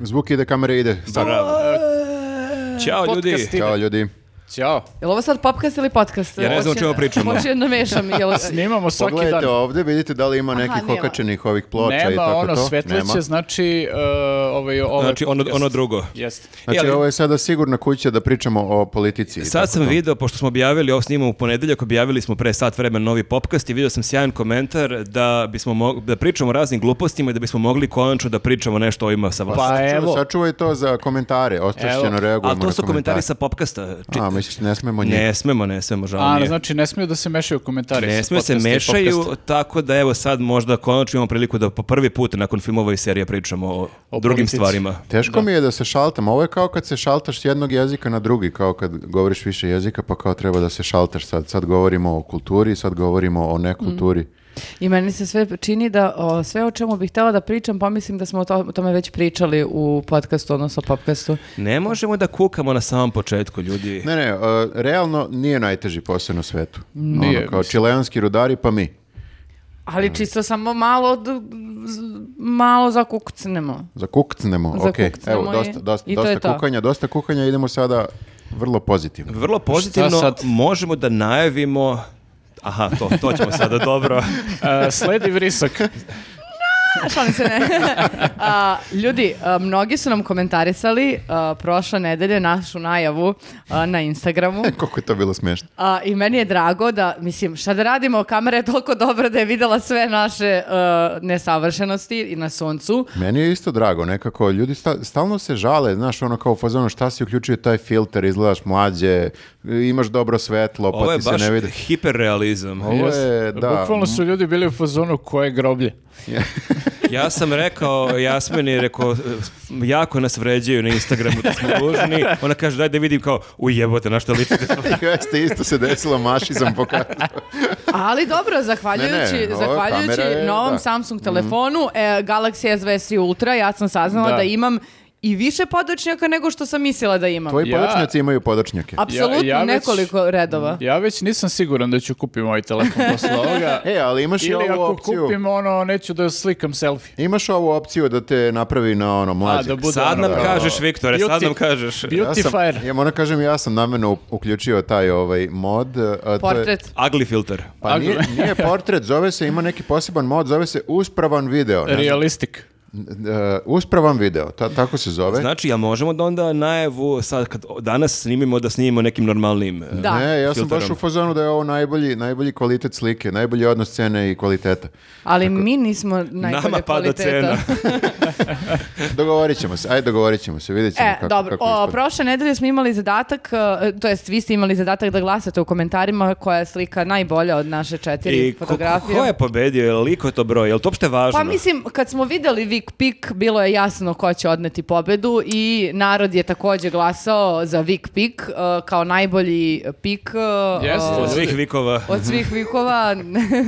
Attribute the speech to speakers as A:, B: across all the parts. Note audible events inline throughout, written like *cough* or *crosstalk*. A: Zvuk ide, kamera ide. Sad.
B: Ćao ljudi.
C: Podcast ide.
A: Ćao ljudi.
C: Ćao.
D: Jel ovo sad popkast ili podcast?
B: Ja ne znam o čemu pričamo.
D: Može namešam. Jel,
C: Snimamo svaki
A: Pogledajte
C: dan.
A: ovdje, vidite da li ima nekih
D: nema.
A: okačenih ovih ploča i
C: Nema
A: tako
C: ono
A: to.
C: svetleće, znači uh, ovaj ovaj
B: Znači ono, ono drugo.
C: Jeste.
B: E,
A: Znači,
B: ali
A: ovo je sada sigurna kuća da pričamo o politici. i
B: Sad
A: tako
B: sam
A: to.
B: video, pošto smo objavili, ovo snimamo u ponedeljak, objavili smo pre sat vremena novi popkast i vidio sam sjajan komentar da bismo mog- da pričamo o raznim glupostima i da bismo mogli konačno da pričamo nešto o ovima sa vas.
C: Pa
A: Sačuvaj-
C: evo.
A: Sačuvaj to za komentare, ostrašćeno
C: Evo.
A: reagujemo
B: Ali to
A: na
B: su komentari sa popkasta. Čit-
A: A, misliš, ne smemo njih?
B: Ne smemo, ne smemo, žao
C: A,
B: mi je.
C: znači ne smiju da se mešaju komentari.
B: Ne
C: sa
B: smije se
C: podcasta i
B: mešaju,
C: podcasta.
B: tako da evo sad možda konačno imamo priliku da po prvi put nakon filmova i serija pričamo o,
C: O
B: drugim
C: politici.
B: stvarima.
A: Teško mi je da se šaltam. Ovo je kao kad se šaltaš s jednog jezika na drugi, kao kad govoriš više jezika, pa kao treba da se šaltaš sad. Sad govorimo o kulturi, sad govorimo o nekulturi.
C: Mm.
D: I meni se sve čini da o, sve o čemu bih htjela da pričam, pomislim da smo o to- o tome već pričali u podcastu, odnosno popkastu.
B: Ne možemo da kukamo na samom početku, ljudi.
A: Ne, ne, uh, realno nije najteži posao na svetu.
C: Nije,
A: ono, kao
C: mislim.
A: čileanski rudari, pa mi.
D: Ali čisto samo malo, d- z- malo zakucnemo.
A: Zakukcnemo, ok.
D: Zakukcnemo
A: Evo,
D: i-
A: dosta, dosta,
D: i to je
A: dosta
D: to.
A: kukanja, dosta kukanja, idemo sada vrlo pozitivno. *laughs*
B: Vrlo pozitivno
C: sad?
B: možemo da najavimo Aha, to, to ćemo
C: *laughs*
B: sada, dobro.
C: E, sledi vrisak.
D: Šalim se, ne. *laughs* A, ljudi, a, mnogi su nam komentarisali a, prošle nedelje našu najavu a, na Instagramu.
A: Koliko je to bilo smešno.
D: A, I meni je drago da, mislim, šta da radimo, kamera je toliko dobra da je videla sve naše a, nesavršenosti i na suncu.
A: Meni je isto drago, nekako, ljudi sta- stalno se žale, znaš, ono kao u fazonu šta si uključio taj filter, izgledaš mlađe, imaš dobro svetlo,
B: Ovo
A: pa
B: je
A: ti se
B: baš
A: ne
C: *laughs*
A: vidi. *laughs*
B: hiperrealizam.
A: Ovo je,
C: Jeste.
A: da, *laughs*
C: Bukvalno su ljudi bili u fazonu koje groblje.
B: Ja sam rekao, Jasmini je rekao, jako nas vređaju na Instagramu da smo ružni. Ona kaže, daj da vidim kao, ujebote, na što ličite.
A: jeste, isto se desilo, Maši sam pokazao.
D: Ali
A: *laughs*
D: dobro, zahvaljujući,
A: Ne, ne, ova
D: zahvaljujući
A: kamera je-
D: novom
A: da. Mhm.
D: Samsung telefonu, e, Galaxy S23 Ultra, ja sam saznala da,
C: Da.
D: imam i više podočnjaka nego što sam mislila da imam.
A: *laughs* Tvoji
C: Ja-
A: podočnjaci imaju podočnjake.
D: Apsolutno
C: Ja- ja već-
D: nekoliko
A: Mm,
D: redova.
C: Ja već nisam siguran da ću kupim ovaj
A: *laughs*
C: telefon posle ovoga.
A: E, ali imaš i
C: Ili
A: ovu
C: ako
A: opciju.
C: kupim ono, neću da slikam selfie.
A: Imaš ovu opciju da te napravi na ono
C: A,
A: mlađe.
C: da bude
B: Sad
C: ono,
B: nam
C: kao-
B: kažeš, Viktore, sad
C: Beauty-
B: nam kažeš.
A: Ja
C: Beauty
A: sam,
C: fire.
A: ja moram kažem, ja sam namjerno uključio taj ovaj mod. a to je-
D: Portret.
B: Ugly filter.
A: pa nije, *laughs* nije portret, zove se, ima neki poseban mod, zove se uspravan video. ne znam.
C: Realistik.
A: E, uspravan video, ta, tako se zove.
B: Znači, ja možemo da onda najavu, sad kad danas snimimo, da snimimo nekim normalnim. e,
D: Da.
A: ne, ja sam
B: filterom.
A: baš u fazonu da je ovo najbolji, najbolji kvalitet slike, najbolji odnos cene i kvaliteta.
D: Ali mi nismo najbolje
B: Nama pada
D: kvaliteta.
B: cena.
A: Dogovorit ćemo se, ajde dogovorit ćemo se, vidjet ćemo
D: E,
A: kako,
D: dobro,
A: kako
D: o,
A: ispada.
D: prošle nedelje smo imali zadatak, e, to jest vi ste imali zadatak da glasate u komentarima koja je slika najbolja od naše četiri
B: I ko-
D: fotografije.
B: Ko je pobedio, je li liko je to broj, je li to uopšte važno?
D: Pa mislim, kad smo videli Vic Pik, bilo je jasno ko će odneti pobedu i narod je također glasao za Vic Pik e, kao najbolji pik e,
C: Jeste,
D: o,
B: Od svih vikova.
D: od svih vikova. *laughs*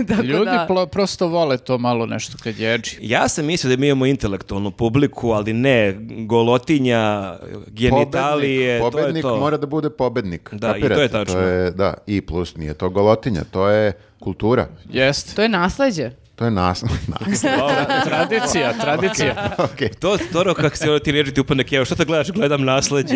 D: tako
C: Ljudi
D: da-
C: plo- prosto vole to malo nešto kad je edgy.
B: Ja sam mislio da mi imamo intelektualnu publiku, ali ne, golotinja, genitalije,
A: pobednik, pobednik
B: to je to.
A: mora da bude pobednik.
B: Da, i to je
A: Kapirate?
B: tačno.
A: je, da, i plus nije to golotinja, to je kultura,
C: Jeste.
D: To je nasleđe.
A: to je nas, *laughs*
D: *laughs*
A: nas *laughs*
C: Tradicija, tradicija.
A: okej.
B: To, Toro, kako se ono ti riječi ti upadne kjeva, što to gledaš? Gledam
A: *laughs*
B: nasledđe.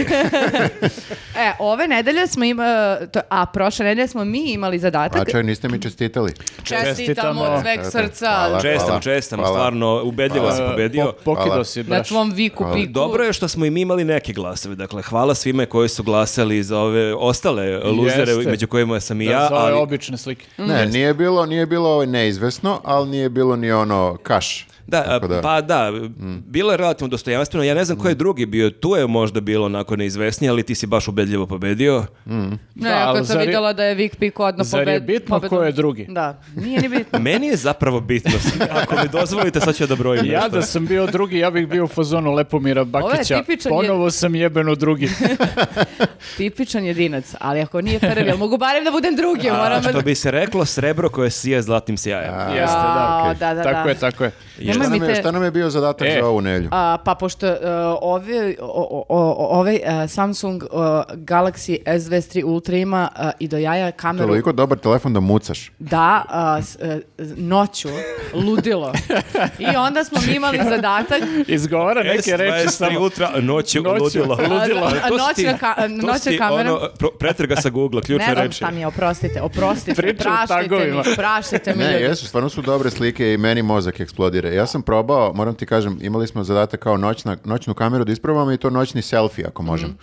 D: E, ove nedelje smo ima, to, a prošle nedelje smo mi imali
A: A
D: zadatak.
A: čoj, niste mi čestitali.
D: Čestitamo
C: Čestitamo.
D: od sveg
A: Eto,
D: srca
A: hvala.
B: Čestam, čestam,
A: hvala.
B: stvarno, ubedljivo sam
C: E,
B: pobedio.
C: po-
A: Hvala.
C: Pokido si
D: na
C: baš.
D: tvom Viku Piku.
B: Dobro je što smo i mi imali neke glasove, dakle hvala svima koji su glasali za ove ostale luzere
C: Jeste.
B: među kojima sam i
C: Da,
B: ja,
C: za ove
B: ali
C: obične
D: *laughs*
C: slike.
D: Mm.
A: Ne, nije bilo, nije bilo ovaj neizvesno, ali nije bilo ni ono kaš.
B: Da,
A: Tako da- Mm.
B: pa da, bilo je relativno dostojanstveno. Ja ne znam ko je drugi bio, tu je možda bilo onako neizvesnije, ali ti si baš ubedljivo pobedio.
D: Ne,
C: Da,
D: ako
C: ali
D: sam
C: zar je-
D: vidjela da je Vic Pik odno pobed...
C: zar je bitno
D: pobedom.
C: ko je drugi?
D: Da, nije ni
A: *laughs*
D: bitno.
B: Meni je zapravo bitno, ako mi dozvolite sad ću ja da brojim
C: Ja
B: nešto.
C: da sam bio drugi, ja bih bio u fazonu Lepomira
D: je
C: Bakića.
D: tipičan
C: Ponovo sam jeben u
D: *laughs*
C: drugi.
D: Tipičan jedinac, ali ako nije prvi, jel mogu barem da budem drugi,
B: A,
D: moram...
B: što bi se reklo, srebro koje sije zlatnim sjajem.
C: Jeste, da.
D: A,
A: okej.
D: da, da,
C: tako
D: da.
C: je, tako je.
D: Nemoj
A: Šta
D: mi
A: nam, je,
D: te-
A: šta nam je bio zadatak
C: E.
A: za ovu nelju?
D: A, pa pošto e, ove, o, o- o- ovaj e, Samsung e, Galaxy S23 Ultra ima e, i do jaja kameru
A: Toliko dobar telefon da mucaš.
D: da a, s- e, z- noću
C: *laughs*
D: ludilo. I onda smo mi imali zadatak
C: Izgovara neke reči
B: S23
C: samo.
B: Ultra, noću,
C: Noću,
B: ludilo.
C: ludilo.
B: A, to si ti-
D: Noćna ka-
B: to si
D: noćna
B: ti
D: kamera.
B: ono, pro- pretrga sa Google, ključne
D: Ne znam
B: reči.
D: šta pa mi je, oprostite,
B: *laughs*
D: oprostite,
C: Priča u
D: praštite mi,
C: tagovima.
D: praštite mi.
A: Ne,
D: ljudi.
A: jesu, stvarno su dobre slike i meni mozak eksplodira. Ja sam probao, moram ti kažem, imali smo zadatak kao noćna, noćnu kameru da isprobam i to noćni selfie ako možem.
D: Mhm.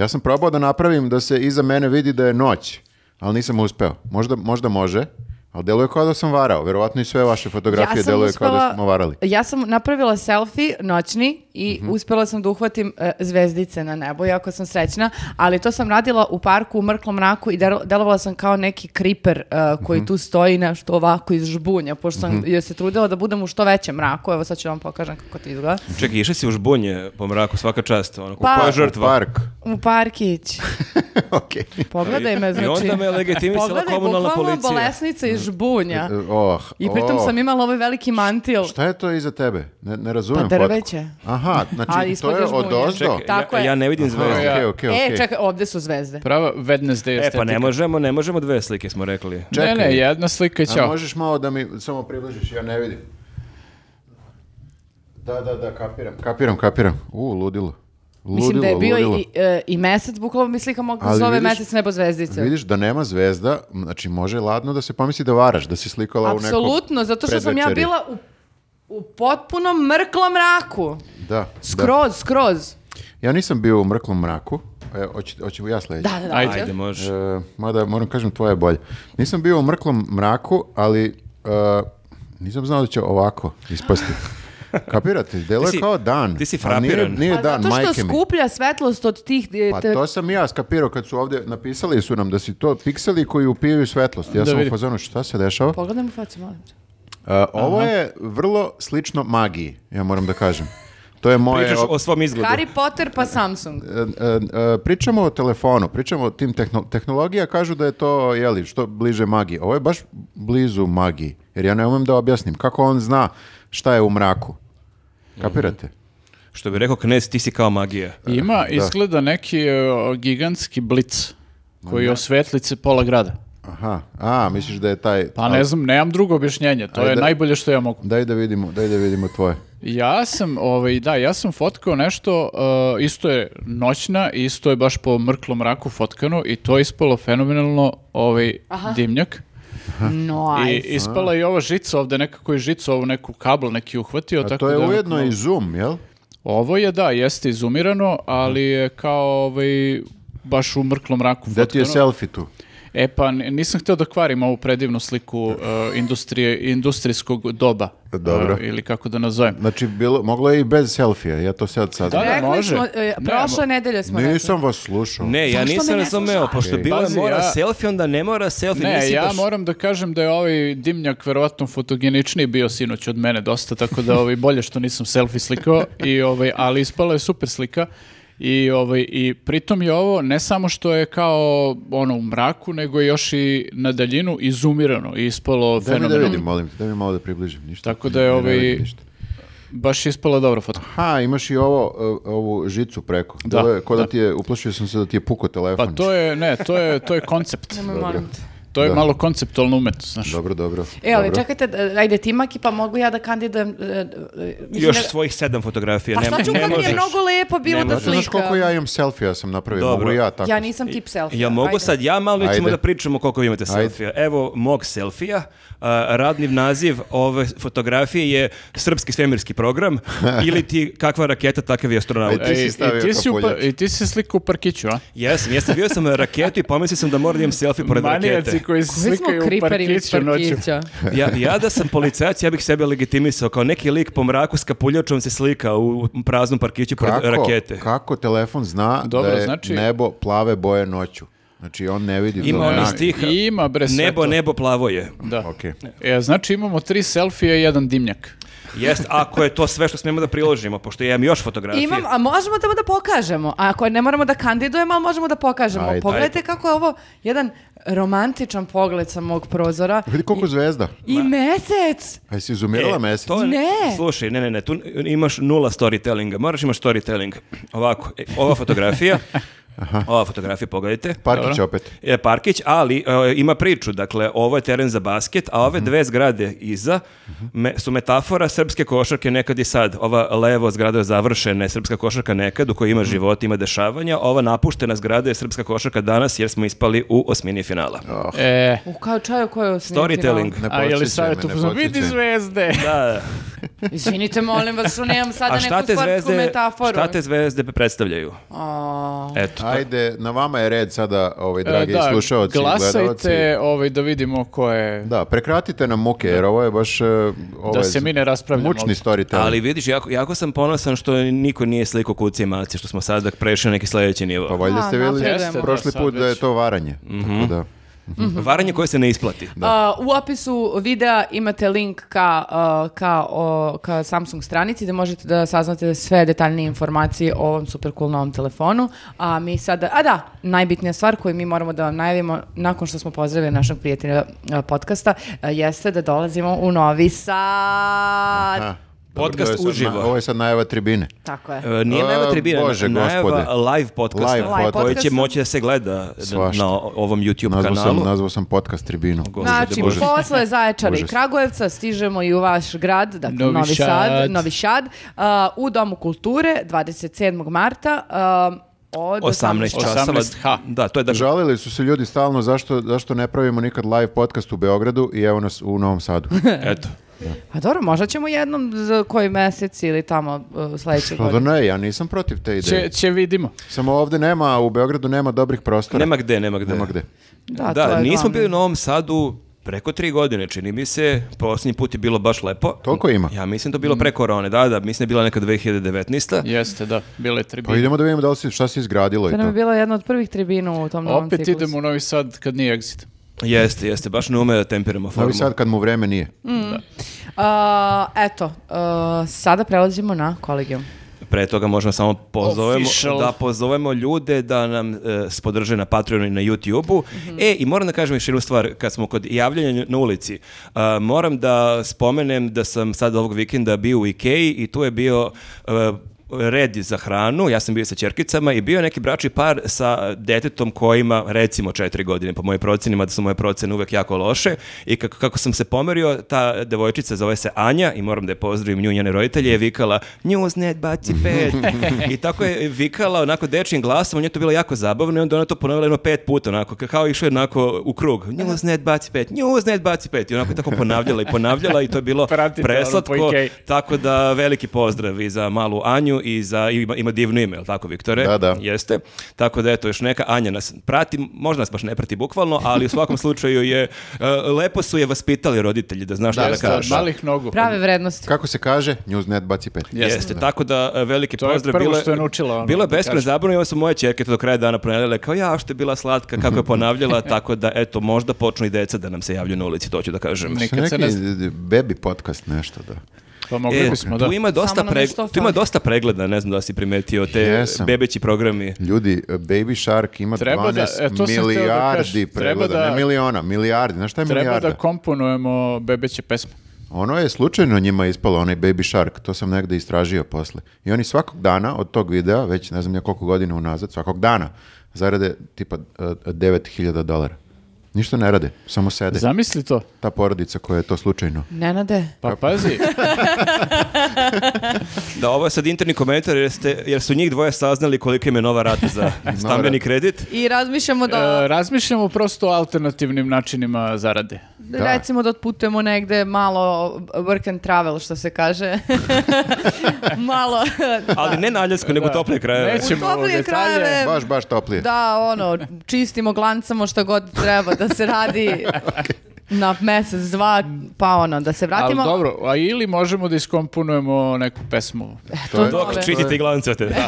A: Ja sam probao da napravim da se iza mene vidi da je noć, ali nisam uspeo. Možda, možda može, ali deluje kao da sam varao. Verovatno i sve vaše fotografije
D: Ja sam
A: deluje kao da
D: uspela-
A: smo varali. Mhm.
D: Ja sam napravila selfie noćni i uspjela sam da uhvatim e, zvezdice na nebu, jako sam srećna, ali to sam radila u parku u mrklom mraku i del- delovala sam kao neki kriper e, koji
A: Mhm.
D: tu stoji nešto ovako iz žbunja, pošto sam je se trudila da budem u što većem mraku, evo sad ću vam pokažem kako to izgleda.
B: Čekaj, išli si u žbunje po mraku, svaka čast. Ono,
D: Pa-
B: koja je
A: U
B: žrtva?
A: Park.
D: U
B: *laughs*
D: parkić,
A: *laughs* Okej.
D: pogledaj me,
B: I
D: znači.
B: onda me je legitimisala
D: Pogledaj,
B: komunalna
D: bukvalno
B: policija.
D: bolesnica iz žbunja.
A: E, Oh,
D: I pritom
A: oh.
D: sam imala ovaj veliki mantil.
A: Šta je to iza tebe? Ne, ne razumem
D: Pa
A: fotku.
D: drveće. *laughs*
A: Aha,
D: Ali
A: znači to
D: ispod
A: je
D: još
A: od
D: bunje.
A: ozdo.
B: Čekaj,
D: Tako
B: ja,
D: je.
B: ja ne vidim zvezde.
A: Aha, okej, okej,
D: E,
A: okej.
D: čekaj, ovdje su zvezde.
C: Prava Wednesday
B: E, pa
C: estetika.
B: ne možemo, ne možemo dve slike, smo rekli.
A: čekaj.
C: Ne, ne, jedna slika
A: A
C: ćao.
A: možeš malo da mi samo približiš, ja ne vidim. Da, da, da, kapiram. Kapiram, kapiram. U, ludilo. Ludilo,
D: Mislim da je bio
A: ludilo.
D: i, e, i mesec, bukvalno mi slika mogu da
A: Ali
D: zove
A: vidiš-
D: mesec nebo zvezdice.
A: Vidiš da nema zvezda, znači može ladno da se pomisli da varaš, da si slikala u nekom
D: Apsolutno, zato što sam ja
A: predvečeri.
D: bila u, u potpunom mrklom mraku.
A: Da, da.
D: Skroz, skroz.
A: Ja nisam bio u mrklom mraku. E, hoće, hoće ja sledeći.
D: Da, da, da.
C: Ajde.
B: Ajde, može.
A: E, mada moram kažem tvoja je bolja. Nisam bio u mrklom mraku, ali e, nisam znao da će ovako ispasti.
B: *laughs*
A: Kapirate, delo
B: Ti si-
A: je kao dan.
B: ti si
A: ali nije-
B: frapiran.
A: Nije,
D: Pa
A: dan,
D: zato što
A: majke mi.
D: skuplja svetlost od tih... e,
A: Pa
D: te-
A: to sam i ja skapirao kad su ovdje napisali su nam da si to pikseli koji upijaju svetlost. Ja
C: Da
A: sam u
C: vidim.
A: fazonu šta se dešava.
D: Pogledaj mu facu, molim. te.
A: E, ovo je vrlo slično magiji, ja moram da kažem. To je moje...
B: Pričaš o svom izgledu.
D: Harry Potter pa
A: *laughs*
D: Samsung.
A: E, e, e, pričamo o telefonu, pričamo o tim tehno- tehnologija, kažu da je to jeli, što bliže magiji. Ovo je baš blizu magiji, jer ja ne umem da objasnim kako on zna šta je u mraku. Kapirate?
C: Mhm.
B: Što bi rekao knez, ti si kao magija.
C: Ima, izgleda neki e, gigantski blic koji osvetli se pola grada.
A: Aha, a misliš da je taj...
C: Pa ne znam, nemam drugo objašnjenje, to je
A: Ajde.
C: najbolje što ja mogu.
A: Daj da vidimo, daj da vidimo tvoje.
C: Ja sam, ovaj, da, ja sam fotkao nešto, e, isto je noćna, isto je baš po mrklom mraku fotkano i to je ispalo fenomenalno ovaj, dimnjak. I
D: Nice.
C: ispala je i ova žica ovde, nekako je žicu, ovu neku kabel neki uhvatio.
A: A
C: Pa tako
A: to je
C: da onako
A: ujedno
C: malo-
A: i zoom, jel?
C: Ovo je, da, jeste izumirano, ali je kao ovaj, baš u mrklom mraku
A: Gde ti je
C: fotkano.
A: selfie tu?
C: E pa, n- nisam htio da kvarim ovu predivnu sliku e, industrije, industrijskog doba.
A: Dobro.
C: E, ili kako da nazovem.
A: Znači, bilo, moglo je i bez selfija, ja to sad sad.
C: Da,
D: Rekli
C: može.
D: smo, e,
C: Ne,
D: prošle nedelje smo rekli.
A: Nisam vas slušao.
B: Ne, ja
D: Zašto me
B: nisam
D: ne
B: razumeo,
D: slušaš?
B: pošto
A: Ej.
B: bilo je
C: Pazi,
B: mora
C: ja-
B: selfie, onda ne mora selfie.
C: Ne,
B: nisi
C: ja
B: baš-
C: moram da kažem da je ovaj dimnjak verovatno fotogeničniji bio sinoć od mene dosta, tako da ovaj bolje što nisam selfie slikao i ovaj ali ispala je super slika. I ovaj i pritom je ovo ne samo što je kao ono u mraku, nego je još i na daljinu izumirano i
A: Daj mi
C: ispalo
A: da
C: fenomenalno.
A: vidim, molim te, daj mi malo da približim. Ništa.
C: Tako da je
A: Ne
C: ovaj-
A: vidim ništa.
C: Baš je ispala dobra fotka.
A: Ha, imaš i ovo, e, ovu žicu preko. Da, je, ko da.
C: da.
A: ti je, uplašio sam se da ti je puko
C: Pa
A: telefon.
C: to je ne, to je to je koncept.
D: Nemoj, molim te.
C: To je
A: Da.
C: malo konceptualno umetnost, znaš.
A: Dobro, dobro.
D: E, ali
A: dobro.
D: čekajte, d- ajde ti Maki, pa mogu ja da kandidujem... e, e, mislim
B: Još
D: da-
B: svojih sedam fotografija.
D: Pa
B: ne,
D: šta ću
B: ne
D: kad mi je
B: možeš.
D: mnogo lepo bilo
B: Ne
D: da
B: možeš.
D: slika.
A: Znaš koliko ja imam selfija sam napravio,
B: Dobro.
A: mogu i ja tako.
D: Ja nisam tip selfie.
B: Ja mogu
D: ajde.
B: sad, ja malo ćemo
A: Ajde.
B: da pričamo koliko vi imate
A: Ajde.
B: selfija. Evo mog selfija. A, radni naziv ove fotografije je Srpski svemirski program ili ti kakva raketa, takav i astronaut.
A: Ajde. Ti si
C: E, i-
A: stavio
C: i, ti si u pa-
A: kapuljač.
C: I ti si slikao u parkiću, a?
B: Jesam, jesam, bio sam na raketu i pomislio sam da moram da imam selfie pored
C: Manijaci *laughs*
B: rakete.
C: koji se
D: Koji smo
C: slikaju u
D: kriperi iz
C: parkiću noću.
D: parkića.
B: Ja, ja da sam policajac, ja bih sebe legitimisao kao neki lik po mraku s kapuljačom se slika u praznom parkiću pored
A: Kako,
B: rakete.
A: kako telefon zna
C: Dobro,
A: da je
C: znači-
A: nebo plave boje noću? Znači, on ne vidi
B: Ima
A: to.
B: onaj
A: Ja-
B: stih
C: Ima bre sve
B: Nebo,
C: to.
B: nebo plavo je.
C: Da.
A: Okej.
C: E, znači imamo tri selfije i jedan dimnjak.
B: Jest, ako je to sve što smemo da priložimo, pošto ja imam još fotografije.
D: Imam, a možemo tamo da pokažemo. A ako ne moramo da kandidujemo, ali možemo da pokažemo.
A: Ajde.
D: Pogledajte kako je ovo jedan romantičan pogled sa mog prozora.
A: Vidi koliko zvezda.
D: I mesec!
A: A jesi izumirala
B: E,
A: mesec?
B: to je-
D: Ne.
B: Slušaj, ne, ne, ne, tu imaš nula storytellinga, moraš imaš storytelling. Ovako, e, ova fotografija, ova fotografija, pogledajte.
A: Parkić opet.
B: Je Parkić, ali e, ima priču, dakle, ovo je teren za basket, a ove dve zgrade iza me- su metafora srpske košarke nekad i sad. Ova levo zgrada je završena, je srpska košarka nekad, u kojoj ima život, ima dešavanja, ova napuštena zgrada je srpska košarka danas, jer smo ispali u osmini finala.
C: E,
D: U kao čaju koju osnijem
B: Storytelling.
A: Ne
C: a je li
A: Oh, podsjećaj
C: savjet
A: me,
C: u
A: ne
C: fazonu, Vidi
A: podsjećaj.
C: zvezde!
B: Da,
D: finala. Izvinite, molim vas, što nemam
B: *laughs*
D: sada
B: a šta
D: Pa neku
B: te
D: sportsku
B: zvezde,
D: metaforu.
B: šta te zvezde predstavljaju?
D: A,
B: Eto,
A: Ajde, na vama je red sada, ovaj,
C: E,
A: dragi
C: *laughs* da,
A: slušaoci i gledaoci.
C: glasajte ovaj, da vidimo ko je...
A: Da, prekratite nam muke, jer ovo je baš... eh, Ovo
C: Da
A: je
C: se mi ne raspravljamo
A: Mučni
C: ovdje.
A: storytelling.
B: Ali vidiš, jako, jako sam ponosan što niko nije slikao kuci i maci, što smo sada prešli na neki sljedeći nivo.
A: Pa valjda
D: A,
A: ste vidjeli
D: napredujemo.
C: Jeste, da,
A: prošli
C: sad
A: put da je
C: već. Mhm.
A: to varanje. Tako da,
D: Mhm.
B: Varanje koje se ne isplati.
D: a, u opisu videa imate link ka, a, ka, o- ka Samsung stranici gde možete da saznate sve detaljnije informacije o ovom super cool novom telefonu. A mi sada, a da, najbitnija stvar koju mi moramo da vam najavimo nakon što smo pozdravili našeg prijatelja a, podcasta a, jeste da dolazimo u Novi Sad.
A: Aha.
B: Podcast
A: Dobro, ovo je sad na-
B: uživo.
A: Ovo je sad najava tribine.
D: Tako je.
B: E, Nije najava
A: A,
B: tribina,
A: Bože,
B: najava
A: gospode.
B: live podcasta
A: Live
D: Live
B: koji će
D: podcasta.
B: moći da se gleda
A: Svašta.
B: na ovom YouTube
A: Nazvao sam,
B: kanalu.
A: nazvao sam podcast tribinu.
B: Gospode
D: Znači,
B: Bože.
D: posle Zaječara i
A: Užas.
D: Kragujevca stižemo i u vaš grad, dakle
C: Novi
D: Novi, Sad,
C: Šad.
D: Novi Šad, a, u Domu kulture 27. marta a, od
B: 18 časova.
C: 18H.
B: Da, to je da
A: Žalili su se ljudi stalno zašto, zašto ne pravimo nikad live podcast u Beogradu i evo nas u Novom Sadu.
B: *laughs*
D: *laughs*
B: eto.
D: A Pa dobro, možda ćemo jednom za koji mesec ili tamo uh, sledeće
A: Što Pa da
D: godine.
A: ne, ja nisam protiv te
C: Će,
A: ideje.
C: će vidimo.
A: Samo ovde nema, u Beogradu nema dobrih prostora.
B: Nema gde, nema gde.
A: Nema gde.
D: Da, to
B: da,
D: je
B: nismo
D: glavno.
B: bili u Novom Sadu preko tri godine, čini mi se. Posljednji put je bilo baš lepo.
A: Toliko ima. Mm.
B: Ja mislim da je bilo pre korone, da, da, mislim da je bila neka 2019.
C: Jeste, da, bile
A: Pa
C: tribine.
A: idemo da vidimo da li se, šta se izgradilo i
D: To nam je
A: to.
D: bila jedna od prvih tribina u tom novom
C: Opet
D: ciklusu.
C: idemo u Novi Sad kad nije exit.
B: Jeste, jeste, baš ne ume da temperamo formu.
A: Novi Sad kad mu vreme nije.
D: A, Uh, eto, a, sada prelazimo na kolegijum.
B: Pre toga možemo samo pozovemo,
C: Official.
B: da pozovemo ljude da nam e, spodrže na Patreonu i na YouTubeu. E, i moram da kažem još jednu stvar, kad smo kod javljanja na ulici, a, moram da spomenem da sam sad ovog vikenda bio u Ikeji i tu je bio e, red za hranu, ja sam bio sa čerkicama i bio je neki bračni par sa detetom koji ima recimo četiri godine po mojim procenima, da su moje procene uvek jako loše i kako, kako sam se pomerio, ta devojčica zove se Anja i moram da je pozdravim nju i njene roditelje je vikala Newsnet baci
C: *laughs*
B: pet i tako je vikala onako dečijim glasom, on je to bilo jako zabavno i onda ona to ponovila jedno pet puta onako, ka- kao išlo jednako u krug Newsnet baci pet, Newsnet baci pet i onako je tako ponavljala i ponavljala i to je bilo
C: Pratite ono po
B: preslatko,
C: Ikeji.
B: tako da veliki pozdrav i za malu Anju i za ima, ima divno ime, jel tako Viktore?
A: Da, da.
B: Jeste. Tako da eto još neka Anja nas prati, možda nas baš ne prati bukvalno, ali u *laughs* svakom slučaju je e, lepo su je vaspitali roditelji da znaš šta da
C: Jeste,
B: kažeš.
C: malih nogu.
D: Prave vrednosti.
A: Kako se kaže? Newsnet baci pet.
B: Jeste, tako da e, veliki
C: To je
B: pozdrav.
C: prvo
B: bilo
C: što je naučila, ono,
B: bilo je
C: da
B: beskrajno
C: kažem.
B: zabavno i onda su moje čerke to do kraja dana ponavljale kao ja što je bila slatka, kako je
C: *laughs*
B: ponavljala, tako da eto možda počnu i deca da nam se javljaju na ulici, to ću da kažem.
C: Nikad
A: Neki
C: se ne zna.
A: baby podcast nešto da.
C: Pa mogli
B: E,
C: bismo, da.
B: tu, ima dosta
D: Samo nam je
B: preg-
D: što
B: tu ima
D: fali.
B: dosta pregleda, ne znam da li si primetio te
A: Jesam.
B: bebeći programi.
A: Ljudi, e, Baby Shark ima
C: Treba da-
A: 12
C: e, to sam hteo da
A: milijardi
C: kažem. Treba
A: pregleda,
C: da-
A: ne miliona, milijardi. Znaš šta je
C: Treba
A: milijarda?
C: da komponujemo bebeće pesme.
A: Ono je slučajno njima ispalo, onaj Baby Shark, to sam negde istražio posle. I oni svakog dana od tog videa, već ne znam ja koliko godina unazad, svakog dana zarade tipa e, 9000 dolara. Ništa ne rade, samo sede.
C: Zamisli to.
A: Ta porodica koja je to slučajno.
D: Nenade,
C: Pa
A: *laughs*
C: pazi,
B: Da, ovo je sad interni komentar jer, ste, jer su njih dvoje saznali koliko im je nova rata
A: *laughs*
B: za stambeni kredit.
D: i razmišljamo da,
C: e, razmišljamo prosto o alternativnim načinima zarade.
A: da.
D: recimo da otputujemo negde malo work and travel, što se kaže. malo
B: Ali ne na Aljasku, nego u tople
A: E,
B: krajeve.
C: Neće. Ćemo
D: u toplije
C: u detalje.
D: krajeve,
A: Baš, baš toplije.
D: Da, ono, čistimo, glancamo šta god treba da se
A: *laughs*
D: radi na mesec, dva, pa ono, da se
C: Ali
D: vratimo.
C: dobro, a ili možemo da iskomponujemo neku pesmu.
D: E,
A: to, je,
D: dobro.
B: Dok čistite i glancate. Da.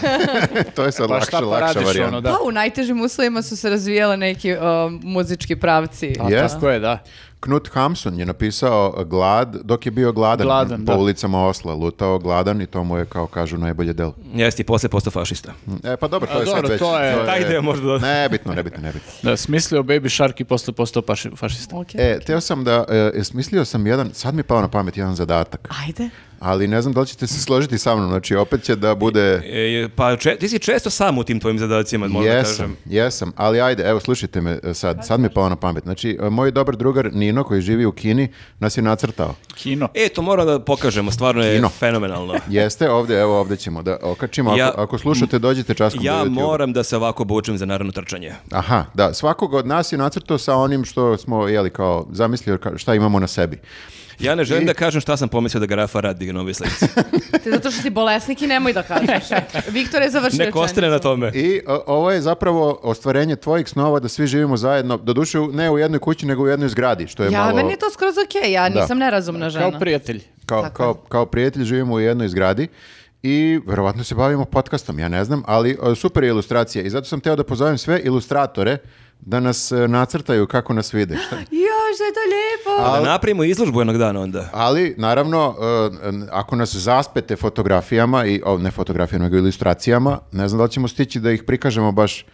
A: to je sad
C: Pa
A: lakša,
C: šta pa
A: lakša
C: radiš
A: varijanta.
C: ono, da.
D: Pa u najtežim uslovima su se razvijali neki um, muzički pravci.
C: Pa
A: Jest.
C: tako je, da.
A: Knut Hamsun je napisao e, Glad dok je bio gladan,
C: Gladan,
A: po
C: da.
A: ulicama Osla, lutao gladan i to mu je kao kažu najbolje delo.
B: Jeste i posle postao fašista.
A: E pa dobro, to
C: A,
A: je sad
C: dobro,
A: već.
C: to je-
B: Taj deo možda da-
A: Nebitno, nebitno, nebitno.
C: Da, smislio Baby Shark i posle postao paši- fašista.
D: Ok.
A: E, teo sam da, e, smislio sam jedan, sad mi je pao na pamet jedan zadatak,
D: Ajde.
A: ali ne znam da li ćete se složiti sa mnom, znači opet će da bude...
B: E, pa če- ti si često sam u tim tvojim zadacima, moram da kažem.
A: Jesam, jesam, ali ajde, evo slušajte me e, sad, sad mi je pao na pamet. Znači, e, moj dobar drugar Nino koji živi u Kini nas je nacrtao.
C: Kino.
B: E, to moram da pokažemo, stvarno je
A: Kino. *laughs*
B: fenomenalno.
A: Jeste, ovdje, evo ovdje ćemo da okačimo.
B: Ja-
A: ako, ako slušate, dođite časkom do
B: Ja
A: YouTube.
B: moram da se ovako obučem za naravno trčanje.
A: Aha, da, svakog od nas je nacrtao sa onim što smo, jeli, kao, zamislio ka- šta imamo na sebi.
B: Ja ne želim
A: I-
B: da kažem šta sam pomislio da grafa radi na
A: *laughs*
B: ovoj slici.
D: Ti zato što si bolesnik i nemoj da kažeš. Viktor je završio
B: Nek ostane na tome.
A: I o- ovo je zapravo ostvarenje tvojih snova da svi živimo zajedno, doduše u- ne u jednoj kući, nego u jednoj zgradi, što je
D: Ja,
A: malo...
D: meni je to skroz okej, ja
A: Da.
D: nisam nerazumna žena.
C: Kao prijatelj.
A: kao,
D: Tako
A: kao, kao prijatelj živimo u jednoj zgradi i verovatno se bavimo podcastom, ja ne znam, ali e, super je ilustracija i zato sam teo da pozovem sve ilustratore da nas e, nacrtaju kako nas vide. Šta-
D: Još, da je to lijepo.
B: Da napravimo izložbu jednog dana onda.
A: Ali, naravno, e, n- ako nas zaspete fotografijama, i, o, ne fotografijama, nego ilustracijama, ne znam da li ćemo stići da ih prikažemo baš,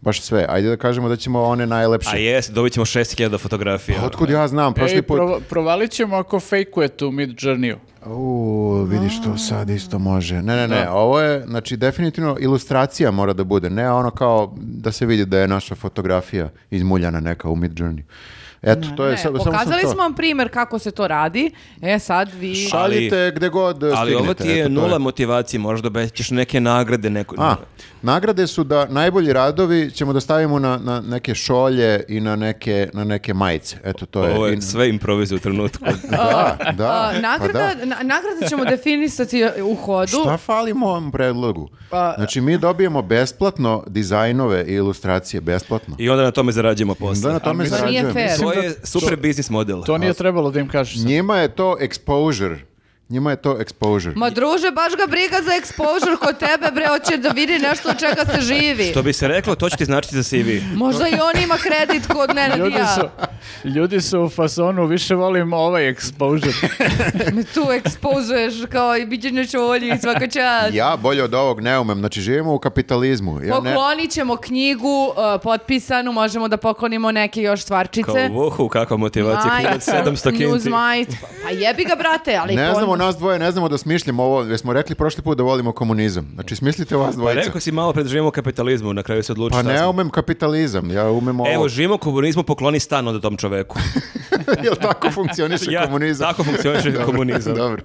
A: baš sve. Ajde da kažemo da ćemo one
B: A
A: najlepše.
B: jes, dobit ćemo 6000 fotografija.
A: Otkud ja znam, prošli
C: Ej,
A: put...
C: prova- provalit ćemo ako fejkuje tu mid journeyu.
A: U, vidiš to sad isto može. Ne, ne, ne, ovo je, znači, definitivno ilustracija mora da bude, ne ono kao da se vidi da je naša fotografija izmuljana neka u Midjourney. Eto, to je
D: Ne,
A: sa- samo sam
D: pokazali
A: to.
D: smo vam primjer kako se to radi. E sad vi...
B: Ša-
A: Šaljite gde god e,
B: Ali ovo
A: stignete,
B: ti je
A: eto, to
B: nula motivacije, možda obećaš neke nagrade. Neko...
A: A, nagrade su da najbolji radovi ćemo da stavimo na, na neke šolje i na neke, na neke majice. Eto, to je.
B: Ovo
A: I-
B: je sve improvizu u trenutku.
A: Da, da.
D: A,
A: pa
D: nagrada,
A: da.
D: na- nagrade
A: *laughs*
D: ćemo definisati u hodu.
A: Šta fali mom predlogu?
D: Pa-
A: Znači, mi dobijemo besplatno dizajnove i ilustracije, besplatno.
B: I onda na tome zarađujemo posle.
A: Da na tome
D: To nije
A: zarađujemo.
D: fair.
B: To je super biznis model.
C: To nije trebalo da im kažeš. sad.
A: Njima je to exposure. Njima je to exposure.
D: Ma druže, baš ga briga za exposure kod tebe, bre, hoće da vidi nešto od čega se živi.
B: Što bi se reklo, to će ti značiti za CV.
D: Možda i on ima kredit kod Nenad i
C: Ljudi su,
D: ja.
C: ljudi su u fasonu, više volim ovaj exposure.
D: *laughs* Me tu ekspozuješ kao i biđe na čolji i svaka čast.
A: Ja bolje od ovog ne umem. Znači, živimo u kapitalizmu. Ja ne...
D: Poklonit ćemo knjigu uh, potpisanu, možemo da poklonimo neke još stvarčice.
B: Kao, vohu, kakva motivacija,
D: Majicu,
B: klinac 700
D: news
B: kinti.
D: majicu. Pa jebi ga, brate, ali...
A: Ne
D: kon-
A: znamo nas dvoje, ne znamo da smišljamo ovo, jer smo rekli prošli put da volimo komunizam. Znači, smislite vas
B: Pa
A: dvojica.
B: rekao si malo pred živimo u kapitalizmu, na kraju se odluči
A: Pa
B: šta
A: ne
B: smo.
A: umem kapitalizam, ja umem ovo.
B: Evo, živimo u komunizmu, pokloni stan onda tom
A: *laughs*
B: čoveku.
A: Jel tako funkcioniše
B: *laughs* Ja,
A: Znači, komunizam?
B: tako
A: *laughs*
B: funkcioniše
A: Dobro,
B: komunizam. *laughs*
A: Dobro.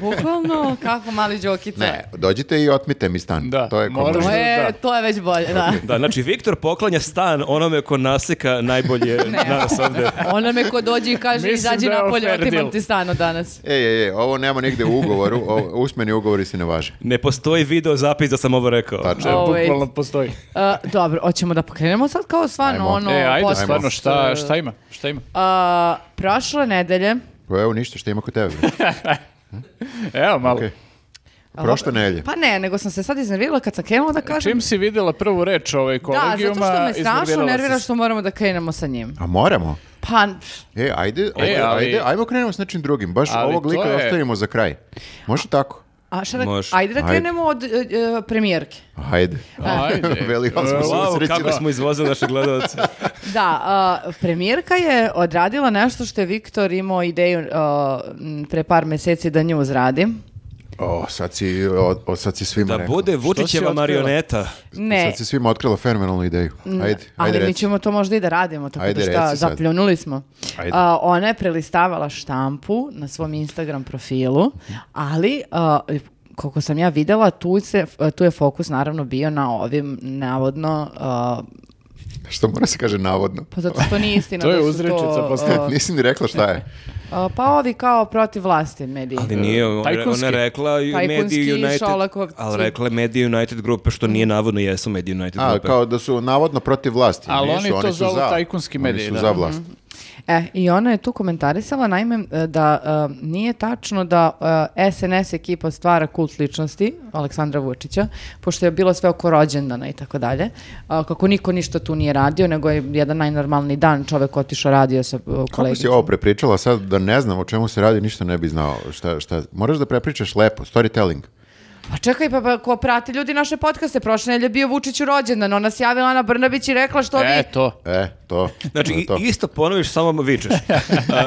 D: Bukvalno, kako mali džokica.
A: Ne, dođite i otmite mi stan.
C: Da,
A: to je
C: moraš
A: komunizam.
D: To je,
C: Da.
D: to je već bolje,
C: *laughs*
D: da.
B: Da, znači, Viktor poklanja stan onome ko naseka najbolje *laughs* nas ovde.
D: Ona me ko dođe i kaže,
C: Mislim
D: izađi
C: da je ovo
D: napolje,
C: fair
D: otimam
C: deal.
D: ti stano danas.
A: Ej, ej, ej, E, ovo nema nigde u ugovoru, ovo- usmeni ugovori se ne važe.
B: Ne postoji video zapis da sam ovo rekao.
A: Tačno.
D: Ovo je-
C: Bukvalno postoji.
D: Uh, Ovaj, dobro, hoćemo da pokrenemo sad kao stvarno
A: Ajmo.
D: ono...
C: e, ajde,
D: podcast.
C: stvarno, šta, šta ima? Šta ima?
D: Uh, prošle nedelje,
A: Pa Evo ništa, što ima kod tebe?
C: Evo malo.
A: Okej. Prošle nelje.
D: pa ne, nego sam se sad iznervirala kad sam krenula da kažem...
C: E, Čim si vidjela prvu reč ovaj
D: Da, zato
C: kolegijuma,
D: što me strašno
C: iznervirala si
D: nervira
C: se.
D: što moramo da krenemo sa njim.
A: A moramo?
D: Pa,
A: E, ajde, ajde,
C: ali-
A: ajde, ajmo krenemo s nečim drugim. Baš
C: Ali
A: ovog
C: to
A: lika
C: je-
A: ostavimo za kraj. Može tako?
D: a šta da,
B: Može.
D: ajde da
A: Ajde.
D: krenemo od e, e, premijerke.
A: Ajde.
C: Ajde.
A: *laughs* Veli, ali smo
C: E,
A: se
B: Wow,
A: usrećili.
B: kako smo izvozili naše gledalce.
D: Da, a, premijerka je odradila nešto što je Viktor imao ideju a, m, pre par meseci da nju radi.
A: O, sad si, o, o, sad si svima
B: Da
A: rekla.
B: bude Vučićeva
C: otkrila?
B: marioneta.
D: Ne,
A: Sad si svima otkrila fenomenalnu ideju. Ajde, ajde
D: ali mi
A: reci.
D: ćemo to možda i da radimo, tako
A: Ajde,
D: da šta,
A: reci sad.
D: zapljunuli smo.
A: Ajde.
D: A, ona je prelistavala štampu na svom Instagram profilu, ali... a, koliko sam ja videla, tu, se, tu je fokus naravno bio na ovim navodno a,
A: Što mora se kaže navodno.
D: Pa zato što nije
A: *laughs*
D: istina.
C: To je
D: da su
C: uzrečica,
D: to,
C: pa ste-
D: o,
A: Nisi ni rekla *laughs* šta je.
D: o, pa ovi kao protiv vlasti mediji.
B: Ali nije, ona,
C: Tajkunski.
B: ona je rekla
D: Tajkunski
B: Media United,
D: Šolakovci.
B: ali rekla je Media United grupe, što nije navodno jesu Media United
A: A,
B: grupe.
A: kao da su navodno protiv vlasti.
C: Ali
A: Nisu,
C: oni to
A: su
C: zovu
A: za.
C: tajkunski mediji,
A: Oni su
C: da.
A: za
C: Mhm.
A: vlast.
D: E, i ona je tu komentarisala, naime, e, da e, nije tačno da e, SNS ekipa stvara kult ličnosti Aleksandra Vučića, pošto je bilo sve oko rođendana i tako dalje, a, kako niko ništa tu nije radio, nego je jedan najnormalni dan čovek otišao radio sa e,
A: Kako si
D: kolegicom.
A: ovo prepričala sad da ne znam o čemu se radi, ništa ne bi znao. Šta, šta, moraš da prepričaš lepo, storytelling.
D: Pa čekaj, pa, pa ko prati ljudi naše podcaste, prošle nedelje je bio Vučiću rođendan, ona se javila Ana Brnabić i rekla što vi...
C: E, to.
A: E, to.
B: Znači,
A: to je
B: i-
A: to.
B: isto ponoviš, samo vičeš. A,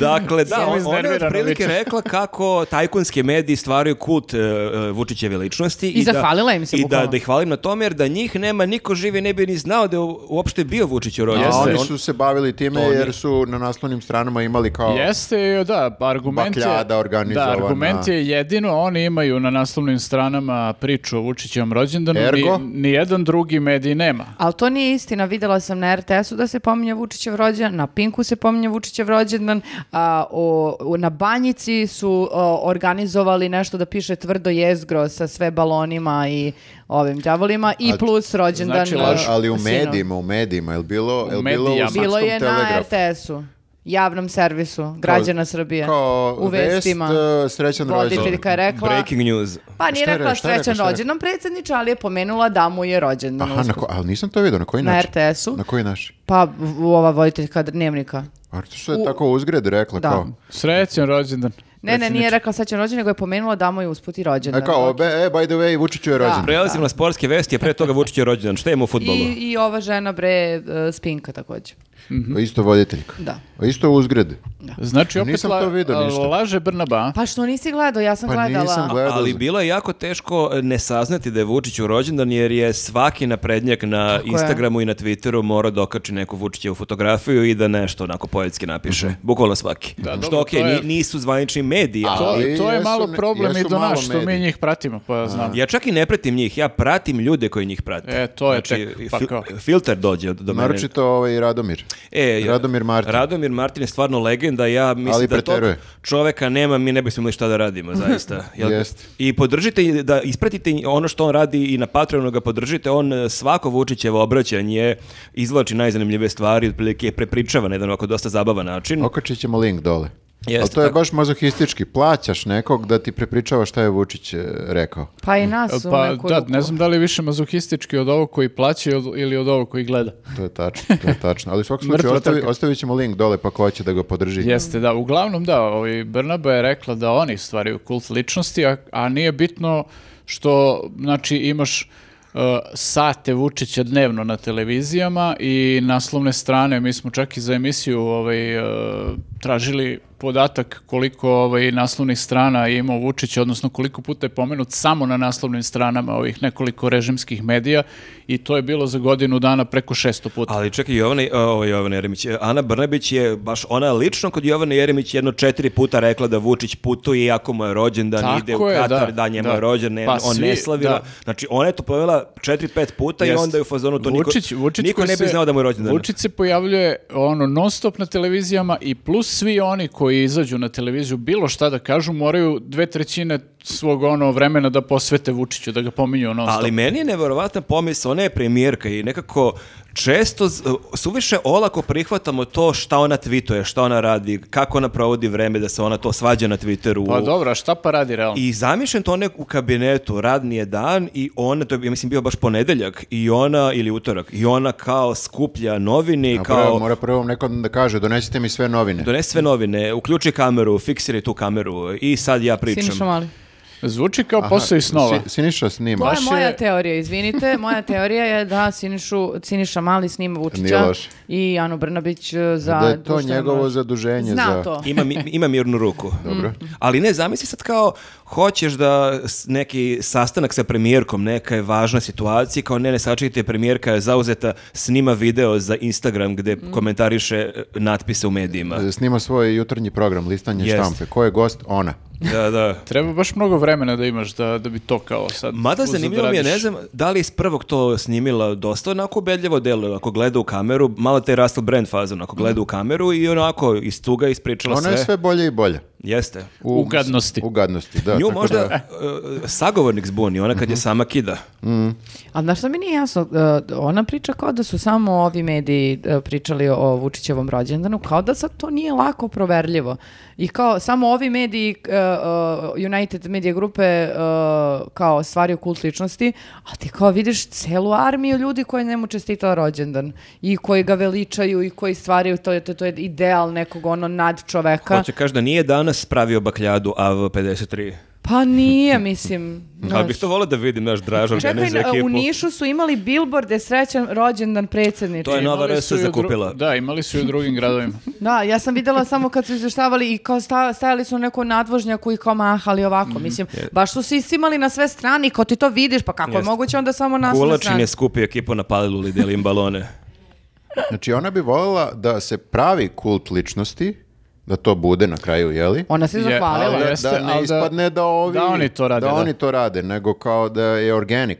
B: dakle, da,
C: Samo
B: on- ona je
C: iznervirano
B: otprilike
C: vičeš.
B: rekla kako tajkunski mediji stvaraju kult e, e, Vučićeve ličnosti.
D: I zahvalila im se
B: I da,
D: bukvalno.
B: da ih hvalim na tome, jer da njih nema, niko živi ne bi ni znao da je u- uopšte bio Vučić u rođendan.
A: A
C: Jeste.
A: oni
B: On-
A: su se bavili time
B: To nije-
A: jer su na naslovnim stranama imali kao...
C: Jeste, da, argument je...
A: Bakljada organizovana.
C: Da, argument je jedino, oni imaju na naslovnim stranama priču o Vučićevom rođendanu,
A: Ergo?
C: ni, ni jedan drugi medij nema.
D: Ali to nije istina, videla sam na RTS-u da se pominje Vučićev rođendan, na Pinku se pominje Vučićev rođendan, a, o, o- na Banjici su o, organizovali nešto da piše tvrdo jezgro sa sve balonima i ovim đavolima i
A: A-
D: plus rođendan.
C: Znači,
D: e,
C: laž.
A: Ali u
D: sinova.
A: medijima, u medijima, jel bilo, jel bilo u
C: medijama.
A: Srpskom
D: Bilo je na
A: telegrafu?
D: RTS-u, javnom servisu, građana Srbije.
A: Kao
D: u vestima.
A: vest, e, srećan rođendan.
D: Voditeljka je rekla...
B: Breaking news.
D: Pa nije
A: Šta je
D: rekla
A: re- šta je rekla,
D: srećan
A: šta je rekla?
D: rođendan predsjedniče, ali je pomenula da mu je rođendan.
A: Aha, na ko, ali nisam to vidio, na koji
D: Na
A: način?
D: RTS-u.
A: Na koji način?
D: Pa v- ova voditeljka dnevnika.
A: A što je tako uzgred rekla
D: Da.
A: kao?
C: Srećan rođendan.
D: Ne, ne, nije
C: predsjedniče.
D: rekla srećan rođendan, nego je pomenula da mu je usput i rođendan.
A: E kao, be, e, by the way, Vučiću je rođen.
B: Prelazimo na sportske vesti, a pre toga Vučić je rođendan. Šta ima u futbolu?
D: I, I ova žena, bre, e, spinka također.
A: Mhm. Isto voditeljka.
D: Da.
A: Isto uzgred.
C: Znači, opet
A: Nisam to
C: la-
A: vidio ništa.
C: laže Brnaba.
D: Pa što nisi gledao, ja sam
A: Pa
D: gledala.
A: nisam gledao.
B: Ali bilo je jako teško e, ne saznati da je Vučić u rođendan jer je svaki naprednjak na
D: je.
B: Instagramu i na Twitteru morao da okači neku Vučićevu fotografiju i da nešto onako poetski napiše. Bukvalno svaki.
C: dobro,
B: Što okej,
C: to je-
B: ni- nisu zvanični mediji,
A: A,
B: ali
C: To,
A: Ali
C: to je
A: jesu
C: malo
A: ne-
C: problem i
A: jesu
C: do
A: malo
C: nas, što mi
A: mediji.
C: njih pratimo, pa znam.
B: ja čak i ne pratim njih, ja pratim ljude koji njih prate. Znači,
C: E, to je tek, pa
B: fil-
C: kao.
B: filter dođe od- do mene.
A: Naročito ovaj Radomir.
B: E,
A: Radomir Martin.
B: Radomir Martin je stvarno legenda, ja mislim
A: Ali
B: da tog
A: preteruje.
B: čoveka nema, mi ne bismo imali šta da
A: *laughs*
B: radimo, zaista.
A: Jeste.
B: I podržite, i da ispratite ono što on radi i na Patreonu ga podržite, on e, svako Vučićevo obraćanje izvlači najzanimljivije stvari, otprilike je prepričava na jedan ovako dosta zabavan način.
A: Okačit ćemo link dole.
B: Jeste,
A: Ali to je
B: tako.
A: baš mazohistički. Plaćaš nekog da ti prepričava šta je Vučić e, rekao.
D: Pa i nas u
C: Pa
D: neku
C: da,
D: ruku.
C: ne znam da li je više mazohistički od ovog koji plaća ili od- ili od ovog koji gleda.
A: To je tačno, to je tačno. Ali u svakom slučaju
C: Mrtva
A: ostavi,
C: trka.
A: ostavit ćemo link dole pa ko hoće da ga podrži.
C: Jeste, da. Uglavnom, da, ovaj Brnaba je rekla da oni stvaraju kult ličnosti, a, a nije bitno što, znači, imaš e, sate Vučića dnevno na televizijama i naslovne strane, mi smo čak i za emisiju ovaj, e, tražili podatak koliko ovaj, naslovnih strana je imao Vučić, odnosno koliko puta je pomenut samo na naslovnim stranama ovih nekoliko režimskih medija i to je bilo za godinu dana preko 600 puta.
B: Ali čekaj, Jovana, ovo je Jovana Jeremić, e, Ana Brnabić je baš ona lično kod Jovane Jeremić jedno četiri puta rekla da Vučić putuje iako mu je rođendan,
C: Tako
B: ide u
C: je,
B: Katar, da,
C: da,
B: njemu
C: da.
B: je rođendan,
C: Pa
B: on
C: svi,
B: ne slavila.
C: da.
B: Znači, ona je to povela četiri, pet puta i
C: Jeste.
B: onda je u fazonu to
C: Vučić-
B: niko,
C: Vučić
B: niko
C: koji
B: ne bi
C: se-
B: znao da mu je rođendan.
C: Vučić se pojavljuje ono non stop na televizijama i plus svi oni koji izađu na televiziju bilo šta da kažu moraju dve trećine svog ono vremena da posvete Vučiću da ga pominju non stop.
B: Ali meni je neverovatna pomisla, ona je premijerka i nekako često z- suviše olako prihvatamo to šta ona tvituje, šta ona radi, kako ona provodi vreme da se ona to svađa na Twitteru.
C: Pa dobro, a šta pa radi realno?
B: I zamišljam to one u kabinetu, radni je dan i ona, to je ja mislim bio baš ponedeljak i ona, ili utorak, i ona kao skuplja novine i
A: A prvo,
B: kao
A: mora prvo nekom da kaže, donesite mi sve novine.
B: donesi sve novine, uključi kameru, fiksiraj tu kameru i sad ja pričam.
D: Siniša Mali.
C: Zvuči kao
A: Aha,
C: posao i snova.
A: Si- Siniša snima.
D: To je
C: Baš je-
D: moja teorija, izvinite. Moja teorija je da Sinišu, Siniša Mali snima
A: Nije
D: Vučića
A: loše.
D: i Anu Brnabić e, za...
A: da je to
D: društveno-
A: njegovo zaduženje
D: Zna
A: za...
D: to.
B: Ima, mi- ima mirnu ruku. Dobro. Ali ne, zamisli sad kao, hoćeš da s- neki sastanak sa premijerkom, neka je važna situacija, kao ne, ne, sačekajte, premijerka je zauzeta, snima video za Instagram gde komentariše e, natpise u
A: *laughs*
B: medijima.
A: E, Snima svoj jutarnji program, listanje
B: Jeste.
A: štampe. Ko je gost? Ona.
B: Da, da.
C: Treba baš mnogo vremena da imaš da, da bi to kao sad...
B: Mada
C: uzeo da
B: zanimljivo mi je, ne
C: radiš.
B: znam, da li je s prvog to snimila dosta onako ubedljivo delo, ako gleda u
D: Mhm.
B: kameru, malo te je Russell Brand fazon, ako gleda u kameru i onako iz tuga ispričala
A: Ona
B: sve.
A: je sve bolje i bolje.
B: Jeste.
A: U,
C: Ugadnosti.
A: U gadnosti, da.
B: Nju
A: tako
B: možda
A: da- Mhm.
B: e, sagovornik zbuni, ona kad je sama kida.
D: Ali znaš što mi nije jasno, e, ona priča kao da su samo ovi mediji e, pričali o Vučićevom rođendanu, kao da sad to nije lako proverljivo. I kao samo ovi mediji, e, e, United Media Grupe, e, kao stvaraju kult ličnosti, a ti kao vidiš celu armiju ljudi koji njemu čestitala rođendan i koji ga veličaju i koji stvaraju, to je, to, to je ideal nekog ono nad čoveka.
B: Hoće kaži da nije danas pravio bakljadu AV53.
D: Pa nije,
B: *laughs*
D: mislim.
B: Ali
D: znaš.
B: bih to volio da vidim, naš Dražan,
D: Čekaj,
B: Deniz i
D: na- u
B: ekipu.
D: Nišu su imali billboarde srećan rođendan predsjedniče.
B: To je nova
C: Imali
B: RS
C: su i u dru-
B: zakupila.
C: Da, imali su i u drugim gradovima.
D: Da, ja sam vidjela samo kad su izveštavali i kao sta- stajali su neko nadvožnjaku i kao mahali ovako, mislim, baš su se isimali na sve strane i kao ti to vidiš, pa kako je
B: Jeste.
D: moguće onda samo nas na
B: Gulačin
D: strane.
B: je skupio ekipu na paliluli, deli im balone.
A: Znači ona bi voljela da se pravi kult ličnosti, da to bude na kraju, jeli?
D: Ona se
C: Je,
D: zahvalila.
C: ali-
A: Da,
C: Jeste,
A: da ne
C: da-
A: ispadne da ovi...
C: da oni to rade,
A: Da,
C: da.
A: oni to rade, nego kao da je organic.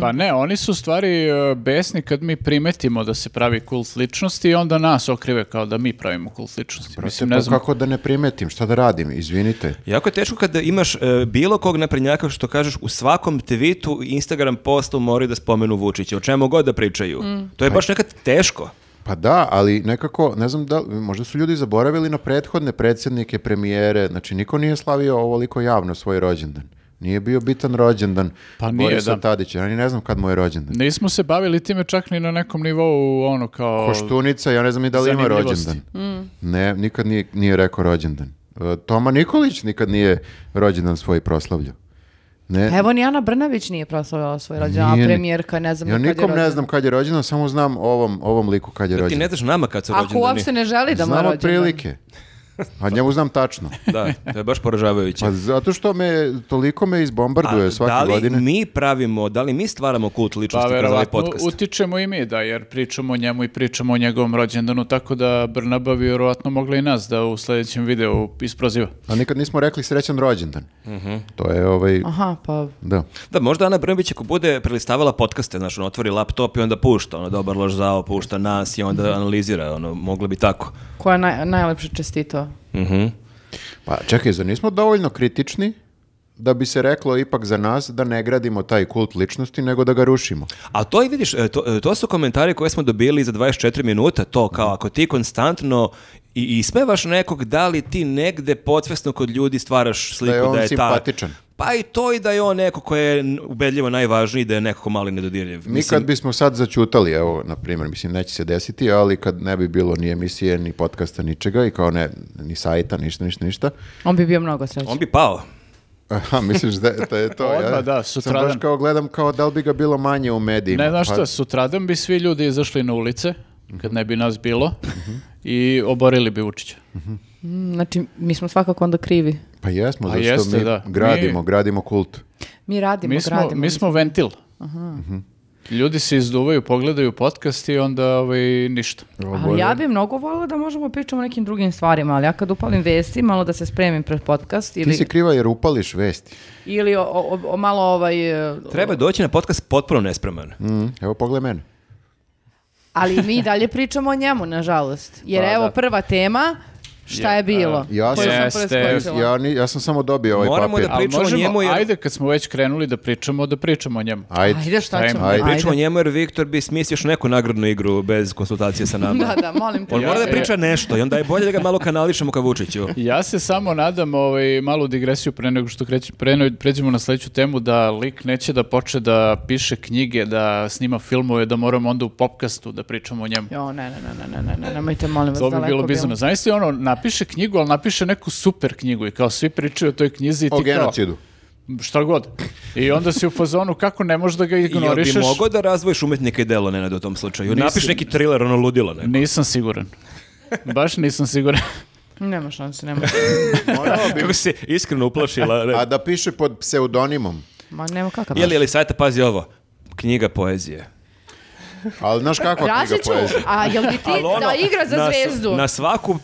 C: Pa ne, oni su u stvari e, besni kad mi primetimo da se pravi kult ličnosti i onda nas okrive kao da mi pravimo kult ličnosti. Mislim,
A: Pa
C: ne znam.
A: Kako da ne primetim, šta da radim, izvinite.
B: Jako je teško kada imaš e, bilo kog naprednjaka što kažeš u svakom tweetu i Instagram postu moraju da spomenu Vučića, o čemu god da pričaju. To je baš nekad teško.
A: Pa da, ali nekako, ne znam da, možda su ljudi zaboravili na prethodne predsjednike, premijere, znači niko nije slavio ovoliko javno svoj rođendan. Nije bio bitan rođendan
C: Pa nije,
A: Borisa
C: da.
A: Tadića, ja ni ne znam kad mu je rođendan.
C: Nismo se bavili time čak ni na nekom nivou ono kao...
A: Koštunica, ja ne znam ni da li ima
C: Zanimljivosti.
A: rođendan. Ne, nikad nije, nije rekao rođendan. E, Toma Nikolić nikad nije rođendan svoj proslavljao. Ne,
D: Evo ni Ana Brnavić nije proslavila svoj rođendan,
A: Nije
D: a
A: ni-
D: premijerka, ne znam
A: ja
D: ni kad je
A: nikom ne
D: rođendan.
A: znam kad je rođendan, samo znam ovom, ovom liku kad je
B: Ti
A: rođendan.
B: ne znaš nama kad su
D: Ako
B: rođendani.
D: uopšte ne želi da mu je
A: Znam
D: rođendan.
A: otprilike. A njemu znam tačno.
B: Da, to je baš poražavajuće.
A: Pa zato što me, toliko me izbombarduje
B: A
A: svake
B: da li
A: godine.
B: mi pravimo, da li mi stvaramo kult
C: Pa
B: ličnosti kroz ovaj
C: verovatno
B: podcast?
C: utičemo i mi, da, jer pričamo o njemu i pričamo o njegovom rođendanu, tako da Brnaba bi vjerovatno mogla i nas da u sljedećem videu isproziva.
A: A nikad nismo rekli srećan rođendan. To je ovaj,
D: Aha, pa
A: da.
B: Da, možda Ana Brnabić ako bude prelistavala podcaste, znači on otvori laptop i onda pušta, ono dobar loš zao, pušta nas i onda analizira, ono, moglo bi tako.
D: koja je naj, najlepše čestitao?
B: Mhm.
A: Pa čekaj, zar nismo dovoljno kritični da bi se reklo ipak za nas da ne gradimo taj kult ličnosti, nego da ga rušimo.
B: A to i vidiš, e, to, e, to su komentari koje smo dobili za 24 minuta, to kao ako ti konstantno i i ismevaš nekog, da li ti negde podsvesno kod ljudi stvaraš sliku da je,
A: on
B: ta-
A: simpatičan.
B: Pa i to i da je on neko ko je n- ubedljivo najvažniji, da je nekako mali nedodirljiv.
A: Mi kad bismo sad začutali, evo, na primjer, mislim, neće se desiti, ali kad ne bi bilo ni emisije, ni podcasta, ničega, i kao ne, ni sajta, ništa, ništa, ništa.
D: On bi bio mnogo srećan.
B: On bi pao.
A: Aha, misliš da je- da je to, ja?
C: *laughs* Odmah, da,
A: Sam
C: sutradan.
A: baš kao gledam kao da li bi ga bilo manje u medijima.
C: Ne znaš
A: pa-
C: šta, sutradan bi svi ljudi izašli na ulice, kad ne bi nas bilo,
A: Mhm.
C: i oborili bi Vučića.
D: Mm, Znači, mi smo svakako onda krivi.
A: Pa jesmo,
C: A
A: zato što
C: jeste,
A: mi
C: da.
A: gradimo,
C: Mi-
A: gradimo kult.
D: Mi radimo,
C: Mi smo,
D: gradimo.
C: mi smo ventil.
A: Mhm.
C: Ljudi se izduvaju, pogledaju podcast i onda ovaj, ništa.
D: Ali ja bi mnogo volila da možemo pričamo o nekim drugim stvarima, ali ja kad upalim vesti, malo da se spremim pred podcast
A: Ti
D: ili,
A: si kriva jer upališ vesti.
D: ili o, o- o- malo ovaj... e,
B: Treba doći na podcast potpuno nespreman.
A: Mm, Evo pogledaj mene.
D: Ali mi i dalje pričamo o njemu, nažalost. Jer
C: Da,
D: evo
C: da.
D: prva tema, šta je bilo?
A: Pa Ja
D: koju sam
C: sam- Jeste.
D: preskočila.
C: pa-
A: Ja, ni- ja sam samo dobio ovaj
B: Moramo
A: papir.
B: da pri-
C: Ali
B: Pričamo o
C: možemo,
B: njemu jer-
C: ajde kad smo već krenuli da pričamo, da pričamo o njemu.
A: Ajde.
D: Ajde, šta
C: Ajmo.
D: ćemo?
A: Ajde.
B: Pričamo o njemu jer Viktor bi smislio još neku nagradnu igru bez konsultacije sa nama.
D: *laughs* Da, da, molim te.
B: On mora da
C: Ja-
B: priča nešto i onda je bolje da ga malo kanališemo ka Vučiću.
C: Ja se samo nadam, ovaj, malu digresiju pre nego što kreć, pre, nego pređemo na sledeću temu, da lik neće da počne da piše knjige, da snima filmove, da moramo onda u popkastu da pričamo o njemu.
D: Jo, ne, ne, ne, ne, ne, ne, nemojte, molim vas,
C: To bi
D: daleko
C: bilo
D: bilo.
C: bizarno. Znaš li ono, napiše knjigu, ali napiše neku super knjigu i kao svi pričaju o toj knjizi i ti
A: O
C: kao...
A: genocidu.
C: Šta god. I onda si u fazonu kako ne možeš da ga
B: I Jel bi
C: ignorišeš.
B: mogao da razvojiš umetnika i delo, Nenad, u tom slučaju?
C: Mislim-
B: Napiš neki thriller, ono ludilo, ne?
C: Nisam siguran. Baš nisam siguran.
D: Nema šanse, nema
A: Morao bi-
B: Kako se iskreno uplašila.
C: E.
B: Ne?
A: A da piše pod pseudonimom.
D: Ma nema kakav.
B: Je li, je li sajta, pazi ovo, knjiga poezije.
A: Ali znaš kakva knjiga
D: Rašiću,
A: poezije?
D: a jel bi ti
B: Ali ono,
D: da igra za
B: na s-
D: zvezdu?
B: Na svaku,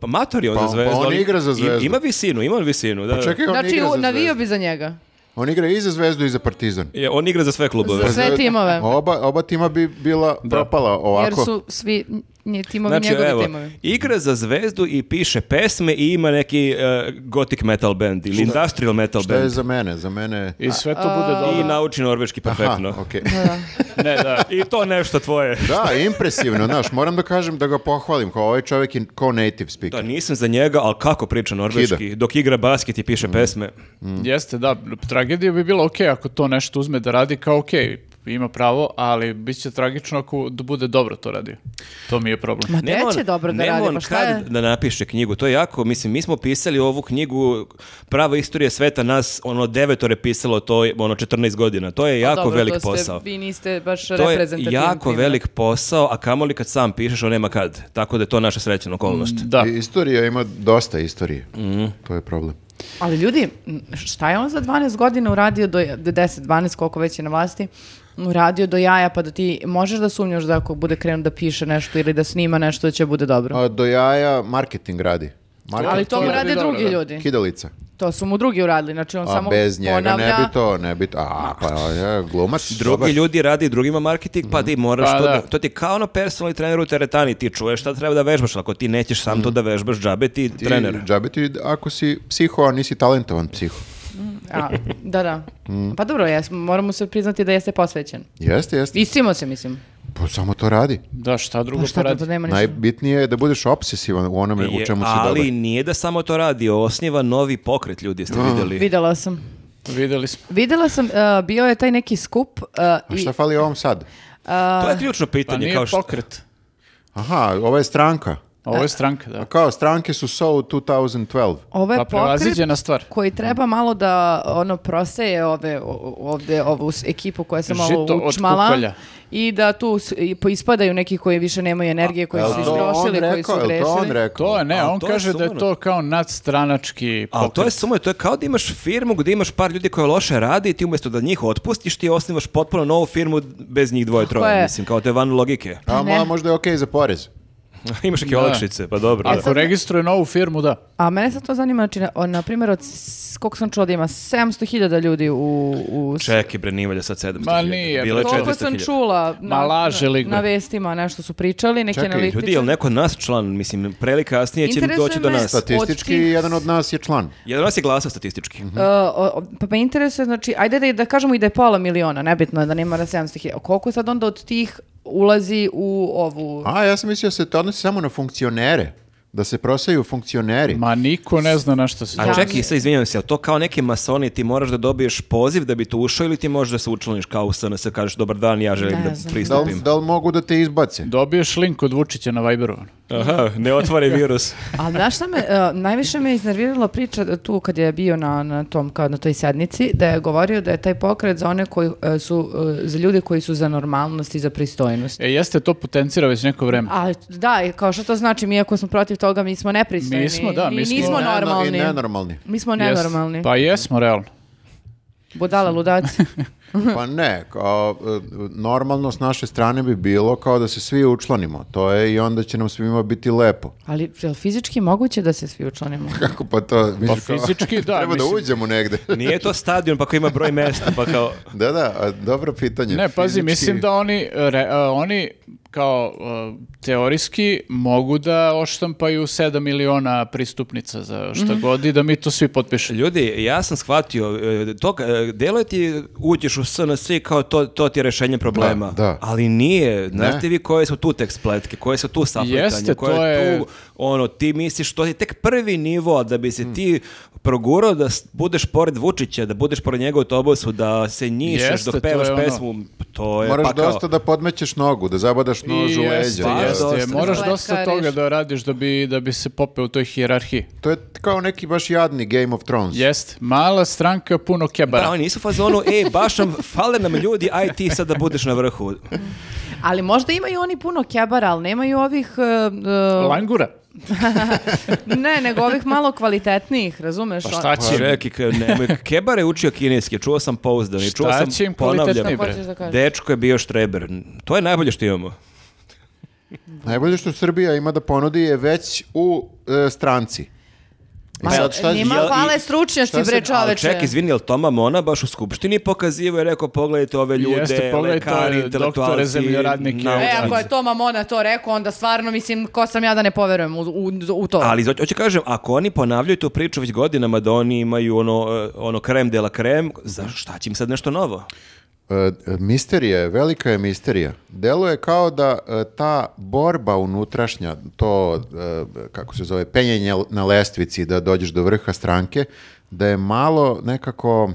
B: pa mator je on
A: Pa-
B: za
A: pa
B: zvezdu.
A: on
B: ali
A: igra za
B: i-
A: zvezdu. Pa
B: Ima visinu, ima visinu. Da.
A: Čekaj, on
D: Znači,
A: igra
D: u-
A: za
D: navio
A: Zvezdu.
D: bi za njega.
A: On igra i za Zvezdu i za Partizan.
B: Je, on igra za sve klubove.
D: Za sve
A: Zve-
D: timove.
A: Oba, oba tima bi bila propala ovako.
D: Jer su svi nje- timovi
B: Znači,
D: njegovi
B: evo,
D: timovi.
B: igra za zvezdu i piše pesme i ima neki e, gothic metal band ili industrial metal
A: Šta je
B: band.
A: za mene? Za mene...
C: I sve to bude dobro.
B: I nauči norveški perfektno.
A: Aha, okej.
C: Ne, da.
B: I to nešto
A: *laughs*
B: tvoje.
A: Da, impresivno, znaš, moram da kažem da ga pohvalim, kao ovaj čovjek je kao native
B: Da,
A: speaker.
B: nisam za njega, ali kako priča norveški,
A: Kida. Mm.
B: dok igra basket i piše pesme. Mm.
C: Jeste, da, tragedija bi bila ok ako to nešto uzme da radi, kao ok, ima pravo, ali bit će tragično ako d- bude dobro to radio. To mi je problem.
D: Ma
B: Nema
D: Pa neće
B: on-
D: dobro da
B: nema
D: radi,
B: on
D: pa šta je?
B: kad da napiše knjigu, to je jako, mislim, mi smo pisali ovu knjigu Prava istorija sveta, nas ono devetore pisalo to, ono 14 godina, to je jako
D: Pa Dobro,
B: velik
D: to ste-
B: posao.
D: Vi niste baš
B: To je
D: reprezentativni.
B: jako
D: primjer.
B: velik posao, a kamoli kad sam pišeš, on nema kad. Tako da je to naša srećna okolnost.
C: Da, Mhm.
A: I Istorija ima dosta istorije. To je problem.
D: Ali ljudi, m, šta je on za 12 godina uradio do, do 10, 12, koliko već je na vlasti, uradio do jaja, pa da ti možeš da sumnjaš da ako bude krenuo da piše nešto ili da snima nešto da će bude dobro.
A: A do jaja marketing radi. Marketing,
D: Ali to
C: to
D: mu
C: je
D: rade
C: dobro,
D: drugi
C: da.
D: ljudi.
A: Kidalica.
D: To su mu drugi uradili, znači on
A: A
D: samo
A: bez njega
D: ponavlja.
A: ne bi to, ne bi to. A, pa ja, glumac.
B: Drugi
A: dobar. Mm.
B: ljudi radi drugima marketing, pa ti moraš
C: Pa
B: to
C: da.
B: da... To ti je kao ono personalni trener u teretani, ti čuješ šta treba da vežbaš, ako ti nećeš sam to da vežbaš, džabe ti
A: Mm. Ti,
B: trener.
A: džabe ti ako si psiho, a nisi talentovan psiho.
D: A, da, da.
A: Mm.
D: Pa dobro, jes, moramo se priznati da jeste posvećen.
A: Jeste, jeste.
D: Istimo se, mislim.
A: Pa samo to radi.
C: da, šta drugo
D: Pa šta da,
C: poradi?
D: to nema ništa.
A: Najbitnije je da budeš obsesivan u onome E, u
B: Je,
A: čemu si
B: E, ali
A: dobar.
B: nije da samo to radi, osniva novi pokret ljudi, ste vidjeli.
D: Videla sam.
C: Videli smo.
D: Videla sam, e, bio je taj neki skup e,
A: A
D: i
A: šta fali ovom sad?
B: To je ključno
C: Pa
B: pitanje.
C: nije
B: kao što,
C: pokret.
A: Aha, ova je stranka.
C: Ovo je stranka, da.
A: A kao, stranke su so 2012.
D: ovo je
C: Pa
D: pokret
C: prevaziđena stvar.
D: koji treba malo da ono proseje ove o- ovde ovu s- ekipu koja se malo
C: Žito od
D: učmala
C: kukolja.
D: i da tu s- i po- ispadaju neki koji više nemaju energije, koji
A: Jel
D: su se istrošili, koji su
A: jel to on
D: grešili.
A: rekao?
C: To je, ne,
B: A,
C: on
B: to je
C: kaže da je
B: suludo.
C: to kao nadstranački
B: Ali
C: pokret.
B: to je sumo, to je kao da imaš firmu gdje imaš par ljudi koji loše radi i ti umjesto da njih otpustiš, ti osnivaš potpuno novu firmu bez njih dvoje troje.
D: je.
B: Mislim, kao to je van logike. *laughs*
A: A
D: ne.
A: mo- možda je okej za porez.
B: Imaš neke
C: Da.
B: olakšice, pa dobro. da.
C: Ako registruje novu firmu, da.
D: A mene sad to zanima, znači, na, o, na primjer, od, s- koliko sam čula da ima 700.000 ljudi u... u s-
B: Čekaj bre, Nivalja sad 700
C: Ma nije,
B: Bilo je
D: Koliko sam
B: 400.000.
D: čula na,
C: Ma laže li
D: na,
C: gle.
D: na vestima, nešto su pričali, neki
A: Čekaj, ljudi,
D: analitičari.
B: Ljudi, jel neko od nas član? Mislim, pre ili kasnije će
D: Interesuje
B: doći do
D: me-
B: nas.
D: Sad-
A: Statistički
D: Od tih-
A: jedan od nas je član.
B: Jedan od nas je glasao statistički.
C: Mhm.
D: E, o- o- pa me interesuje, znači, ajde da, da kažemo i da je pola miliona, nebitno je da nema da 700.000. Koliko sad onda od tih ulazi u ovu...
A: A, ja sam mislio da se to odnosi samo na funkcionere. Da se prosaju funkcioneri.
C: Ma niko ne zna na što se...
B: A
D: Da.
B: čekaj, sad izvinjam se, jel to kao neki masoni, ti moraš da dobiješ poziv da bi tu ušao ili ti možeš da se učlaniš kao u SNS, kažeš dobar dan, ja želim
D: Ne
B: da
D: znam.
A: Da li,
B: pristupim.
A: da li mogu da te izbace?
C: Dobiješ link od Vučića na Viberu. ono.
B: Aha, ne otvori virus.
D: Ali znaš šta me, e, najviše me iznervirala priča tu kad je bio na, na tom, kao na toj sednici, da je govorio da je taj pokret za one koji e, su, e, za ljude koji su za normalnost i za pristojnost.
C: E, jeste to potencira već neko vreme.
D: A da, i kao što to znači, mi ako smo protiv toga, mi smo nepristojni.
C: Mi smo, da, mi
D: i
C: smo-
D: nismo
A: I neno-
D: normalni.
A: I
C: *laughs*
A: nenormalni.
D: Mi smo
C: Jeste.
D: nenormalni.
C: Pa jesmo, realno.
D: Budala ludaci.
C: Mhm.
A: Pa ne, kao, e, normalno s naše strane bi bilo kao da se svi učlanimo. To je i onda će nam svima biti lepo. *laughs*
D: Ali je li fizički moguće da se svi učlanimo?
A: Kako pa to?
C: Pa
A: misliš kao- *laughs*
C: fizički, da.
A: Treba da
C: mislim.
A: uđemo
C: *laughs*
A: negde. *laughs*
B: Nije to stadion pa koji ima broj mesta, pa kao...
A: Da, da, a, dobro pitanje.
C: Ne, pazi,
A: Fizički-
C: mislim da oni, re- a, oni kao e, teorijski mogu da oštampaju 7 miliona pristupnica za
D: Mhm.
C: šta god i da mi to svi potpišemo.
B: Znači, Ljudi, ja sam shvatio, e, to ka- e, delo je ti uđeš u SNS i kao to, to ti je rešenje problema.
A: Da, da.
B: Ali nije. Znate
A: Ne.
B: vi koje su tu tek spletke, koje su tu saplitanje,
C: Jeste,
B: koje
C: to je-
B: tu, ono, ti misliš, to je tek prvi nivo, a da bi se
A: Mm.
B: ti progurao da s- budeš pored Vučića, da budeš pored njega u autobusu, da se njišeš
C: Jeste,
B: dok
C: to je
B: pevaš
C: ono.
B: pesmu, to je
A: Moraš
B: pa kao...
A: dosta da podmećeš nogu, da zabadaš nož u
C: I
A: leđa.
C: jeste,
A: da-
B: Pa,
C: jeste.
B: dosta.
C: Moraš
D: Letkariš.
C: dosta toga da radiš da bi, da bi se popeo u toj hijerarhiji.
A: To je kao neki baš jadni Game of Thrones.
C: Jeste, mala stranka puno kebara.
B: Da, oni nisu u fazonu, e, baš nam, fale nam ljudi, aj ti sad da budeš na vrhu.
D: Ali možda imaju oni puno kebara, ali nemaju ovih... e, e,
C: Langura.
D: ne, nego ovih malo kvalitetnijih, razumeš? Ono,
C: Pa šta
B: Pa
C: će?
B: reki, ka- nemoj- Kebar je učio kineski, čuo sam pouzdani, čuo
C: Šta
B: sam,
C: će im
B: ponavljam,
C: kvalitetniji,
D: Šta hoćeš da kažeš?
B: dečko je bio štreber. To je najbolje što imamo.
A: Najbolje što Srbija ima da ponudi je već u e, stranci.
D: Ma,
A: sad šta-
D: pa njima
B: jel- i-
D: hvale stručnjaci,
A: šta
D: bre
A: sad-
B: Ali
D: čoveče.
B: ček, izvini, jel Toma Mona baš u skupštini pokazivo je rekao pogledajte ove ljude,
C: Jeste, pogledajte ove
B: lekari,
C: doktore,
B: intelektualci,
C: zemljoradnike.
D: E,
B: naučnici.
D: ako je Toma Mona to rekao, onda stvarno, mislim, ko sam ja da ne poverujem u, u, u to.
B: Ali hoću hoću kažem, ako oni ponavljaju tu priču već godinama da oni imaju ono, eh, ono krem de la krem, za šta će im sad nešto novo?
A: E, Misterija je, velika je misterija. Delo je kao da e, ta borba unutrašnja, to, e, kako se zove, penjenje l- na lestvici da dođeš do vrha stranke, da je malo nekako,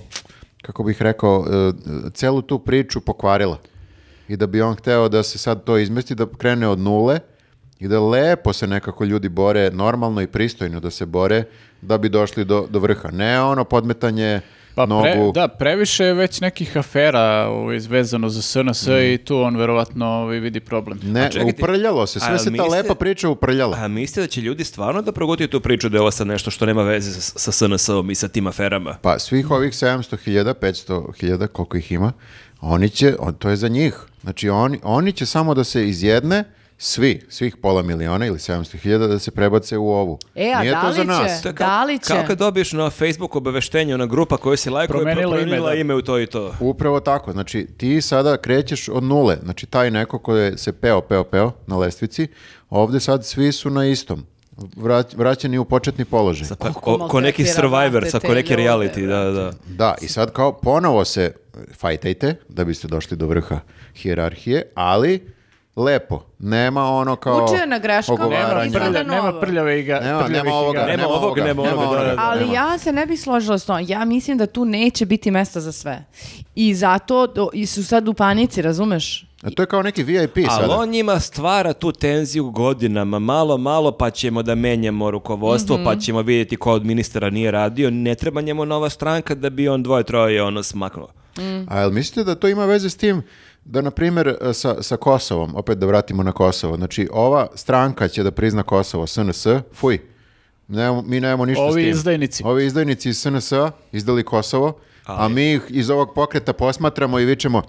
A: kako bih rekao, e, celu tu priču pokvarila. I da bi on hteo da se sad to izmesti, da krene od nule i da lepo se nekako ljudi bore, normalno i pristojno da se bore, da bi došli do, do vrha. Ne ono podmetanje
C: Pa pre-
A: nogu.
C: da, previše je već nekih afera ovaj, vezano za SNS
A: Mm.
C: i tu on verovatno ovaj, vidi problem.
A: Ne,
B: A čekajte,
A: uprljalo se,
B: a
A: sve se ta
B: mislite-
A: lepa priča uprljala.
B: A mislite da će ljudi stvarno da progutaju tu priču da je ovo sad nešto što nema veze sa, sa SNS-om i sa tim aferama?
A: Pa svih ovih 700.000, 500.000, koliko ih ima, oni će, on, to je za njih. Znači oni, oni će samo da se izjedne, svi, svih pola miliona ili 700.000 da se prebace u ovu.
D: E, a
A: Nije
D: da
A: to
D: li
A: za
D: će?
A: nas.
B: To je
D: Da li će?
B: Kao kad dobiješ na Facebook obaveštenje, ona grupa koju si lajkuje,
C: Promenila ime,
B: promenila
C: da.
B: ime u to i to.
A: Upravo tako, znači ti sada krećeš od nule, znači taj neko ko je se peo, peo, peo na lestvici, ovde sad svi su na istom, Vrać- vraćeni u početni položaj.
B: Sa- pa,
D: Koliko
B: ko, ko neki
D: maltretira
B: survivor,
D: vlastite
B: sa ko neki
D: ljude,
B: reality, da, da.
A: Da, i sad kao ponovo se fajtajte da biste došli do vrha hijerarhije, ali lepo. Nema ono kao
D: Učio je na greškama
A: ogovaranja.
D: i
C: Prlja-
D: sada
C: nema
D: novo.
C: prljave iga,
A: Nema,
C: prljavih
A: nema ovoga,
C: igara.
B: Nema ovog, nema onoga, da, da, da.
D: Ali
A: Nema.
D: ja se ne bi složila s tom. Ja mislim da tu neće biti mesta za sve. I zato do- i su sad u panici, razumeš?
A: A to je kao neki VIP
B: Ali
A: sada.
B: on njima stvara tu tenziju godinama, malo, malo, pa ćemo da menjamo rukovodstvo, pa
D: Mhm.
B: ćemo vidjeti ko od ministara nije radio, ne treba njemu nova stranka da bi on dvoje, troje ono smaknuo.
A: A jel mislite da to ima veze s tim da, na primjer, e, sa, sa Kosovom, opet da vratimo na Kosovo, znači ova stranka će da prizna Kosovo, SNS, fuj. Nemamo- mi nemamo ništa s
C: Ovi
A: tim.
C: izdajnici.
A: Ovi izdajnici iz SNS-a izdali Kosovo, a
B: Ali-
A: mi ih iz ovog pokreta posmatramo i vičemo,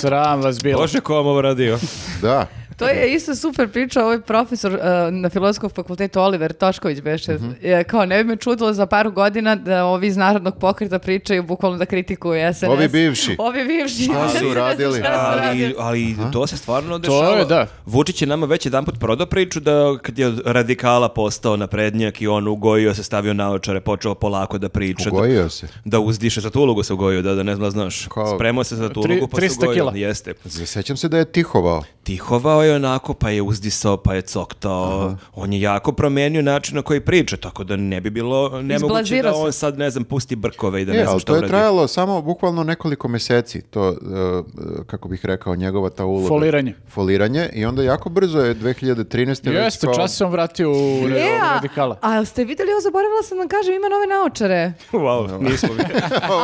C: Sram vas bilo.
B: Bože, ko vam ovo radio?
A: da,
D: To je isto super priča ovaj profesor e, na filozofskom fakultetu Oliver Tošković beše.
A: Mhm.
D: E, kao ne bi me čudilo za par godina da ovi iz narodnog pokreta pričaju bukvalno da kritikuju SNS.
A: Ovi bivši.
D: Ovi bivši.
A: Šta su uradili?
D: *laughs* Šta su E,
B: Ali,
D: uradili?
B: ali to se stvarno
C: To
B: dešava.
C: je, da.
B: Vučić je nama već jedanput prodao priču da kad je od radikala postao naprednjak i on ugojio se, stavio naočare, počeo polako da priča. da-
A: ugojio se.
B: Da uzdiše, za tu ulogu se ugojio, da, da ne znam, znaš.
A: Kao-
B: Spremao se za tu
C: Tri-
B: ulogu, pa se
C: 300
B: ugojio.
C: kila.
B: Jeste.
A: Sjećam se da je tihovao.
B: Tihovao je onako, pa je uzdisao, pa je coktao. On je jako promenio način na koji priča, tako da ne bi bilo nemoguće
D: Izblazirao
B: da
D: se.
B: on sad, ne znam, pusti brkove i da
A: E,
B: ne znam
A: ali
B: šta
A: to je
B: uradi.
A: trajalo samo bukvalno nekoliko meseci, to, e, e, kako bih rekao, njegova ta uloga.
C: Foliranje.
A: Foliranje i onda jako brzo je 2013. već
C: Jeste,
A: kao-
C: čas se on vratio u
D: E,
C: re-
D: a-
C: radikala.
D: A jel ste vidjeli, ovo zaboravila sam da vam kažem, ima nove
A: *laughs*
D: naočare.
B: Wow, nismo
D: *laughs*
B: vidjeli.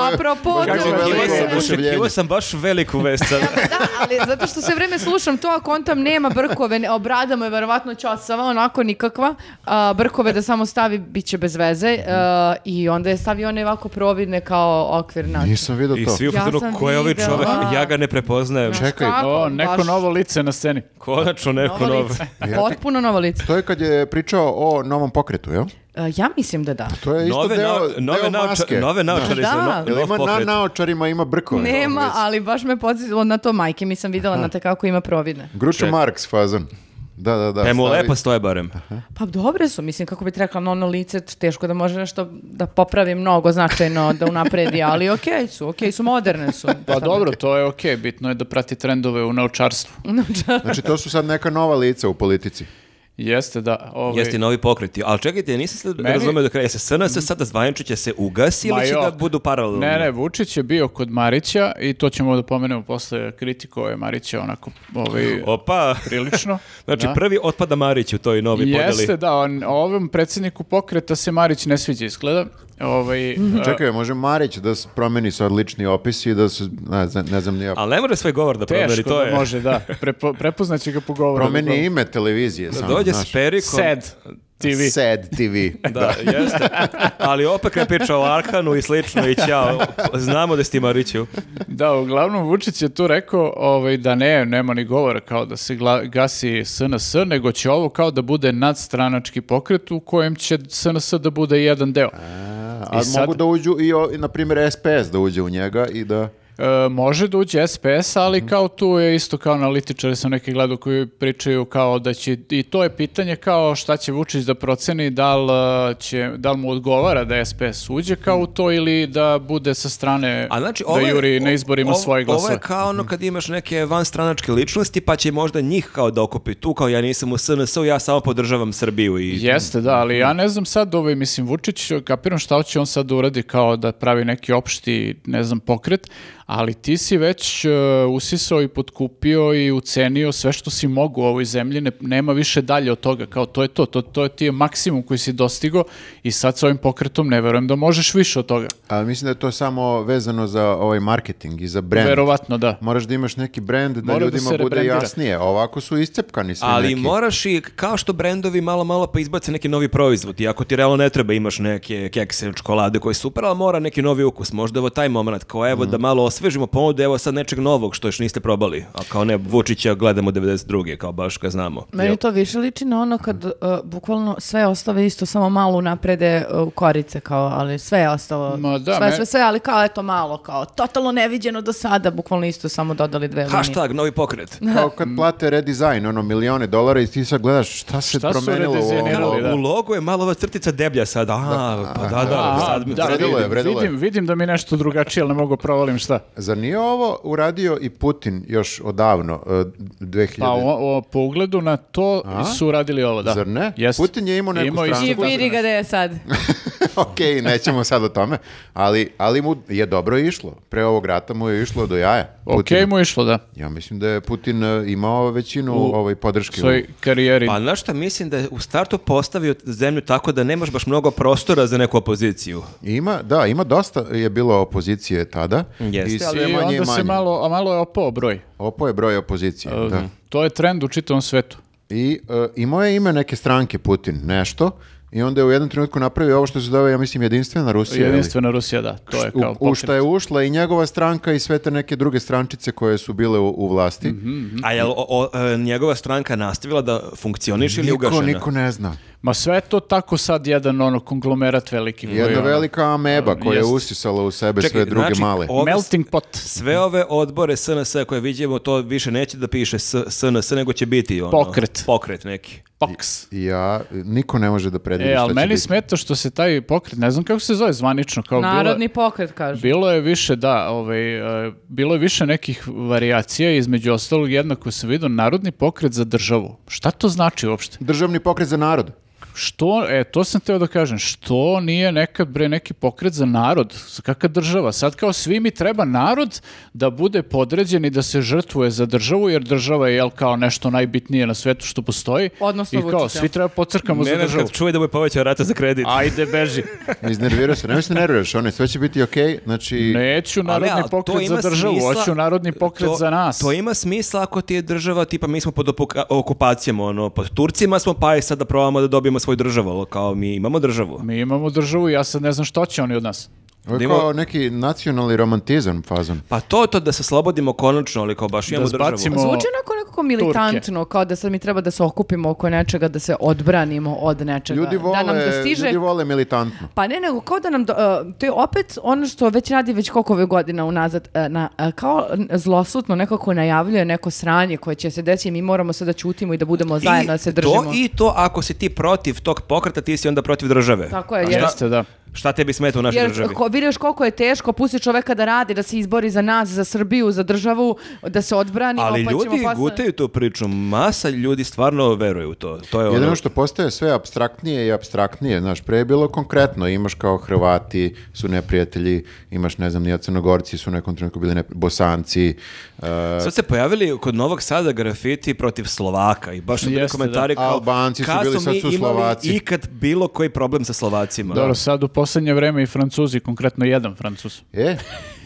D: Apropo,
A: Kako
D: to-
A: je veliko
B: Očekivao sam-
A: oduševljenje.
B: očekivao sam baš veliku vest
D: *laughs*
B: sad.
D: Da, ali zato što sve vrijeme slušam to, a kontam nema brkove, ne, obrada mu je verovatno čosava, onako nikakva, a, brkove da samo stavi, bit će bez veze a, i onda je stavio one ovako providne kao okvir na.
A: Nisam vidio
B: I
A: to.
B: svi u
D: Ja
B: fazonu,
D: sam
B: ko je ovaj
D: videla.
B: čovek, ja ga ne prepoznajem.
D: Znaš
A: čekaj.
D: kako,
C: O, neko
D: baš
C: novo lice na sceni. Pa
B: Konačno neko
D: novo
B: novo.
D: lice. Potpuno novo lice.
A: To je kad je pričao o novom pokretu, jel?
D: A, ja mislim da da.
A: To je isto
B: Nove,
A: deo,
B: nao-
A: deo
B: nove,
A: maske.
B: naoča- nove naočare
D: Da.
B: za no-
A: Jel
B: nov
A: ima na
B: pokret.
A: naočarima, ima brkove.
D: Nema, ali baš me podsjetilo na to majke, mi sam vidjela na te kako ima providne.
A: Gručo Marks fazan. Da, da, da.
B: E, mu
A: stavi-
B: lepo stoje barem.
D: Pa dobre su, mislim, kako bi ti rekla, ono lice teško da može nešto da popravi mnogo značajno, da unapredi, ali okej su, okej su, moderne su.
C: Pa dobro, to je okej, bitno je da prati trendove u naučarstvu.
A: *laughs*
D: Mm.
A: Znači, to su sad neka nova lica u politici.
C: Jeste, da. Ovaj,
B: Jeste i novi pokreti. Ali čekajte, ja nisam sad
C: Meni-
B: razumeo do kraja. Se SNS sada zvanično će se ugasi
C: Ma
B: ili će
C: jo.
B: da budu paralelno?
C: Ne, ne, Vučić je bio kod Marića i to ćemo da pomenemo posle kritikove Marića onako ovaj,
B: Opa!
C: prilično.
B: Znači,
C: da.
B: prvi otpada Marić u toj novi podeli.
C: Jeste, da, on, ovom predsjedniku pokreta se Marić ne sviđa izgleda. Ovaj, e,
A: Mhm. Čekaj, može Marić da s- promeni sad lični opis i da se, ne znam, ne znam ni ja,
B: Ali ne može svoj govor da promeni,
C: teško
B: to je.
C: da može, da. Prepo, prepoznaće ga po govoru.
A: promeni ime televizije.
B: Da
A: samo,
B: dođe
A: znaš.
B: s perikom.
C: Sed. TV.
A: Sad
B: *laughs*
A: TV.
B: Da, jeste. Ali opet kad priča o Arkanu i slično i ćao, znamo da si ti Mariću.
C: Da, uglavnom Vučić je tu rekao ovaj, da ne, nema ni govora kao da se gla- gasi SNS, nego će ovo kao da bude nadstranački pokret u kojem će SNS da bude jedan deo.
A: A
C: I sad-
A: mogu da uđu i, o- i, na primjer, SPS da uđe u njega i da...
C: E, može da uđe SPS, ali kao tu je isto kao analitičari sam neki gledao koji pričaju kao da će, i to je pitanje kao šta će Vučić da proceni, da li, e, će, da li mu odgovara da SPS uđe kao u to ili da bude sa strane
B: A znači,
C: da juri na izborima
B: ovo-
C: svoje
B: Ovo
C: glasove.
B: je kao ono kad imaš neke vanstranačke ličnosti, pa će možda njih kao da okupi tu, kao ja nisam u SNS-u, ja samo podržavam Srbiju i...
C: Jeste, da, ali ja ne znam sad, ovaj, mislim, Vučić, kapiram šta hoće on sad da uradi kao da pravi neki opšti, ne znam, pokret, ali ti si već e, usisao i potkupio i ucenio sve što si mogu u ovoj zemlji, ne- nema više dalje od toga, kao to je to, to, to je ti je maksimum koji si dostigo i sad s ovim pokretom ne verujem da možeš više od toga.
A: A mislim da je to samo vezano za ovaj marketing i za brand.
C: Verovatno da.
A: Moraš da imaš neki brand da
C: Mora da
A: ljudima
C: se
A: bude
C: rebrandira.
A: jasnije. Ovako su iscepkani svi
B: Ali
A: neki.
B: moraš i, kao što brendovi malo malo pa izbace neki novi proizvod, i ako ti realno ne treba imaš neke kekse, čokolade koji su super, ali mora neki novi ukus, možda evo taj moment, kao evo
C: Mhm.
B: da malo osvežimo ponudu, evo sad nečeg novog što još niste probali, a kao ne, Vučića gledamo 92. kao baš ga znamo.
D: Meni
B: Jel?
D: to više liči na ono kad
C: Mhm.
D: uh, bukvalno sve ostave isto, samo malo naprede u korice, kao, ali sve je ostalo.
C: Ma da,
D: sve,
C: me-
D: sve, sve, ali kao eto malo, kao totalno neviđeno do sada, bukvalno isto samo dodali dve linije.
B: Hashtag, novi pokret.
A: Kao
C: *laughs*
A: kad plate redesign, ono, milione dolara i ti sad gledaš šta se
C: Šta su
A: promenilo u ovom
C: redizajnirali,
A: logu.
C: da.
B: U logu je malo ova crtica deblja sad, a, pa da, da,
C: A,
B: sad
C: da,
A: vredilo je,
C: vidim,
A: vredilo je.
C: vidim, vidim da mi je nešto drugačije, ali ne mogu provalim šta.
A: Zar nije ovo uradio i Putin još odavno, e, 2000?
C: Pa o, o- po ugledu na to su radili ovo, da.
A: Zar ne?
C: Jeste.
A: Putin je imao neku
C: Imao je
A: stranku.
D: I
C: isto tako
D: vidi ga da je sad.
A: *laughs* ok, nećemo sad o tome, ali, ali mu je dobro išlo. Pre ovog rata mu je išlo do jaja.
C: Ok
A: Putinu.
C: mu je išlo, da.
A: Ja mislim da je Putin e, imao većinu ovaj podrške.
C: svojoj karijeri.
B: Pa znaš šta, mislim da je u startu postavio zemlju tako da nemaš baš mnogo prostora za neku opoziciju.
A: Ima, da, ima dosta je bilo opozicije tada.
B: Jeste,
A: I
C: I
A: Pa, sve manje i
C: onda se
A: manje.
C: malo, a malo je opao broj.
A: Opo je broj opozicije, da.
C: To je trend u čitavom svetu.
A: I e, imao je ime neke stranke Putin, nešto, i onda je u jednom trenutku napravio ovo što se zove, ja mislim, jedinstvena Rusija. ili-
C: Jedinstvena Rusija, da. To je kao
A: u, u šta je ušla i njegova stranka i sve te neke druge strančice koje su bile u, u vlasti.
C: Mhm.
B: A je e, njegova stranka nastavila da funkcioniše ili je
A: Niko,
B: ugašena?
A: niko ne zna.
C: Ma sve je to tako sad jedan ono konglomerat veliki. koji je,
A: Jedna
C: ono,
A: velika ameba koja je
C: jest.
A: usisala u sebe
B: Čekaj,
A: sve druge
B: znači,
A: male.
B: ove-
C: Melting pot.
B: Sve ove odbore SNS koje vidimo, to više neće da piše S- SNS, nego će biti ono,
C: Pokret.
B: pokret neki.
C: Pox.
A: Ja, niko ne može da predvidi
C: E,
A: šta
C: ali
A: će
C: meni
A: biti.
C: smeta što se taj pokret, ne znam kako se zove zvanično, kao bilo-
D: Narodni pokret, kažu.
C: Bilo je više, da, ovaj, e, bilo je više nekih varijacija, između ostalog jedna koju sam vidio, narodni pokret za državu. Šta to znači uopšte?
A: Državni pokret za
C: *laughs*
A: narod.
C: Što, e, to sam teo da kažem, što nije nekad bre neki pokret za narod, Za kakva država, sad kao svi mi treba narod da bude podređen i da se žrtvuje za državu, jer država je jel, kao nešto najbitnije na svetu što postoji.
D: Odnosno
C: I kao,
D: Vučića.
C: svi treba pocrkamo za
B: Nenad
C: državu.
B: kad čuje da mu je povećao rata za kredit.
C: Ajde,
B: *laughs*
C: beži.
A: Iznervirao se, nemoj se nerviraš, one, sve će biti okej, znači...
C: Neću narodni
B: Ali, a, to
C: pokret
B: ima
C: za državu,
B: smisla-
C: hoću narodni pokret
B: to-
C: za nas.
B: To ima smisla ako ti je država, tipa mi smo pod opoka- okupacijom, ono, pod Turcima smo, pa je sad da probamo da dobijemo svoju državu, ali kao mi imamo državu.
C: Mi imamo državu, ja sad ne znam što će oni od nas.
A: Ovo je
B: Da ima-
A: kao neki nacionalni romantizam fazon.
B: Pa to je to da se slobodimo konačno, ali kao baš imamo
C: zbacimo-
B: državu.
D: Zvuči onako nekako militantno, kao da sad mi treba da se okupimo oko nečega, da se odbranimo od nečega.
A: Ljudi vole,
D: da nam dostiže
A: ljudi vole militantno.
D: Pa ne, nego kao da nam, do- e, to je opet ono što već radi već koliko ove godina unazad, e, na, e, kao n- zlosutno nekako najavljuje neko sranje koje će se desiti i mi moramo sad da ćutimo i da budemo zajedno, da se držimo.
B: To, I to ako si ti protiv tog pokreta, ti si onda protiv države.
D: Tako je,
B: A
D: jer-
B: šta-
C: Jeste, da.
B: Šta tebi smeta u našoj
D: Jer
B: državi?
D: ko, vidiš koliko je teško, pusti čoveka da radi, da se izbori za nas, za Srbiju, za državu, da se odbranimo,
B: Ali
D: pa
B: ljudi
D: ćemo posle-
B: gutaju tu priču, masa ljudi stvarno veruje u to. To je ono
A: Jedino što postaje sve abstraktnije i abstraktnije, znaš, pre je bilo konkretno, imaš kao Hrvati su neprijatelji, imaš, ne znam, nija Crnogorci su u nekom trenutku bili nepri- Bosanci, e,
B: Sad se pojavili kod Novog Sada grafiti protiv Slovaka i baš su bili
C: Jeste,
B: komentari
A: da.
B: kao
A: Albanci su
B: kad
A: bili, sad
B: mi
A: su Slovaci."
B: imali ikad bilo koji problem sa Slovacima.
C: Dobro, sad u poslednje vreme i Francuzi, konkretno jedan
A: *laughs*
C: Francuz.
A: E,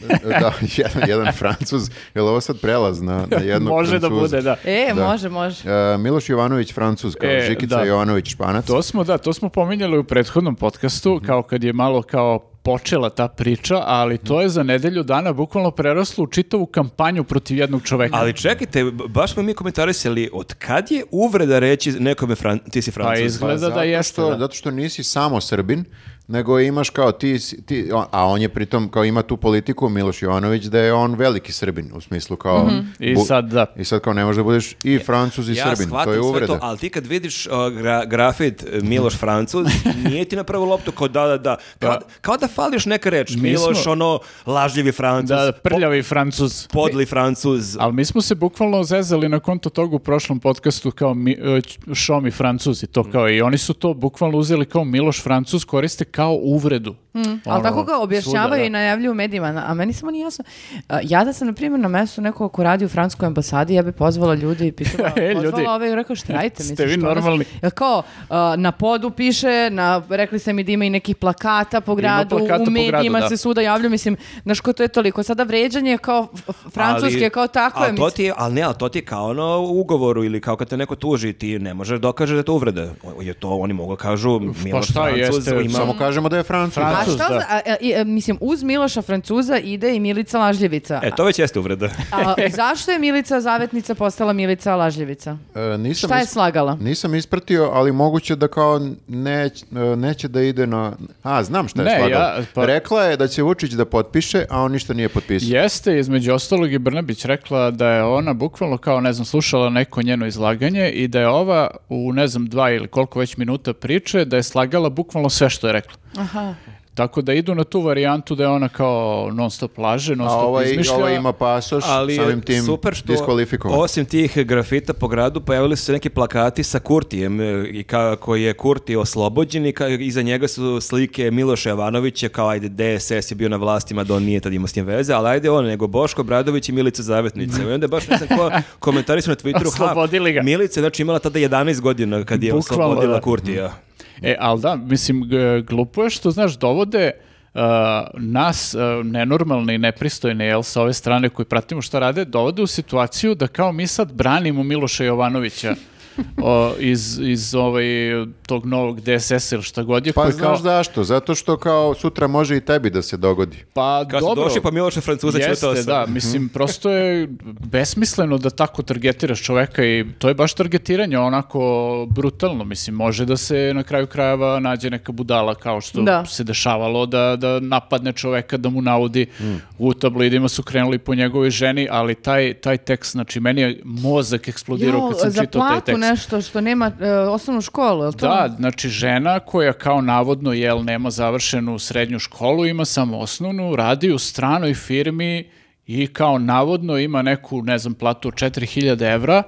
A: da, jedan, jedan francuz. Je li ovo sad prelaz na, na jednog
C: *laughs* Može da
A: Francuza?
C: bude, da.
D: E,
A: Da.
D: može, može.
A: E, Miloš Jovanović Francuz, kao
C: E,
A: Žikica
C: da.
A: Jovanović Španac.
C: To smo, da, to smo pominjali u prethodnom podcastu, kao kad je malo kao počela ta priča, ali to je za nedelju dana bukvalno preraslo u čitavu kampanju protiv jednog čoveka.
B: Ali čekajte, b- baš smo mi komentarisali od kad je uvreda reći nekome Fran- ti si
C: pa
B: Francuz?
C: izgleda
A: Zato
C: da jeste.
A: što, zato što nisi samo Srbin, nego imaš kao ti, si- ti on- a on je pritom kao ima tu politiku Miloš Jovanović da je on veliki Srbin u smislu kao
C: Mhm. I
A: bu-
C: sad da.
A: I sad kao ne može da budeš i Francuz i
B: Ja
A: Srbin,
B: shvatam
A: to je
B: sve
A: uvreda.
B: to, ali ti kad vidiš uh, gra- grafit e, Miloš Francuz, nije ti na prvu loptu kao da, da, da. Kao, kao da fališ neka reč.
C: Pa, Mi
B: Miloš,
C: smo-
B: ono, lažljivi Francuz,
C: Da,
B: po-
C: prljavi Francuz.
B: podli Francuz.
C: Ali mi smo se bukvalno zezali na konto toga u prošlom podcastu kao mi, e, ć- Šom i Francuzi, to kao i oni su to bukvalno uzeli kao Miloš Francuz koriste kao uvredu.
D: Mhm. Ali
C: Ono,
D: tako ga objašnjavaju
C: svuda, da.
D: i najavljuju u medijima, na- a meni samo nije jasno. A, Ja da sam, na primjer, na mestu nekog ko radi u Francuskoj ambasadi, ja bi pozvala ljudi
C: *laughs*
D: i pitala,
C: E, ljudi.
D: pozvala ove i rekao, šta radite?
C: Ste
D: mislim,
C: vi
D: što ono-
C: normalni?"
D: Ja kao, a, na podu piše, na, rekli ste mi da ima i nekih plakata po gradu,
C: plakata po
D: u medijima
C: gradu, da.
D: se svuda javlju, mislim, znaš ko to je toliko. Sada vređanje je kao f- f- francuske,
B: Ali-
D: kao tako je,
B: ali to
D: mislim.
B: ti je, ali ne, ali to ti je kao ono u ugovoru ili kao kad te neko tuži, ti ne možeš dokažeš da je to uvreda. O- Je to, oni mogu da kažu, Miloš
C: pa šta
B: Francuz
C: jeste,
B: ima...
A: Samo kažemo da je Francuz.
D: A
C: Francuz,
D: šta,
C: da.
D: za- a- a- i, e, mislim, uz Miloša Francuza ide i Milica Lažljevica.
B: E, to već jeste uvreda.
D: A, zašto je Milica Zavetnica postala Milica Lažljevica?
A: E, nisam
D: Šta je
A: is-
D: slagala?
A: Nisam ispratio, ali moguće da kao neć- e, neće da ide na... A, znam šta je
C: Ne,
A: slagala.
C: ja- pa-
A: Rekla je da će Vučić da potpiše, a on ništa nije potpisao.
C: Jeste, između ostalog i Brnabić rekla da je ona bukvalno kao, ne znam, slušala neko njeno izlaganje i da je ova u, ne znam, dva ili koliko već minuta priče, da je slagala bukvalno sve što je rekla.
D: Aha.
C: Tako da idu na tu varijantu da je ona kao non stop laže, non
A: A
C: stop
A: ovaj,
C: izmišlja.
A: ovaj ima pasoš,
B: ali je
A: samim tim
B: super što
A: diskvalifikovan.
B: osim tih grafita po gradu pojavili su se neki plakati sa Kurtijem e, i kako je Kurti oslobođen i ka, iza njega su slike Miloša Jovanovića kao ajde DSS je bio na vlastima da on nije tad imao s tim veze, ali ajde on nego Boško Bradović i Milica Zavetnica. I onda baš nisam
C: *laughs*
B: ko komentarisao na Twitteru. ha,
C: Oslobodili ga.
B: Milica je znači imala tada 11 godina kad je
C: Bukvalno,
B: oslobodila
C: da.
B: Kurtija.
C: E, ali da, mislim, g- glupo je što, znaš, dovode uh, nas, uh, nenormalne i nepristojne, jel, sa ove strane koji pratimo šta rade, dovode u situaciju da kao mi sad branimo
B: *laughs*
C: Miloša Jovanovića o, iz, iz ovaj, tog novog DSS-a ili šta god je.
A: Pa
C: koji kao-
A: znaš zašto? Zato što kao sutra može i tebi da se dogodi.
C: Pa
B: Kad su
C: dobro.
B: došli pa Miloša Francuza ću
C: Jeste, da, mislim, prosto je besmisleno da tako targetiraš čoveka i to je baš targetiranje onako brutalno, mislim, može da se na kraju krajeva nađe neka budala kao što
D: Da.
C: se dešavalo da, da napadne čoveka, da mu naudi u tabloidima su krenuli po njegovoj ženi, ali taj, taj tekst, znači, meni je mozak eksplodirao
D: Jao,
C: kad sam
D: za
C: čitao taj
D: platu
C: tekst.
D: nešto što nema e, osnovnu školu, je li to?
C: Da, znači žena koja kao navodno jel nema završenu srednju školu, ima samo osnovnu, radi u stranoj firmi i kao navodno ima neku, ne znam, platu od 4000 evra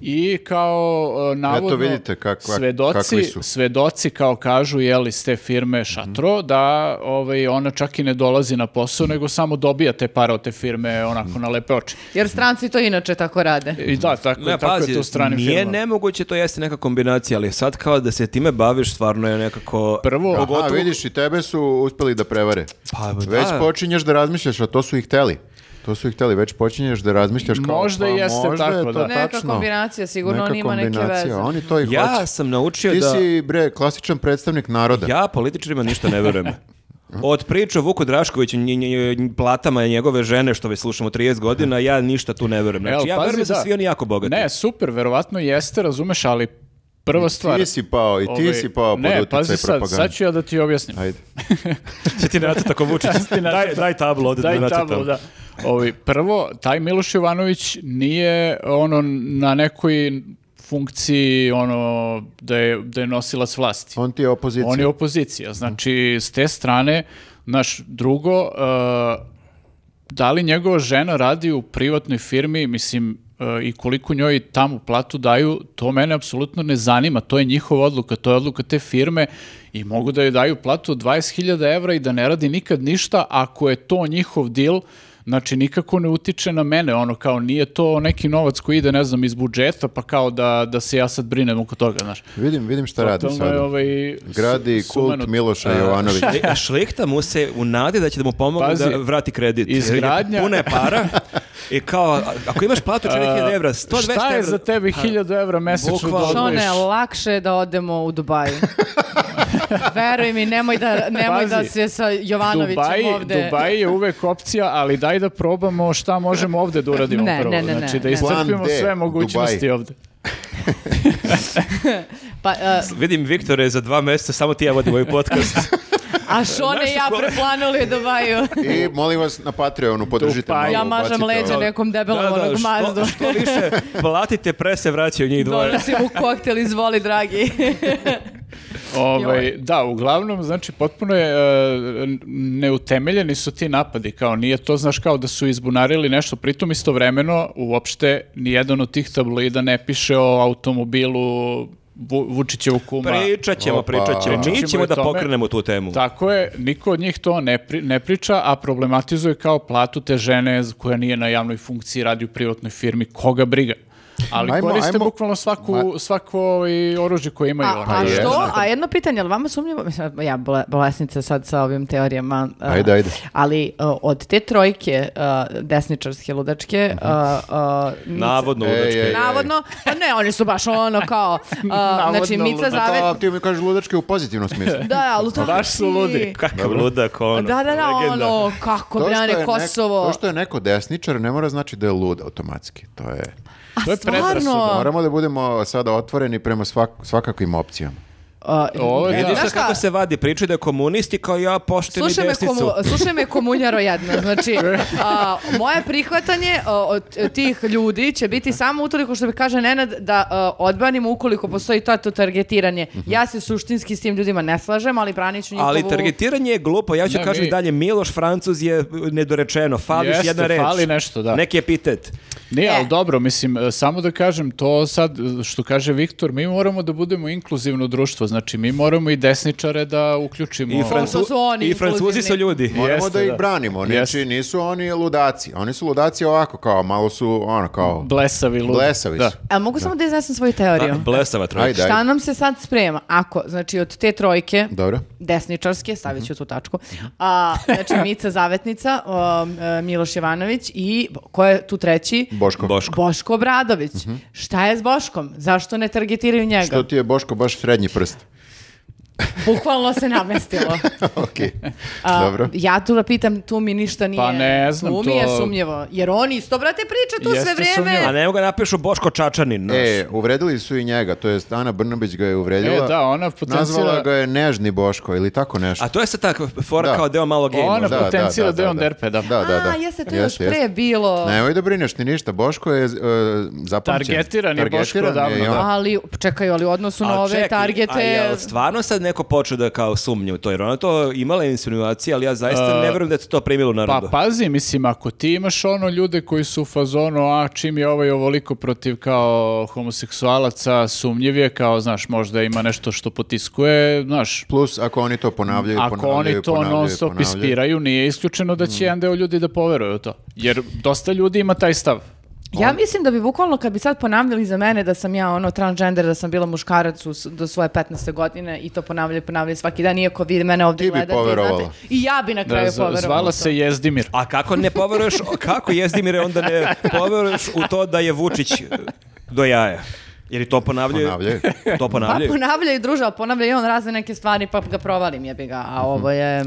C: i kao e, navodno
A: vidite kak- kak- kakvi
C: svedoci,
A: su. Mhm.
C: svedoci kao kažu jel iz te firme Šatro da ovaj, ona čak i ne dolazi na posao nego samo dobija te pare od te firme onako
A: Mhm.
C: na lepe oči.
D: Jer stranci to inače tako rade.
C: I da, tako,
B: Ne,
C: tako
B: pazi,
C: je to u stranim
B: nije
C: firmama.
B: nemoguće, to jeste neka kombinacija, ali sad kao da se time baviš, stvarno je nekako...
C: Prvo,
A: Aha, Pa, vidiš i tebe su uspeli da prevare.
B: Pa,
A: Već
B: da.
A: počinješ da razmišljaš, a to su ih hteli. To su ih hteli, već počinješ da razmišljaš kao
C: Možda
A: pa,
C: jeste
A: možda je
C: tako,
A: to
C: da.
D: Neka
A: tačno.
D: kombinacija, sigurno
A: Neka
D: on ima neke
A: kombinacija,
D: veze.
A: Oni to i
B: Ja
A: hoće.
B: sam naučio
A: Ti
B: da...
A: si, bre, klasičan predstavnik naroda.
B: Ja političarima ništa ne verujem.
C: *laughs*
B: Od priče o Vuku Draškoviću, nj- nj- nj- platama njegove žene, što već slušamo 30 godina, ja ništa tu ne verujem. Znači,
C: Evo,
B: ja
C: pazi,
B: verujem da su
C: da.
B: svi oni jako bogati.
C: Ne, super, verovatno jeste, razumeš, ali prva stvar...
A: Ti si pao i ti
C: Ovaj,
A: si pao pod
C: Ne, pazi
A: utjecaj
C: sad,
A: propagande.
C: sad ću ja da ti objasnim.
A: Ajde.
B: Ti ti nacrta ko
C: *laughs*
B: Vučić. daj, daj tablo, ovde
C: Daj
B: da nacrtam.
C: tablu, da. Ovi, prvo, taj Miloš Jovanović nije ono na nekoj funkciji ono da je, da je nosilac vlasti.
A: On ti je opozicija.
C: On je opozicija. Znači, s te strane, naš drugo, e, da li njegova žena radi u privatnoj firmi, mislim, e, i koliko njoj tamo platu daju, to mene apsolutno ne zanima. To je njihova odluka, to je odluka te firme i mogu da joj daju platu od 20.000 evra i da ne radi nikad ništa ako je to njihov dil Znači, nikako ne utiče na mene, ono, kao nije to neki novac koji ide, ne znam, iz budžeta, pa kao da, da se ja sad brinem oko toga, znaš.
A: Vidim, vidim šta radi
C: Totalno je
A: sada.
C: ovaj...
A: Gradi
C: su-
A: kult
C: sumanut.
A: Miloša Jovanovića.
B: E, A šlihta mu se u nadi da će da mu pomogne
C: Pazi,
B: da vrati kredit.
C: izgradnja-
B: Jer je- Puna je
C: *laughs*
B: para. I kao, a- ako imaš platu 4000 evra, 120 evra...
C: Šta je za tebe 1000 evra mesečno da
B: Bukvalno.
C: odvojiš?
D: Šone, lakše Znači, ono je da odemo
C: *laughs*
D: u Dubaju. Veruj mi, nemoj da, nemoj da
C: Pazi,
D: se sa Jovanovićem
C: Dubaji,
D: ovde...
C: Dubaji je uvek opcija, ali daj da probamo šta možemo ovde da uradimo
D: Ne,
C: prvo.
D: ne, ne, ne,
C: znači da
D: ne.
A: Plan
C: iscrpimo
A: D,
C: sve mogućnosti
A: Dubai.
C: ovde.
D: Pa, e,
B: Vidim, Viktore, za dva mjeseca samo ti ja vodim ovaj
D: *laughs*
B: podcast.
D: a
C: *laughs*
D: Šone i ja
B: Znaš ko-
D: preplanuli u Dubaju.
A: I molim vas na Patreonu, podržite
C: Dubaj.
A: malo.
D: Ja mažem
A: ubacite
D: leđa
A: ovo.
D: nekom debelom onog
B: što,
C: *laughs*
D: mazdu.
B: što više platite, pre se vraćaju njih dvoje.
D: Donosim mu koktel, izvoli, dragi.
C: Ovaj, da, uglavnom, znači, potpuno je e, neutemeljeni su ti napadi, kao nije to, znaš, kao da su izbunarili nešto, pritom istovremeno, uopšte, nijedan od tih tabloida ne piše o automobilu Vu- Vučićevog kuma.
A: Pa
B: Pričat ćemo,
A: Opa.
B: pričat ćemo. Mi
C: Pričat ćemo
B: ćemo
C: i
B: da
C: tome.
B: pokrenemo tu temu.
C: Tako je, niko od njih to ne, pri- ne priča, a problematizuje kao platu te žene z- koja nije na javnoj funkciji, radi u privatnoj firmi, koga briga. Ali
A: Ajmo,
C: koriste
A: ajmo.
C: bukvalno svaku, svako ovaj oružje koje imaju.
D: A,
C: ono.
D: a
A: je.
D: što? A jedno pitanje, je li vama sumnjivo? Mislim, ja bla- bolesnica sad sa ovim teorijama. a,
A: Ajde, ajde.
D: Ali a, od te trojke a, desničarske ludačke... a,
A: Mhm.
D: a, Mica-
C: E,
B: Navodno, ludački.
A: Ej, ej, ej.
D: Navodno, pa ne, oni su baš ono
A: *laughs*
D: kao, a, znači
C: Navodno
D: Mica
C: ludačke.
A: A
D: Zavet...
A: Pa to ti mi kažeš ludačke u pozitivnom smislu.
D: Da, ali to
C: Baš su ludi.
B: Kakav ludak, ono.
D: Da, da, da,
B: legenda.
D: ono, kako,
A: To što, je
D: Brane,
A: neko,
D: Kosovo.
A: to što je neko desničar ne mora znači da je lud automatski. To je...
D: A
C: to je predrasuda,
D: stvarno,
A: Moramo da budemo sada otvoreni prema svak, svakakvim opcijama.
D: a,
C: Ovo je-
D: ne,
B: Vidiš
D: znaš
B: sad kako
D: šta?
B: se vadi, pričaju da je komunisti kao ja pošteni
D: Slušaj me,
B: desnicu.
D: komu, slušaj me komunjaro jedno,
B: *laughs*
D: znači a, moje prihvatanje a, od tih ljudi će biti samo utoliko što bi kaže Nenad da a, odbanimo ukoliko postoji to, to targetiranje. Ja se suštinski s tim ljudima ne slažem, ali branit ću njihovu...
B: Mhm. Ali targetiranje je glupo. Ja ću
C: Da,
B: kažem
C: mi-
B: i dalje, Miloš Francuz je nedorečeno. Fališ
C: Jeste,
B: jedna reč.
C: fali nešto, da.
B: Neki epitet.
C: Nije,
D: E.
C: ali dobro, mislim, e, samo da kažem to sad, e, što kaže Viktor, mi moramo da budemo inkluzivno društvo, znači mi moramo i desničare da uključimo.
B: I, Francu-
D: Pošto Ono su oni
B: I Francuzi su
D: inkluzivni.
B: ljudi.
A: Moramo
C: Jeste,
A: da ih
C: da.
A: branimo. Znači,
C: Jeste.
A: nisu oni ludaci. Oni su ludaci ovako kao, malo su ono kao...
C: Blesavi ludi.
A: Blesavi
C: Da.
A: su.
D: A E, mogu samo da iznesem svoju teoriju?
B: Da, Blesava trojka.
A: Ajde,
D: Šta
A: ajde.
D: nam se sad sprema? Ako, znači, od te trojke,
A: Dobro.
D: desničarske, stavit
B: Mhm.
D: ću tu tačku, a, znači Mica Zavetnica, o, e, Miloš Jovanović i ko je tu treći?
A: Boško. Mhm.
B: Boško.
D: Boško Obradović. Šta je s Boškom? Zašto ne targetiraju njega?
A: Što ti je Boško baš srednji prst? *laughs*
D: Bukvalno se namestilo.
A: ok.
D: A,
A: *laughs* Dobro.
D: Ja tu da pitam, tu mi ništa nije.
C: Pa ne znam,
D: tu mi je
C: to-
D: sumnjivo. Jer oni isto, brate, priča tu sve
C: Jeste
D: vrijeme.
C: sumnjivo.
B: A ne ga napišu Boško Čačanin. znaš.
A: E, uvredili su i njega, to jest Ana Brnabić ga je uvredila.
C: E, da, ona potencira-
A: Nazvala ga je nežni Boško ili tako nešto.
B: A to je sad tako fora
A: Da.
B: kao deo malog gejma.
D: Ono,
C: Ona
A: Da, da,
C: potencira
A: da,
C: da je
A: da,
C: on
A: da.
C: derpe, da.
A: Da, da, da.
D: A, jeste, to je još
A: Jeste,
D: pre
A: jeste.
D: bilo.
A: Nemoj da brineš ni ništa, Boško je e, zapamćen.
C: Targetiran je Boško
A: Targetiran
C: odavno,
A: i on-
C: da.
D: Ali, čekaj, ali u odnosu na
B: A
D: ove
B: čekaj, A
D: targete...
B: jel stvarno sad neko počeo da kao sumnje u to? Jer ona to imala je insinuacije, ali ja zaista
A: E.
B: ne vjerujem da se to primilo u
C: Pa
B: narodu.
C: pazi, mislim, ako ti imaš ono ljude koji su u fazonu, a čim je ovaj ovoliko protiv kao homoseksualaca, sumnjiv je, kao, znaš, možda ima nešto što potiskuje, znaš,
A: Plus, ako oni to ponavljaju,
C: ako
A: ponavljaju,
C: oni to
A: ponavljaju,
C: non stop
A: ponavljaju.
C: ispiraju, nije isključeno da će jedan deo ljudi da poveruje u to. Jer dosta ljudi ima taj stav.
D: Ja mislim da bi bukvalno kad bi sad ponavljali za mene da sam ja ono transgender, da sam bila muškarac u s- do svoje 15. godine i to ponavljaju, ponavljaju svaki dan, iako vi mene ovdje
A: Ti bi
D: gledate.
A: poverovala.
D: znate, I ja bi na kraju
C: Z-
D: poverovala.
C: Zvala se Jezdimir.
B: A kako ne poveruješ,
D: *laughs*
B: kako Jezdimire onda ne poveruješ u to da je Vučić eh, do jaja? Jer i to ponavljaju.
A: Ponavljaju.
B: To
D: Pa
B: ponavljaju.
D: ponavljaju druže, ali ponavlja i on razne neke stvari, pa ga provalim jebi ga,
B: Mhm.
D: a ovo je...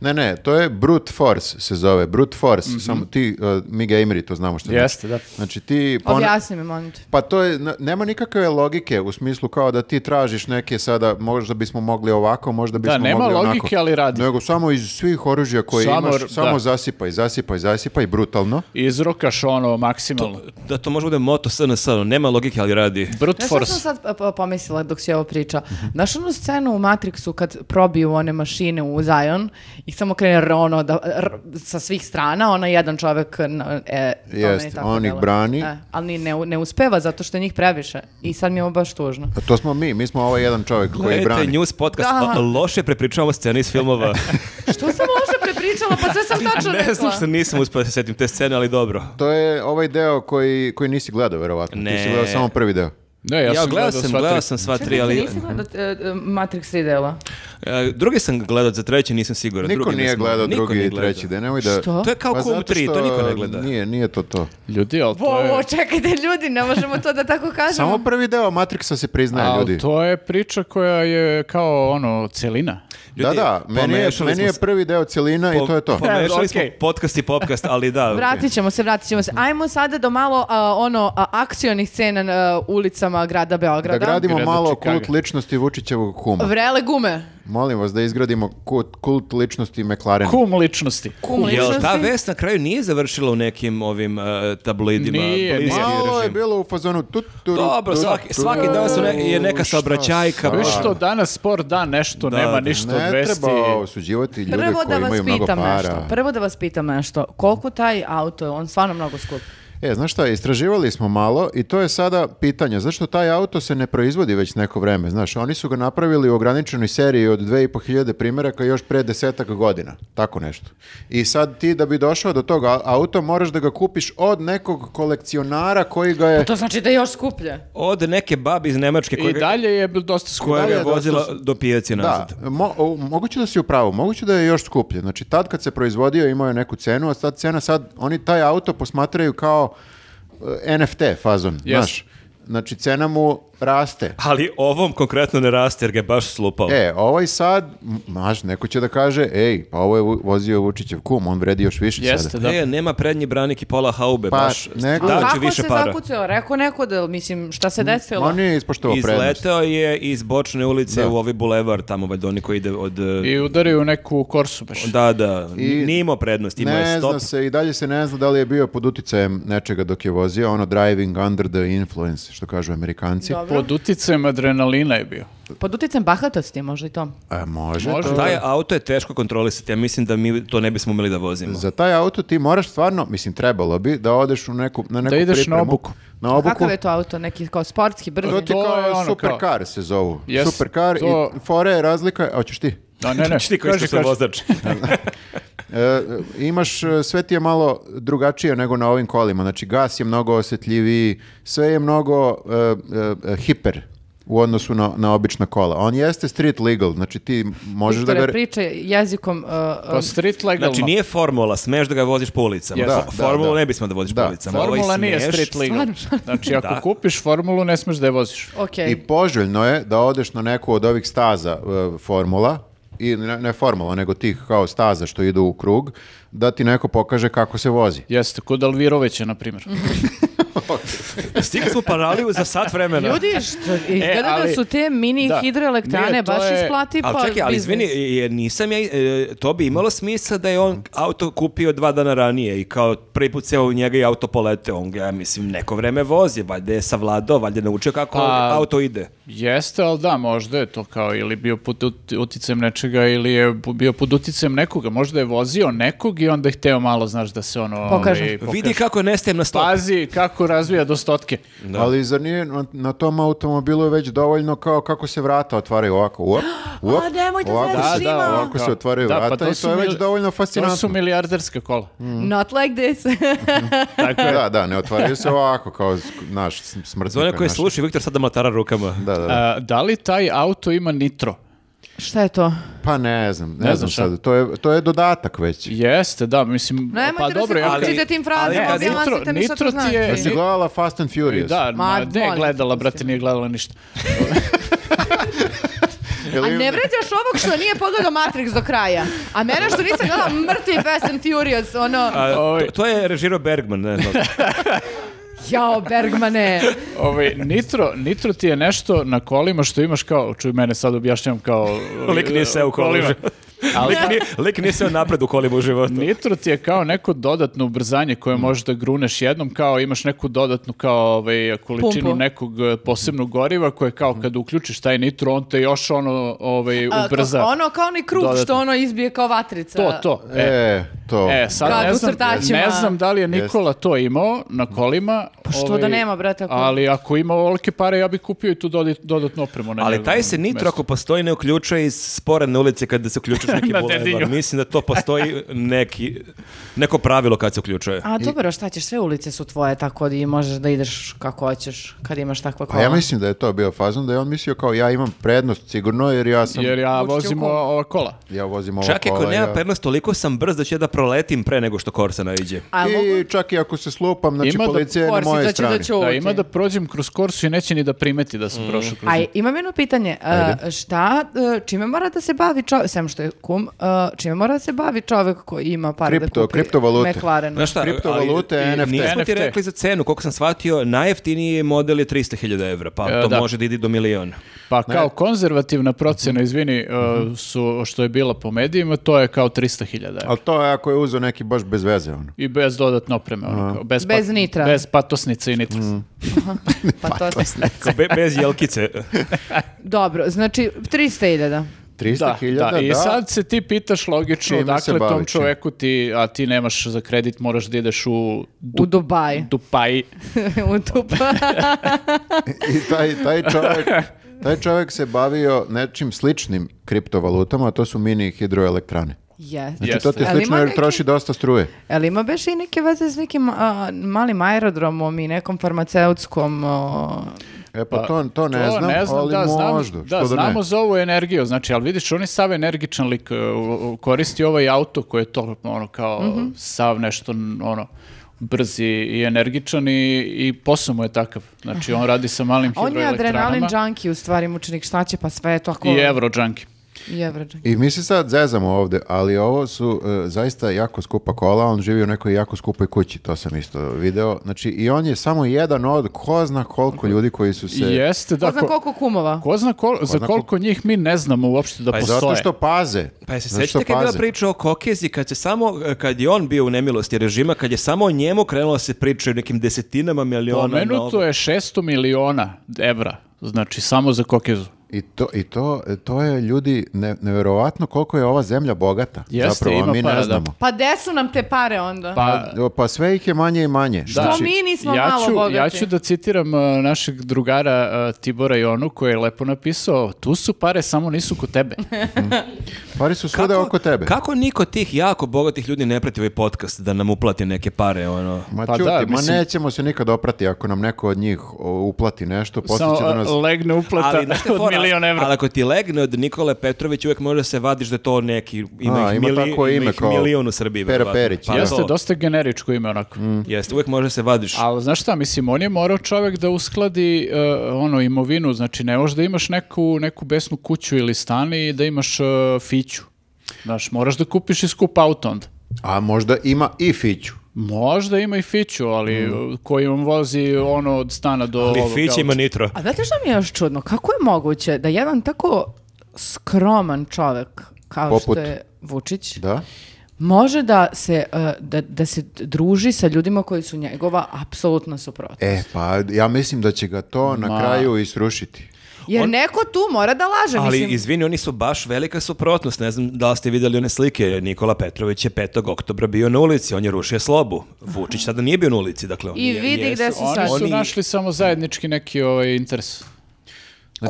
A: Ne, ne, to je brute force se zove, brute force, samo ti, uh, mi gameri to znamo što
C: Mhm. Jeste,
A: znači.
C: da.
A: Znači ti...
B: Pa
A: pona-
D: Objasni mi, molim te.
A: Pa to je, n- nema nikakve logike u smislu kao da ti tražiš neke sada, možda bismo mogli ovako, možda bismo
C: nema
A: mogli onako.
C: logike, ali radi.
A: Nego samo iz svih oružja koje
C: Samo
A: imaš,
C: r-
A: samo
C: da.
A: zasipaj, zasipaj, zasipaj, brutalno.
C: Izrokaš ono maksimalno.
B: Da to može bude moto SNS, ono, nema logike, ali radi.
C: Brute
D: Znaš što
C: force.
D: sam sad e, po- pomislila dok si ovo priča?
B: Mhm.
D: Znaš onu scenu u Matrixu kad probiju one mašine u Zion i samo krene ono da, r- sa svih strana, ona jedan čovek n- e, to meni
A: Jeste,
D: tako
A: on ih
D: deluje.
A: brani.
D: E, ali ni- ne, u- ne uspeva zato što je njih previše i sad mi je ovo
B: *laughs*
D: baš tužno.
A: A Pa to smo mi, mi smo ovaj jedan čovjek koji
B: Gledajte
A: brani.
B: news podcast,
D: Da. *laughs*
B: a- loše prepričavamo scene iz filmova.
D: Što sam loše pričala, pa sve sam tačno
B: Ne znam
D: rekla.
B: što nisam uspio da se setim te scene, ali dobro.
A: To je ovaj deo koji, koji nisi gledao, verovatno. Ti si
B: Ne.
A: gledao samo prvi deo.
C: Ne, E, ja, sam gledao sva tri.
B: gledao sam sva tri, ali
D: Nisi gledao e, e, Matrix 3 dela?
B: e, drugi sam gledao, za treći nisam siguran.
A: Niko
B: drugi
A: nije
B: nisam-
A: gledao
B: niko
A: drugi
B: nije
A: i treći
B: gledao.
A: deo. Nemoj da...
D: Što?
B: To je kao
A: Pa
B: Kum
A: zato
B: 3, to
A: što
B: niko ne gleda.
A: Nije, nije to to.
C: Ljudi, ali to
D: Wow,
C: je...
D: wow, čekajte ljudi, ne možemo to da tako kažemo.
A: Samo prvi deo Matrixa se priznaje,
C: Ali
A: ljudi.
C: to je priča koja je kao ono celina.
A: da,
B: Ljudi,
A: da,
C: Pa
A: meni je,
B: pomešali
A: meni
B: smo
A: je
B: se-
A: prvi deo celina i to je to.
B: Pomešali smo
C: Okej.
B: podcast i popcast, ali da.
D: Vratit ćemo se, vratit ćemo se. Ajmo sada do malo a, ono a, akcionih scena na ulicama
A: Da
D: grada Beograda.
A: gradimo
C: Gradu
A: malo
C: Čikaga.
A: kult ličnosti Vučićevog kuma.
D: Vrele gume.
A: Molim vas da izgradimo kult, kult ličnosti McLarena.
C: Kum ličnosti.
D: Kum
B: Jel ta
D: ličnosti.
B: vest na kraju nije završila u nekim ovim e, tabloidima?
C: Nije,
B: bliskim
C: nije.
A: Malo je
B: režim?
A: bilo u fazonu tu, tu,
B: Dobro,
A: tu,
B: svaki,
A: tu,
B: svaki dan su ne- je neka
A: Šta
B: saobraćajka. pa-
A: sad?
C: Viš što, danas sport da nešto,
B: Da,
C: nema
B: da.
C: ništa od
A: Ne
C: vesti.
A: treba osuđivati ljude
D: Prvo da
A: koji
D: vas
A: imaju mnogo
D: pitam
A: para.
D: nešto. Prvo da vas pitam nešto. Koliko taj auto je? On stvarno mnogo skup.
A: E, znaš šta, istraživali smo malo i to je sada pitanje, zašto taj auto se ne proizvodi već neko vreme, znaš, oni su ga napravili u ograničenoj seriji od 2500 primjeraka još pre desetak godina, tako nešto. I sad ti da bi došao do toga auto moraš da ga kupiš od nekog kolekcionara koji ga je...
D: To znači da je još skuplje.
B: Od neke babi iz Nemačke
C: I
B: koja,
C: dalje je bil dosta skupo.
B: koja ga
A: dalje
B: je
A: je dosta
B: vozila
A: s-
B: do pijaci
A: Da,
B: nazad.
A: mo- o, moguće da si u pravu, moguće da je još skuplje. Znači, tad kad se proizvodio imao je neku cenu, a sad cena, sad oni taj auto posmatraju kao e, NFT fazon, znaš. Znači, cena mu raste.
B: Ali ovom konkretno ne raste jer ga je baš slupao.
A: E, ovaj sad, m- znaš, neko će da kaže, ej, pa ovo je vu- vozio Vučićev kum, on vredi još više
C: Jeste,
A: sada.
C: da.
B: E, nema prednji branik i pola haube,
A: Pa,
B: baš
A: neko-
D: A
A: Da,
B: daće
D: kako
B: više
D: se
B: para.
D: zakucao? Rekao neko da, mislim, šta se desilo?
A: On je ispoštovao prednost.
B: Izletao je iz bočne ulice
A: Da.
B: u ovi bulevar, tamo valjda oni koji ide od... e,
C: I udaraju neku korsu baš.
B: Da, da,
A: I-
B: nije imao prednost, imao je
A: Ne
B: stop.
A: zna se, i dalje se ne zna da li je bio pod uticajem nečega dok je vozio, ono driving under the influence, što kažu amerikanci.
D: Dobro.
C: Pod uticajem adrenalina je bio.
D: Pod uticajem bahatosti možda i to.
A: E, može.
C: Može.
A: to-
B: Taj auto je teško kontrolisati, ja mislim da mi to ne bismo umeli da vozimo.
A: Za taj auto ti moraš stvarno, mislim, trebalo bi da odeš u neku, na neku
C: ideš na
A: pripremu.
C: obuku.
A: Na obuku.
D: Kakav je to auto? Neki kao sportski, brzi?
A: To ti
C: To je
A: kao
C: ono
A: superkar se zovu.
C: Jes,
A: superkar
C: to-
A: i fore je razlika, a hoćeš ti?
C: Da, ne, ne.
B: Znači ti koji
C: kaži,
B: ste
A: *laughs*
C: kaži.
B: vozač.
A: E, imaš, e, sve ti je malo drugačije nego na ovim kolima. Znači, gas je mnogo osjetljiviji, sve je mnogo e, e, e, hiper u odnosu na, na obična kola. On jeste street legal, znači ti možeš da
D: Viktore,
A: ga...
D: priče jezikom... uh, uh,
C: Pa street legalno.
B: Znači nije formula, smeš da ga voziš po ulicama.
A: Yes. Da,
B: Fo-
A: da,
B: formulu
A: da.
B: ne bismo da voziš
A: Da.
B: po ulicama. Ovaj
C: Formula nije
B: smeš-
C: street legal. Znači ako
B: Da.
C: kupiš formulu ne smeš da je voziš.
D: ok.
A: I poželjno je da odeš na neku od ovih staza e, formula, i ne, ne formula, nego tih kao staza što idu u krug, da ti neko pokaže kako se vozi.
C: Jeste, kod Alvirovića, na primjer.
B: Stigli smo u paraliju za sat vremena.
D: Ljudi, što, izgleda da
C: ali-
D: su te mini
C: da.
D: hidroelektrane
C: Nije, to
D: baš
C: je-
D: isplati
B: Ali čekaj, ali izvini, jer nisam ja, e, to bi imalo smisla da je on auto kupio dva dana ranije i kao prvi put se u njega i auto poleteo. On ga, ja mislim, neko vreme vozi, valjda je savladao, valjda je naučio kako
C: Pa-
B: auto ide.
C: Jeste, ali da, možda je to kao ili bio pod ut- uticajem nečega ili je bu- bio pod uticajem nekoga. Možda je vozio nekog i onda je hteo malo, znaš, da se ono...
D: Pokaže.
C: ovaj, pokaže.
B: Vidi kako nestajem na stopu.
C: Pazi kako razvija do stotke.
A: Ali zar nije na, na tom automobilu je već dovoljno kao kako se vrata otvaraju ovako,
B: *gasps*
A: uop, uop,
D: A, nemoj da
A: ovako,
D: zveziš,
A: se-
D: ima.
A: ovako se otvaraju
C: Da, pa
A: vrata i
C: su
A: to je već
C: mil-
A: dovoljno
C: To su
A: fascinantno. Mm.
C: milijarderska kola.
D: Mm. Not like this.
C: *laughs*
D: *laughs*
C: Tako je.
A: Da, da, ne otvaraju se ovako kao s- naš s-
B: Za one
A: smrtnik.
B: koji
A: naš.
B: slušaju, Viktor sada mlatara rukama.
C: *laughs*
A: Da, da, da.
C: A, da li taj auto ima nitro?
D: Šta je to?
A: Pa ne znam, ne,
C: Ne
A: znam
C: znam šta.
A: sad. To je, to je dodatak već.
C: Jeste, da, mislim,
D: Nemojte
C: pa
D: da
C: dobro,
D: se
C: ja
D: mučite tim frazama,
B: ali kad-
D: objasnite mi šta to
C: nitro ti
D: znači.
C: je-
A: Jesi gledala Fast and Furious?
C: Da,
D: Ma,
C: ma,
D: molim
C: ne
D: te,
C: gledala,
D: pusti
C: brate,
D: me.
C: nije gledala ništa.
A: Jel
D: A
A: im-
D: ne vređaš ovog što nije pogledao Matrix do kraja. A mene što nisam gledala mrtvi Fast and Furious, ono,
B: A,
C: Ovaj.
B: to, to je režirao Bergman, ne znam.
D: jao Bergmane.
C: Ovaj, nitro, nitro ti je nešto na kolima što imaš kao, čuj mene sad objašnjam kao...
B: Lik nije seo u kolu.
C: *laughs* Ali
B: lik, nije, lik nije seo napred u kolima u životu.
C: nitro ti je kao neko dodatno ubrzanje
B: Mm.
C: koje možeš da gruneš jednom, kao imaš neku dodatnu kao ovaj, količinu
D: Pumpu.
C: nekog eh, posebnog goriva koje kao
B: Mm.
C: kad uključiš taj nitro, on te još ono ovaj, ubrza.
D: Ono kao onaj krug
C: Dodatno.
D: što ono izbije kao vatrica.
C: To, to. E,
A: E, to.
C: E, sad
D: Kad
C: ne,
D: u
C: znam,
D: crtačima.
C: ne znam da li je Nikola to imao na kolima. Pa
D: što da nema, brate, ako-
C: Ali ako ima ovolike pare, ja bih kupio i tu dodi- dodatnu opremu. Na
B: Ali
C: njegovom
B: taj se nitro
C: mestu.
B: ako postoji ne uključuje iz spora na ulici kada se uključuje
C: *laughs*
B: neki
C: Na
B: bulevar.
C: Dedinju.
B: Mislim da to postoji neki, neko pravilo kad se uključuje.
D: A dobro, šta ćeš, sve ulice su tvoje, tako da i možeš da ideš kako hoćeš kad imaš takva kola.
A: Pa ja mislim da je to bio fazon, da je on mislio kao ja imam prednost sigurno jer ja sam,
C: Jer ja
D: Vučić je u
C: vozim
D: kola.
C: ova ova kola.
A: ja vozim ovo
B: Čak i ako
A: kola,
B: nema
A: ja-
B: prednost, toliko sam brz da ću ja da proletim pre nego što Korsa naiđe.
D: A mogu
A: I čak i ako se slupam, znači
C: Ima da
A: policija je na
D: Korsica
A: mojoj
D: će
A: strani.
D: da ćuti.
C: Da, ima da prođem kroz korsu i neće ni da primeti da
B: Mm.
C: sam prošao kroz
D: A imam jedno pitanje, E, šta, e, čime mora da se bavi čovjek, sem što je kum, e, čime mora da se bavi čovjek koji ima par
A: Kripto-
D: da kupi
A: kriptovalute.
D: McLaren?
B: Znaš šta,
A: Kriptovalute,
B: ali, i-
A: NFT.
B: Nismo ti
C: NFT.
B: rekli za cenu, koliko sam shvatio, najjeftiniji model je 300.000 evra, pa
C: E,
B: to
C: da.
B: može da ide do miliona.
C: Pa kao konzervativna procjena, izvini, uh, su, što je bila po medijima, to je kao 300.000 evra.
A: Ali to je ako je uzeo neki baš bez veze. Ono.
C: I bez dodatne opreme, ono kao, bez,
D: Bez nitra.
C: Bez patosnice i nitra.
A: Mm,
D: pa to
B: Ko be- bez
C: *laughs*
B: jelkice.
D: Dobro, znači 300.000.
A: 300.000, da.
C: Da, da, i sad se ti pitaš logično,
A: Čime se
C: dakle
A: bavi, čime?
C: tom čoveku ti, a ti nemaš za kredit, moraš da ideš u
D: U
A: *laughs*
D: Dubaj.
C: Dupaji.
D: U Dubaj.
A: *laughs* I taj, taj, čovjek, taj čovjek se bavio nečim sličnim kriptovalutama, a to su mini hidroelektrane.
D: Yes.
A: Znači to
C: Jeste.
A: ti je
D: Ali
A: slično
D: ima
A: jer
D: neki-
A: troši dosta struje.
D: Ali ima beš i neke veze s nekim a, malim aerodromom i nekom farmaceutskom... o,
A: E pa, to, to ne znam, ali
C: da, znam-
A: možda.
C: da,
A: što da ne?
C: znamo za ovu energiju, znači, ali vidiš, on je sav energičan lik, uh, uh, koristi ovaj auto koji je to, ono, kao
D: Mhm.
C: sav nešto, ono, brzi i energičan i, i posao mu je takav. Znači, on radi sa malim
D: On je adrenalin
C: hidroelektranama
D: junkie, u stvari, mučenik, šta će, pa sve je to ako...
C: i evrodžanki.
D: I evro junkie.
A: I mi se sad zezamo ovdje, ali ovo su e, zaista jako skupa kola, on živi u nekoj jako skupoj kući, to sam isto video. Znači i on je samo jedan od ko zna koliko ljudi koji su se...
C: Jeste, da.
D: Ko zna koliko kumova?
C: ko zna kol- za
A: zna
C: koliko njih mi ne znamo uopšte da
B: Pa je
C: postoje.
A: E, Zato što paze.
B: Pa je se
A: Zato što
B: sećate kad je bila
A: paze.
B: priča o Kokezi, kad, se samo, kad je on bio u nemilosti režima, kad je samo o njemu krenula se priča o nekim desetinama miliona. na ovo.
C: Pomenuto je 600 miliona evra, znači samo za kokezu.
A: I to, i to, to je ljudi ne, neverovatno koliko je ova zemlja bogata.
C: Jeste,
A: Zapravo, a
C: ima
A: mi
C: para,
A: ne
C: da.
A: znamo.
D: Pa de su nam te pare onda?
C: Pa,
A: Pa, pa sve ih je manje i manje.
C: Da.
D: Što mi nismo malo
C: ću,
D: bogati?
C: Ja ću da citiram uh, našeg drugara uh, Tibora Jonu koji je lepo napisao tu su pare, samo nisu kod
D: *laughs*
C: tebe.
A: Pari su svuda oko tebe.
B: Kako niko tih jako bogatih ljudi ne prati ovaj podcast da nam uplati neke pare, ono...
A: Ma
C: Pa
A: ćuti,
C: da,
A: ma
C: mislim-
A: nećemo se nikad oprati ako nam neko od njih o, uplati nešto, poslije
C: samo
A: će da nas...
C: uh, legne uplata
B: znaš šta je
C: *laughs* od
B: fora?
C: milion evra.
B: Ali ako ti legne od Nikole Petrovića, uvek može da se vadiš da je to neki, ima
A: A,
B: ih,
A: ima
B: mili-
A: takvo
B: ima
A: ime
B: ih
A: kao
B: milion u Srbiji.
A: Pera
B: verovatno.
A: Perić,
B: Pa
C: Jeste
B: to. Mm.
C: dosta generičko ime onako.
B: Jeste, uvek može da se vadiš.
C: Ali znaš šta, mislim, on je morao čovek da uskladi uh, ono imovinu, znači ne možeš da imaš neku, neku besnu kuću ili stan i da imaš uh, fiću. Znaš, moraš da kupiš i skup auto onda.
A: A možda ima i fiću.
C: Možda ima i fiću, ali uh, koji on vozi ono od stana do...
B: Mm. Ali
C: ovog
B: Fić
C: auta.
B: ima nitro.
D: A znate što mi je još čudno? Kako je moguće da jedan tako skroman čovek kao
A: Poput?
D: što je Vučić
A: Da?
D: može da se, e, da, da se druži sa ljudima koji su njegova apsolutno suprotna.
A: E, pa ja mislim da će ga to na kraju i srušiti.
D: Jer
B: on-
D: neko tu mora da laže.
B: Ali
D: mislim,
B: izvini, oni su baš velika suprotnost. Ne znam da li ste vidjeli one slike. Nikola Petrović je 5. oktobra bio na ulici, on je rušio slobu. Vučić sada nije bio na ulici, dakle oni
D: I
B: je-
D: vidi gde
B: jesu-
D: su sad.
C: Oni su
B: Oni-
C: našli samo zajednički neki ovaj interes.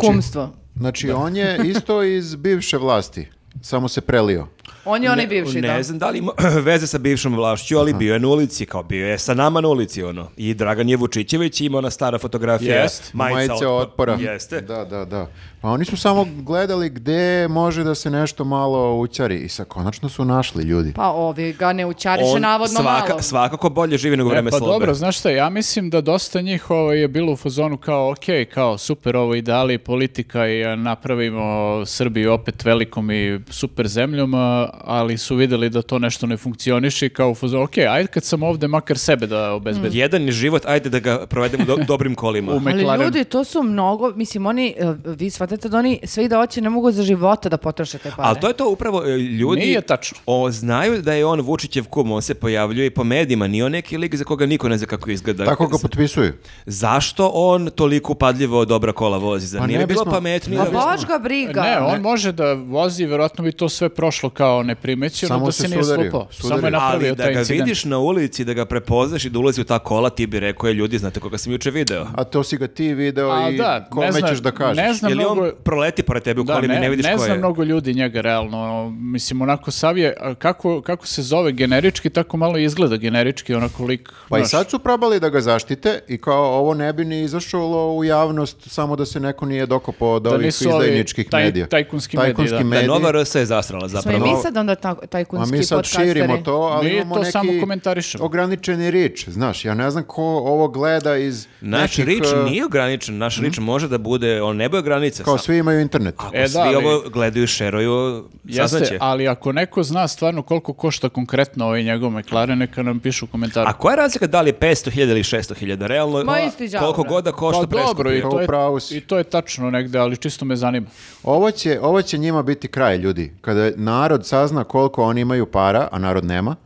D: Kumstvo.
A: Znači, on je isto iz bivše vlasti, samo se prelio.
D: On je onaj bivši,
B: ne
D: da.
B: znam da li ima *clears throat* veze sa bivšom vlašću, ali bio je na ulici, kao bio je sa nama na ulici, ono. I Dragan je Vučićević ima ona stara fotografija,
C: Jest.
B: majica,
A: Majice
B: otpo-
A: otpora.
B: Jeste.
A: Da, da, da. Pa oni su samo gledali gde može da se nešto malo učari i sa konačno su našli ljudi.
D: Pa ovi ga ne učariše
B: On
D: navodno
B: svaka-
D: malo.
B: Svakako bolje živi nego u vreme
C: E, pa
B: slobe.
C: dobro, znaš šta, ja mislim da dosta njih ovaj, je bilo u fazonu kao, ok, kao super ovo ideali politika i a, napravimo Srbiju opet velikom i super zemljom, a, ali su videli da to nešto ne funkcioniše i kao u fazonu, ok, ajde kad sam ovde makar sebe da obezbedim.
B: Jedan je život, ajde da ga provedemo do- dobrim kolima.
C: U
D: Ali
C: McLaren.
D: ljudi, to su mnogo, mislim, oni, e, vi shvatate shvatate da oni sve da oće ne mogu za života da potroše te pare.
B: Ali to je to upravo e, ljudi...
C: Nije tačno.
B: O, znaju da je on Vučićev kum, on se pojavljuje i po medijima, nije on neki lik za koga niko ne zna kako izgleda.
A: Tako ga potpisuju.
B: Zašto on toliko upadljivo dobra kola vozi? Zar
A: Pa
B: nije
A: ne
B: bi bilo
A: bismo-
B: pametnije?
D: A
B: da-
D: bož Pa ga briga.
C: Ne, on može da vozi, vjerojatno bi to sve prošlo kao neprimećeno,
A: Samo
C: da
A: se
C: se nije
A: sudario,
C: slupao.
A: sudario.
C: Samo je napravio
B: Ali da
C: taj
B: ga
C: incident.
B: vidiš na ulici, da ga prepoznaš i da ulazi u ta kola, ti bi rekao, je ljudi, znate koga sam juče video.
A: A to si ga ti video
C: A
A: i
C: da,
A: kome
C: ne znam-
A: ćeš da kažeš.
C: ne znam-
B: Ili on
C: mnogo-
B: proleti pored tebe u
C: Da,
B: kolima i
C: ne,
B: ne vidiš
C: ne
B: ko
C: znam
B: je.
C: mnogo ljudi njega realno, ono, mislim onako sav je, a kako, kako se zove generički, tako malo i izgleda generički, onako lik,
A: Pa i
C: znaš.
A: sad su probali da ga zaštite i kao ovo ne bi ni izašlo u javnost samo da se neko nije dokopao od
C: Da
A: ovih
C: nisu ovi
A: izdajničkih
C: taj-
A: medija.
C: tajkunski mediji, da. Da,
B: Da, Nova RS je zasrala
D: Smo i
B: zapravo.
D: mi sad onda ta,
A: A
D: tajkunski
A: mi sad
D: podcasteri.
A: širimo to, ali
C: Mi
A: imamo
C: to
A: neki
C: samo komentarišemo.
A: ograničeni rič. Znaš, ja ne znam ko ovo gleda iz
B: Naš
A: nekih...
B: rič
A: eh,
B: nije ograničen, naš rič može da bude, on ne boje granice.
A: Kao
B: sam-
A: svi imaju internet.
B: Ako
C: E, da,
B: svi
C: ali-
B: ovo gledaju i šeruju, saznaće.
C: Jeste, ali ako neko zna stvarno koliko košta konkretno ovaj njegov McLaren, neka nam pišu u komentaru.
B: A koja je razlika da li je 500.000 ili 600.000? Realno,
D: Ma isti đavo,
B: koliko
D: bre.
B: god da košta
C: Pa dobro, i
B: preskupi.
A: Pa
C: to, je,
A: upravo si.
C: i to je tačno negde, ali čisto me zanima.
A: Ovo će, ovo će njima biti kraj, ljudi. Kada narod sazna koliko oni imaju para, a narod nema,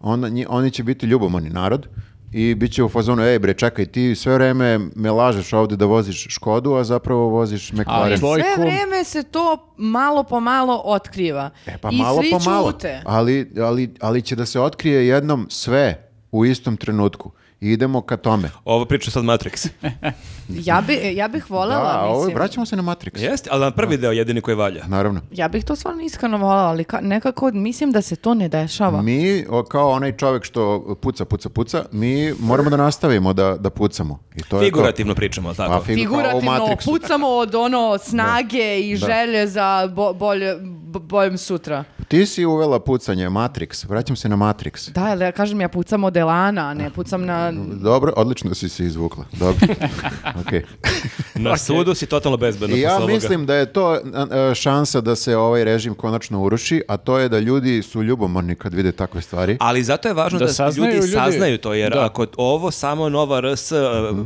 A: onda nji- oni će biti ljubomorni narod i bit će u fazonu, ej bre, čekaj, ti sve vreme me lažeš ovdje da voziš Škodu, a zapravo voziš
C: Ali
A: McLaren.
C: tvoj
D: E, Sve
C: kum-
D: vrijeme se to malo po malo otkriva.
A: E pa
D: I
A: malo
D: svi
A: po malo.
D: ćute.
A: Ali, ali, ali će da se otkrije jednom sve u istom trenutku. I idemo ka tome.
B: Ovo priča sad
C: *laughs*
B: Matrix.
D: Ja, bi, ja bih voljela,
A: Da, ovo,
D: mislim.
A: vraćamo se na Matrix.
B: Jeste, ali na prvi deo jedini koji valja.
A: Naravno.
D: Ja bih to stvarno iskreno voljela, ali ka- nekako mislim da se to ne dešava.
A: Mi, o, kao onaj čovjek što puca, puca, puca, mi moramo da nastavimo da, da pucamo. I to je to.
B: Figurativno pričamo, ali tako?
A: Pa, figu- kao u
D: Figurativno
A: Matrixu.
D: pucamo od ono snage i
A: Da.
D: želje za bo, bolje, b- boljem sutra.
A: Ti si uvela pucanje, Matrix. Vraćam se na Matrix.
D: Da, ali ja kažem ja pucam od elana, a ne pucam na...
A: Dobro, odlično si se izvukla. Dobro. Okej.
B: Na sudu si totalno bezbedno.
A: I ja
B: posle ovoga.
A: mislim da je to a, a, šansa da se ovaj režim konačno uruši, a to je da ljudi su ljubomorni kad vide takve stvari.
B: Ali zato je važno da,
C: Da saznaju
B: ljudi,
C: ljudi.
B: saznaju to, jer
C: Da.
B: ako ovo samo Nova RS e,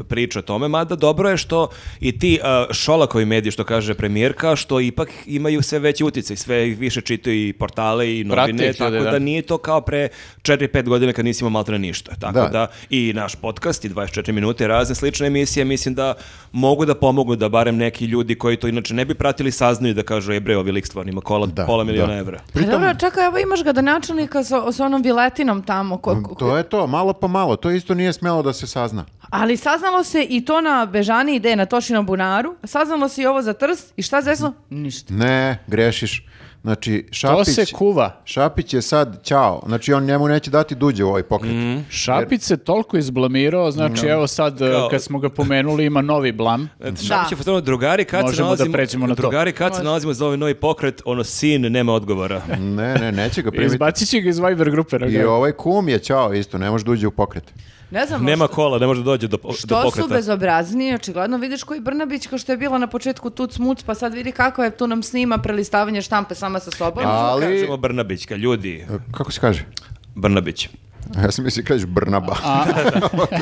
B: priča o tome, mada dobro je što i ti e, Šolakovi mediji, što kaže premijerka, što ipak imaju sve veći utjecaj, sve ih više čitaju i portale i
C: Prate
B: novine,
C: ih
B: tako
C: ljudi,
B: da.
C: da.
B: nije to kao pre 4-5 godina kad nisi imao maltene ništa. Tako
A: Da.
B: da. i naš podcast i 24 minute i razne slične emisije, mislim da mogu da pomogu da barem neki ljudi koji to inače ne bi pratili saznaju da kažu, e bre, ovi lik stvarno ima kola,
A: Da,
B: pola
A: da.
B: miliona evra.
D: Pa dobro, čekaj, evo imaš ga da načelnika sa, sa onom viletinom tamo. ko- ko-
A: To je to, malo po malo. To isto nije smelo da se sazna.
D: Ali saznalo se i to na Bežani ide na Tošinom bunaru, saznalo se i ovo za Trst i šta zesno? Ništa.
A: Ne, grešiš. Znači,
C: To
A: Šapić...
C: se kuva.
A: Šapić je sad čao. Znači, on njemu neće dati duđe u ovaj pokret.
C: Mhm. Šapić se toliko izblamirao, znači evo sad e,
B: Kao- E,
C: kad smo ga pomenuli ima novi blam.
B: Šapić je fotograf, ono, drugari kad se
C: Možemo da
B: nalazimo,
C: pređemo na to.
B: drugari kad se nalazimo za ovaj novi pokret, ono sin nema odgovora.
A: Ne, ne, neće
C: *laughs*
A: ga primiti.
C: Izbacit će ga Pa iz Viber grupe.
A: I
C: naravno.
A: ovaj kum je čao isto, ne može da uđe u pokret.
D: Ne znam,
B: nema
D: možda-
B: kola, ne može da dođe do, po- do
D: što su
B: pokreta.
D: bezobrazniji, očigledno vidiš koji Brnabić kao što je bilo na početku tu cmuc, pa sad vidi kako je tu nam snima prelistavanje štampe sama sa sobom.
A: Ali-
B: Kažemo Brnabićka, ljudi,
A: Kako se kaže? *laughs*
B: Brnabić,
A: Ja sam mislio kažeš Brnaba.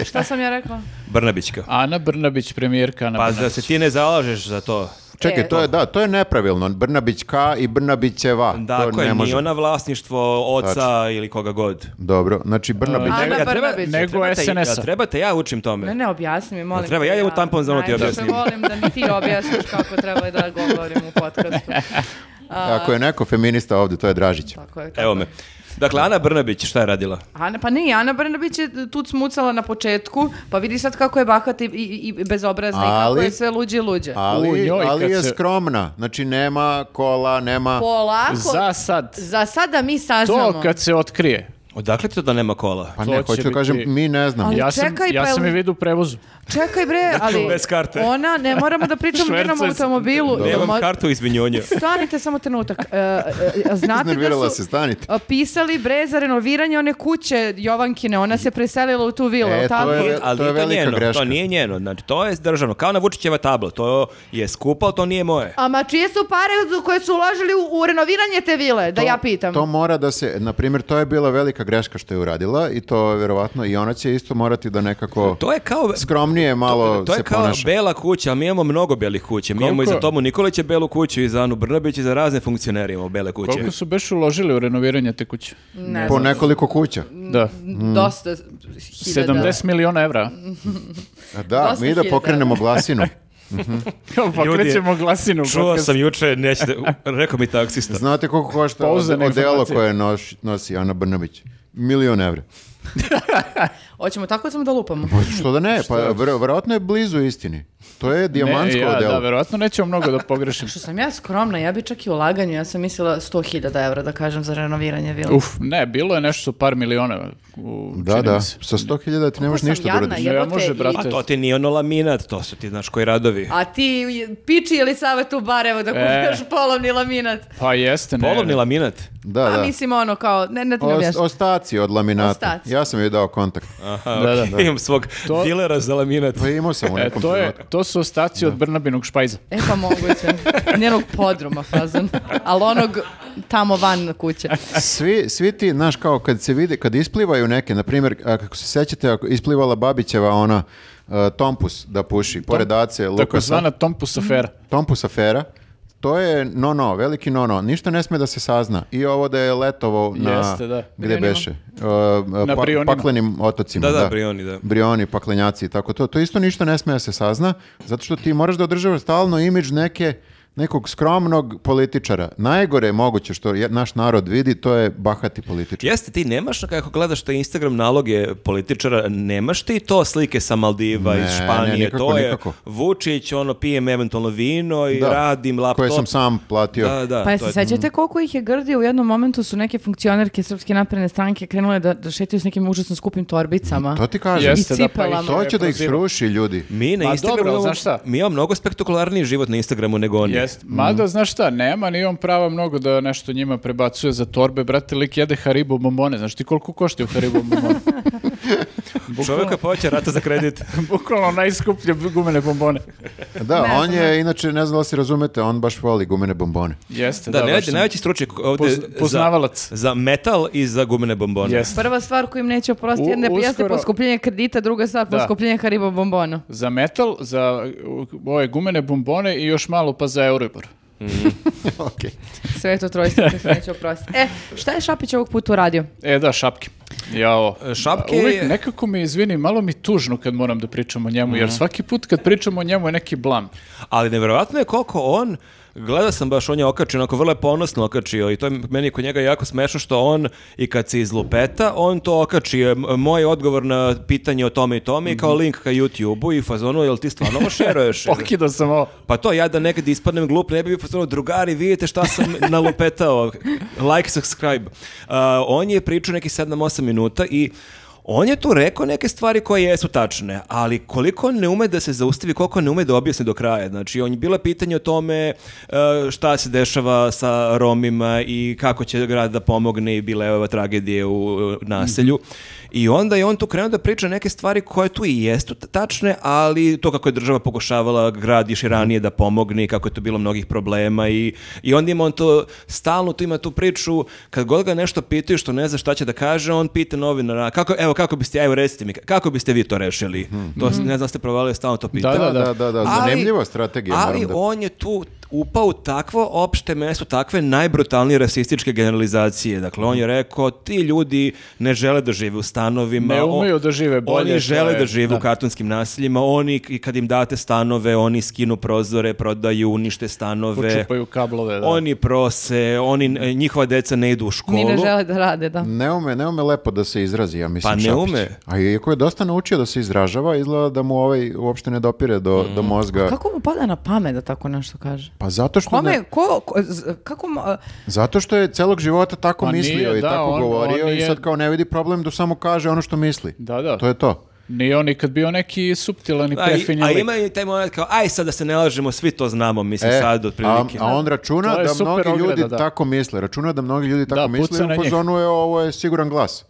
D: E, Šta sam ja rekla?
B: Brnabićka.
C: Ana Brnabić, premijerka Ana
B: Pa
C: Brnabić.
B: da se ti ne zalažeš za to.
A: *laughs* Čekaj,
D: E.
A: to je da, to je nepravilno. Brnabićka i Brnabićeva. to
B: Dakle,
A: ne
B: ni
A: može.
C: ono-
B: ona vlasništvo oca ili koga god.
A: Dobro, znači Brnabić.
D: A- Ana
B: Ja treba-
D: Brnabić.
B: ja
C: Znači. Nego
B: trebate-
C: SNS-a.
B: ja Trebate, ja učim tome.
D: Ne, ne, objasni mi, molim.
B: Da treba,
D: te,
B: ja idem u tampon za ono ti
D: najviše
B: objasnim.
D: volim da mi ti objasniš kako treba da govorim u podcastu.
A: Ako je neko feminista ovdje, to je Dražić.
D: Tako je.
B: Evo me. Dakle, Ana Brnabić, šta je radila?
D: Ana, pa ne, Ana Brnabić je tu smucala na početku, pa vidi sad kako je bahata i, i, i bezobrazna i
A: Ali-
D: kako je sve luđe i luđe.
A: Ali,
C: U njoj
A: ali
C: kad
A: je
C: se-
A: skromna. Znači nema kola, nema...
D: Polako,
C: Za
D: za,
C: sad.
D: sada mi saznamo.
C: To kad se otkrije.
B: Odakle ti to da nema kola?
A: Pa
C: To
A: ne,
C: će
A: hoću da kažem,
C: biti-
A: mi ne znamo.
D: Ali
C: Ja sam,
D: čekaj,
C: ja
D: pa
C: sam
D: jel-
C: je vidio u prevozu.
B: *laughs*
D: Čekaj bre, ali
B: Bez karte.
D: ona, ne moramo da pričamo o njenom
C: Švercaj se.
D: automobilu. Jel
B: Nemam
D: mo-
B: kartu
D: *laughs*
B: izvinjonja.
D: Stanite samo trenutak. E, e, znate
A: Iznervirala
D: da
A: se,
D: su
A: stanite.
D: e, pisali bre za renoviranje one kuće Jovankine, ona se preselila u tu vilu,
A: E,
D: jel tako?
A: to je-
B: Nije, ali
A: to je
B: nije to
A: velika
B: njeno,
A: greška.
B: to nije njeno, znači to je državno, kao na Vučićeva tabla, to je skupo, ali to nije moje.
D: A ma čije su pare za koje su uložili u, u renoviranje te vile, da ja pitam?
A: To mora da se, na primjer, to je bila velika neka greška što je uradila i to je vjerovatno i ona će isto morati da nekako
B: To je kao...
A: skromnije malo
B: To je
A: se
B: kao
A: ponaša.
B: bela kuća, a mi imamo mnogo belih kuća. Mi imamo i za
C: Koliko-
B: Tomu Nikolića belu kuću, i za Anu Brnabić, i za razne funkcionere imamo bele kuće.
C: Koliko su beš uložili u renoviranje te kuće?
D: Ne
A: Po
D: znam.
A: nekoliko kuća.
C: Da.
E: Dosta hiljada.
C: 70 miliona evra.
A: A Da,
E: Dosta
A: mi da
E: hiljada.
A: pokrenemo glasinu.
C: Kao *laughs* pa
B: Ljudi,
C: krećemo glasinu. u
B: Čuo
C: podcast.
B: sam juče, nećete, rekao mi taksista.
A: Znate koliko košta od-
C: Pouzdana
A: odelo
C: informacija.
A: koje noš- nosi Ana Brnabić? Milion evra.
D: Hoćemo tako samo da lupamo.
A: Pa što da ne, pa vr- vjerojatno je blizu istini. To je
C: Ne,
A: dijamantsko
C: ja,
A: odelo.
C: Da, verovatno nećemo mnogo da
D: *laughs*
C: pogrešim.
D: Što sam ja skromna, ja bi čak i u laganju, ja sam mislila 100.000 evra da kažem za renoviranje vile.
C: Uf, ne, bilo je nešto par miliona. U,
A: Da,
C: čini
A: da,
C: mi se.
A: sa 100.000 ti ne možeš
D: sam
A: ništa da
D: jadna,
A: uradiš.
D: ja-
C: Ne
D: Jebote,
C: može,
D: i-
C: brate.
B: Pa to ti nije ono laminat, to su ti, znaš, koji radovi.
D: A ti piči ili savetu bar evo da
C: E.
D: kupeš polovni laminat.
C: Pa jeste, ne.
B: Polovni
C: ne.
B: laminat.
A: Da,
D: Pa
A: da.
D: mislim ono kao, ne, ne, ne,
A: Os- ostaci od laminata.
D: Ostaci.
A: Ja sam joj dao kontakt.
B: Aha,
C: Da,
B: okej,
C: da.
B: imam svog
C: To-
B: dilera za laminat.
A: Pa imao sam u
C: E,
A: nekom
C: to, je,
A: trenutku.
C: to su ostaci od Brnabinog špajza.
D: E pa moguće. Njenog podruma fazon. Ali onog tamo van kuće.
A: Svi, svi ti, znaš, kao kad se vide, kad isplivaju neke, na primjer, a, kako se sećate, ako isplivala Babićeva ona a, Tompus da puši, pored Ace, Lukasa.
C: Takozvana Tompus afera.
A: Tompus afera, to je no-no, veliki no-no. Ništa ne sme da se sazna. I ovo da je letovo na...
C: Jeste, da.
A: Gde beše? Uh,
C: Na Brionima.
A: Paklenim otocima.
B: Da, da, Brioni, da.
A: Brioni, paklenjaci i tako to. To isto ništa ne sme da se sazna, zato što ti moraš da održavaš stalno imidž neke nekog skromnog političara. Najgore je moguće što je- naš narod vidi, to je bahati političar.
B: Jeste, ti nemaš, kako gledaš te Instagram naloge političara, nemaš ti to slike sa Maldiva, iz
A: Ne,
B: Španije,
A: ne, nikako,
B: to je
A: nikako.
B: Vučić, ono, pijem eventualno vino i
A: Da,
B: radim laptop.
A: Koje sam sam platio.
B: Da, da,
D: Pa
B: to
D: jesi
B: je-
D: sećate koliko ih je grdio? U jednom momentu su neke funkcionerke Srpske napredne stranke krenule da, da šetaju s nekim užasno skupim torbicama.
A: To ti kažem.
D: Jeste.
C: da, pa
D: cipelama.
C: ih
A: To će da ih
C: proziva.
A: sruši ljudi.
B: Mi na
C: Ma
B: Instagramu
C: Pa dobro, ali
B: imamo-
C: znaš šta?
B: mi imamo mnogo spektakularniji život na Instagramu nego oni.
C: Jest. Pa
B: Mm.
C: Mada, znaš šta, nema ni on prava mnogo da nešto njima prebacuje za torbe. Brate, lik jede Haribo bombone. Znaš ti koliko koštaju
B: *laughs*
C: Haribo bombone?
B: Čoveka poveća rata za kredit.
C: *laughs* Bukvalno najskuplje gumene bombone.
A: Da,
D: Ne
A: on je, inače, ne znam da li se razumete, on baš voli gumene bombone. *laughs*
C: Jeste,
B: Da,
C: da,
B: ne,
C: baš sam-
B: najveći stručnjak ovde
C: Poz- poznavalac.
B: Za, za metal i za gumene bombone.
C: Jeste.
D: Prva stvar koju im neće
C: U-
D: oprostiti jedne jeste
C: uskoro-
D: poskupljenje kredita, druga stvar
C: Da.
D: poskupljenje Haribo bombona.
C: Za metal, za uh, ove gumene bombone i još malo pa za Euribor.
A: Okej.
D: Sve je to trojstvo koje se neće oprostiti. E, šta je Šapić ovog puta uradio?
C: E da, šapke. Jao.
B: E, šapke
C: Uvijek
B: je-
C: nekako mi, izvini, malo mi tužno kad moram da pričam o njemu, jer
B: Mhm.
C: svaki put kad pričam o njemu je neki blam.
B: Ali nevjerojatno je koliko on, gledao sam baš, on je okačio, onako vrlo je ponosno okačio i to je meni kod njega jako smešno što on i kad se izlupeta, on to okači. M- Moj odgovor na pitanje o tome i tome i kao link ka YouTube-u i fazonu, jel ti stvarno ovo
C: *laughs*
B: šeruješ?
C: Pokidao sam ovo.
B: Pa to, ja da nekad ispadnem glup, ne bi bio fazonu, drugari, vidite šta sam nalupetao, like, subscribe. A, on je pričao nekih 7-8 minuta i On je tu rekao neke stvari koje jesu tačne, ali koliko on ne ume da se zaustavi, koliko ne ume da objasni do kraja. Znači, on je bilo pitanje o tome e, šta se dešava sa Romima i kako će grad da pomogne i bila je ova tragedija u e, naselju. I onda je on tu krenuo da priča neke stvari koje tu i jesu t- tačne, ali to kako je država pokušavala grad još i ranije da pomogne i kako je tu bilo mnogih problema i, i onda ima on to, stalno tu ima tu priču, kad god ga nešto pitaju što ne zna šta će da kaže, on pita novinara, kako, evo kako biste, evo recite mi, kako biste vi to rešili? To s- ne znam, ste provali, stalno to pita.
C: Mhm. Da, Pa da,
A: Da, da, da,
B: Ali-
A: zanimljiva strategija. moram
B: Ali
A: da-
B: on je tu upao u takvo opšte mesto, takve najbrutalnije rasističke generalizacije. Dakle, on je rekao, ti ljudi ne žele da žive u stanovima.
C: Ne
B: o-
C: umeju da žive bolje, to
B: Oni žele
C: je-
B: da žive
C: da.
B: u kartonskim nasiljima. Oni, i kad im date stanove, oni skinu prozore, prodaju, unište stanove.
C: Počupaju kablove. Da.
B: Oni prose, oni, e, njihova deca ne idu u školu.
D: Ni ne žele da rade, da.
A: Ne ume, ne ume lepo da se izrazi, ja mislim
B: Pa ne
A: Šapić.
B: ume.
A: A iako je dosta naučio da se izražava, izgleda da mu ovaj uopšte ne dopire do,
B: Mhm.
A: do mozga.
D: Kako mu pada na pamet da tako nešto kaže?
A: Pa zato što,
D: Kome,
A: ne-
D: ko, ko- z- kako, mu, a,
A: zato što je celog života tako
C: Pa nije,
A: mislio i
C: da,
A: tako
C: on-
A: govorio
C: on
A: i
C: je-
A: sad kao ne vidi problem da samo kaže ono što misli.
C: Da, da.
A: To je to.
C: Nije on nikad bio neki suptilan i
B: A, i-
C: prefinjen
B: a
C: lik.
B: ima i taj moment kao, aj sad da se ne lažemo, svi to znamo, mislim
A: E,
B: sad,
A: a,
B: otprilike.
A: a on računa
C: To je
A: da
C: super
A: mnogi
C: ograda,
A: ljudi
C: da.
A: tako misle. Računa da mnogi ljudi tako
C: Da,
A: misle
C: puca na Mm.
A: i u
C: njih.
A: fazonu je ovo je siguran glas.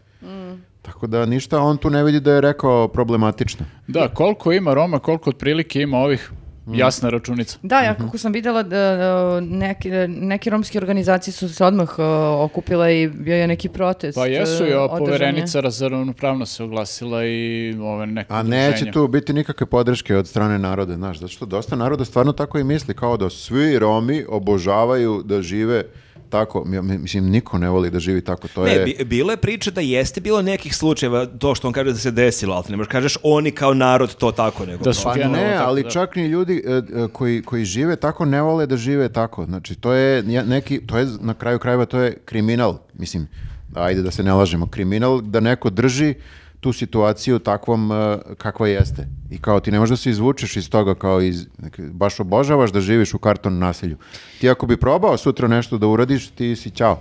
A: Tako da ništa on tu ne vidi da je rekao problematično.
C: Da, koliko ima Roma, koliko otprilike ima ovih
D: Mm.
C: jasna računica.
D: Da, ja kako sam vidjela da, da neki, neke romske organizacije su se odmah e, okupile i bio je neki protest.
C: Pa jesu,
D: e,
C: ja,
D: održan je.
C: poverenica za ravnopravnost se oglasila i ove neke
A: A neće
C: udruženja.
A: tu biti nikakve podrške od strane naroda, znaš, zato što dosta naroda stvarno tako i misli, kao da svi Romi obožavaju da žive tako, Ja mi- mislim, niko ne voli da živi tako, to
B: Ne,
A: je...
B: bi, bilo je priča da jeste bilo nekih slučajeva, to što on kaže da se desilo, ali ti ne možeš kažeš oni kao narod to tako nego.
C: Da
B: to.
C: su
A: Pa
C: generalno
A: ne,
C: tako,
A: ali
C: da.
A: čak ni ljudi e, e, koji, koji žive tako ne vole da žive tako. Znači, to je nje- neki, to je na kraju krajeva, to je kriminal. Mislim, ajde da se ne lažemo, kriminal da neko drži tu situaciju takvom e, kakva jeste. I kao ti ne možeš da se izvučeš iz toga kao iz, nek- baš obožavaš da živiš u karton naselju. Ti ako bi probao sutra nešto da uradiš, ti si ćao.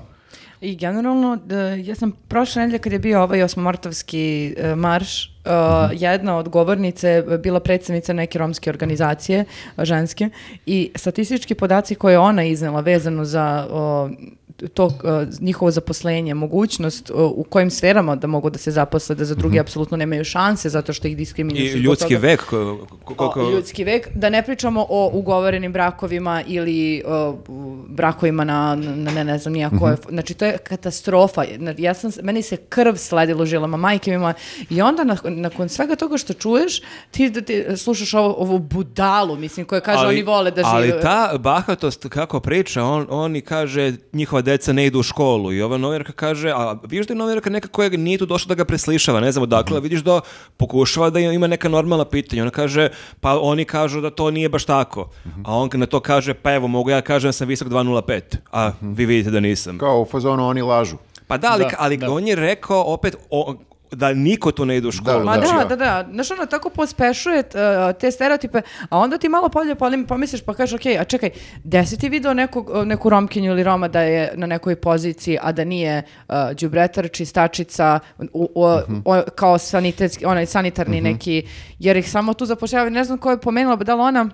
D: I generalno, da, ja sam prošle nedelje kad je bio ovaj osmomartovski e, marš, e,
C: Mhm.
D: jedna od govornice je bila predsednica neke romske organizacije, e, ženske, i statistički podaci koje je ona iznela vezano za o, to e, njihovo zaposlenje, mogućnost o, u kojim sferama da mogu da se zaposle, da za
C: Mhm.
D: drugi apsolutno nemaju šanse zato što ih
B: I
D: diskriminišu. zbog
B: ljudski
D: toga.
B: vek ko- ko-
D: O,
B: koliko-
D: ljudski vek, da ne pričamo o ugovorenim brakovima ili o, u- brakovima na, na ne, ne znam ni ja
B: Mhm.
D: koje. Znači, to je katastrofa. Na- Ja sam, meni se krv sledilo u žilama, majke mi moje. I onda, nak- nakon svega toga što čuješ, ti, da ti slušaš ovo, ovu budalu, mislim, koja kaže oni vole da žive.
B: Ali ta bahatost kako priča, on, oni kaže njihova deca ne idu u školu i ova novinarka kaže, a vidiš da je novinarka neka koja nije tu došla da ga preslišava, ne znam odakle, vidiš da pokušava da ima neka normalna pitanja. Ona kaže, pa oni kažu da to nije baš tako. A on na to kaže, pa evo mogu ja kažem da sam visok 2.05, a vi vidite da nisam.
A: Kao u fazonu oni lažu.
B: Pa da, ali,
C: Da,
B: ali
C: da.
B: on je rekao opet o- da niko tu ne ide u školu.
D: Ma
A: Znači,
D: da,
A: ja.
D: da, da. Znaš, ono, tako pospešuje uh, te stereotipe, a onda ti malo polje polim- pomisliš pa kažeš, ok, a čekaj, gde si ti video nekog, uh, neku romkinju ili roma da je na nekoj poziciji, a da nije uh, đubretar, čistačica, u, u- o- kao sanitetski, onaj sanitarni neki, jer ih samo tu zapošljavaju. Ne znam ko je pomenula, da li ona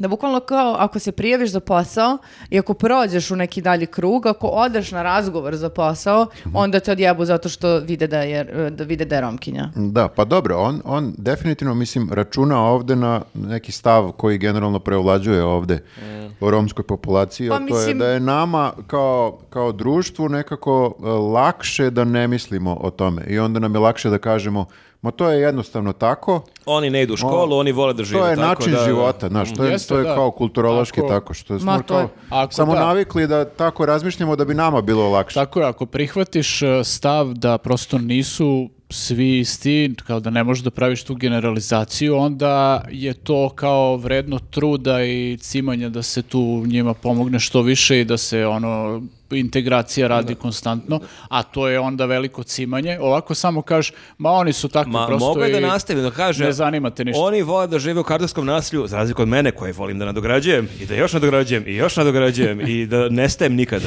D: da bukvalno kao ako se prijaviš za posao i ako prođeš u neki dalji krug, ako odeš na razgovor za posao, onda te odjebu zato što vide da je, e, da vide da je romkinja.
A: Da, pa dobro, on, on definitivno, mislim, računa ovde na neki stav koji generalno preovlađuje ovde
C: Mm.
A: o romskoj populaciji,
D: Pa
A: a to je
D: mislim-
A: da je nama kao, kao društvu nekako e, lakše da ne mislimo o tome i onda nam je lakše da kažemo, ma to je jednostavno tako,
B: Oni ne idu u školu, oni vole da žive.
A: to je
B: tako
A: način
B: da- da.
A: života, znaš, to je,
C: Jeste,
A: to je
C: da.
A: kao kulturološki
C: Ako-
A: tako, što smo
D: Ma, to je-
A: kao
C: Ako
A: samo
C: da.
A: navikli da tako razmišljamo da bi nama bilo lakše.
C: Tako je, ako prihvatiš e, stav da prosto nisu svi isti, kao da ne možeš da praviš tu generalizaciju, onda je to kao vredno truda i cimanja da se tu njima pomogne što više i da se ono integracija radi konstantno, a to je onda veliko cimanje. Ovako samo kažeš, ma oni su takvi
B: Ma
C: prosto
B: mogu je da
C: i
B: nastavim, da kaže,
C: ne zanima te ništa.
B: Oni vole da žive u kartonskom nasilju, za razliku od mene koje volim da nadograđujem i da još nadograđujem i još nadograđujem i da nestajem nikada.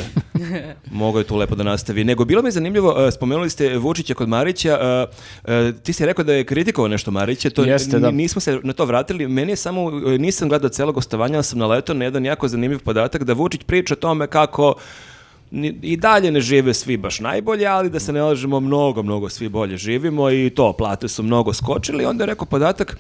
B: Mogu je tu lepo da nastavi. Nego bilo mi je zanimljivo, e, spomenuli ste Vučića kod Marića, e, e, ti si rekao da je kritikovao nešto Marića, to
C: Jeste, da.
B: ni- nismo se na to vratili. Meni je samo, e, nisam gledao celo gostovanje, ali sam naletao na jedan jako zanimljiv podatak da Vučić priča o tome kako ni- i dalje ne žive svi baš najbolje, ali da se ne lažemo mnogo, mnogo svi bolje živimo i to, plate su mnogo skočili. Onda je rekao podatak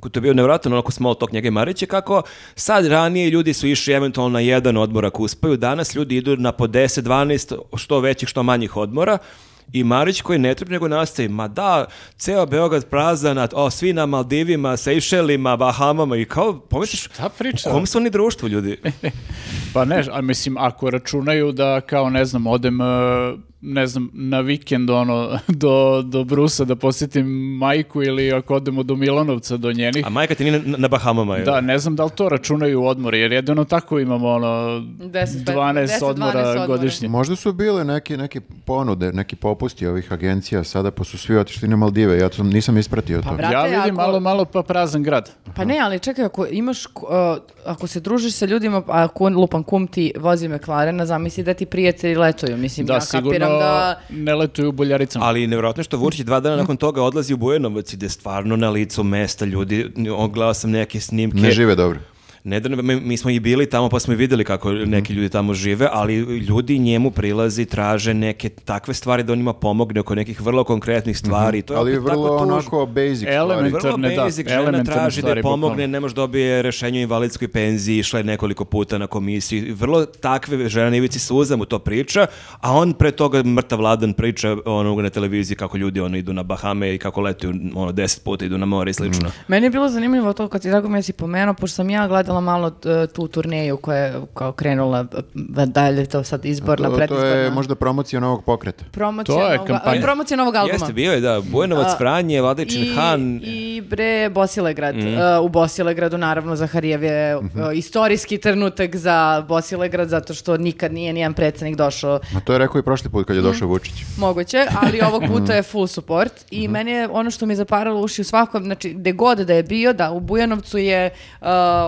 B: koji to je bio nevratno, onako small talk njega i Marića, kako sad ranije ljudi su išli eventualno na jedan odmor ako uspeju, danas ljudi idu na po 10, 12, što većih, što manjih odmora, i Marić koji ne trpi nego nastavi, ma da, ceo Beograd prazan, a- o, svi na Maldivima, Sejšelima, Bahamama i kao, pomisliš,
C: Šta priča?
B: u kom su oni društvu ljudi?
C: Pa ne, a mislim, ako računaju da kao, ne znam, odem, e, ne znam, na vikend ono, *laughs* do, do Brusa da posjetim majku ili ako odemo do Milanovca do njenih,
B: A majka ti nije na, na Bahamama. je.
C: da, ne znam da li to računaju u odmori, jer jedino tako imamo ono,
D: 10,
C: 12
D: 10,
C: odmora
D: 12 odmora.
C: godišnje.
A: Možda su bile neke, neke ponude, neki popusti ovih agencija sada, pa su svi otišli na Maldive. Ja to nisam ispratio to.
D: brate,
C: ja vidim
D: ako-
C: malo, malo pa prazan grad.
D: Pa ne, ali čekaj, ako imaš, k- uh, ako se družiš sa ljudima, a kun, lupan kum ti vozi McLarena, zamisli da ti prijatelji letuju. Mislim,
C: Da,
D: ja
C: sigurno
D: kapiram da...
C: ne letuju u buljaricama.
B: Ali nevjerojatno je što Vučić dva dana nakon toga odlazi u Bujanovac i gde stvarno na licu mesta ljudi, on gledao sam neke snimke.
A: Ne žive dobro.
B: Ne da ne- mi, mi smo i bili tamo pa smo i vidjeli kako
C: Mhm.
B: neki ljudi tamo žive, ali ljudi njemu prilazi, traže neke takve stvari da on njima pomogne oko nekih vrlo
C: Mhm.
B: konkretnih stvari. To je
A: Ali
B: opet
A: vrlo
B: tako tužno.
A: onako basic stvari.
C: Element-
B: Vrlo
C: Elementarne, da,
B: basic, žena
C: elementarne
B: traži da
C: stvari,
B: je pomogne,
C: bukvalno.
B: ne može dobije rešenje o invalidskoj penziji, išla je nekoliko puta na komisiji. Vrlo takve žena na ivici suza mu to priča, a on pre toga mrtav vladan priča onog na televiziji kako ljudi ono idu na Bahame i kako letuju ono 10 puta idu na more i slično.
C: Mhm.
D: Meni je bilo zanimljivo to kad ti drago mi si pomenuo, pošto sam ja gledala malo t- tu turneju koja je kao krenula e, dalje, to sad izborna,
A: To, to
D: predizborna.
A: je možda promocija novog pokreta.
D: Promocija
C: To je
D: novog- e,
C: kampanja.
D: promocija novog albuma.
B: Jeste, bio je, da, Bujanovac,
D: A,
B: Franje, Vladičin,
D: I,
B: Han. Mhm.
D: I bre Bosilegrad. Uh, u Bosilegradu naravno Zaharijev je uh,
A: Mhm.
D: istorijski trenutak za Bosilegrad zato što nikad nije nijedan predsjednik došao
A: Ma to je rekao i prošli put kad je došao Vučić.
D: moguće, ali ovog puta je full support i meni je ono što mi je zaparalo uši u svakom, znači gde god da je bio, da u Bujanovcu je uh,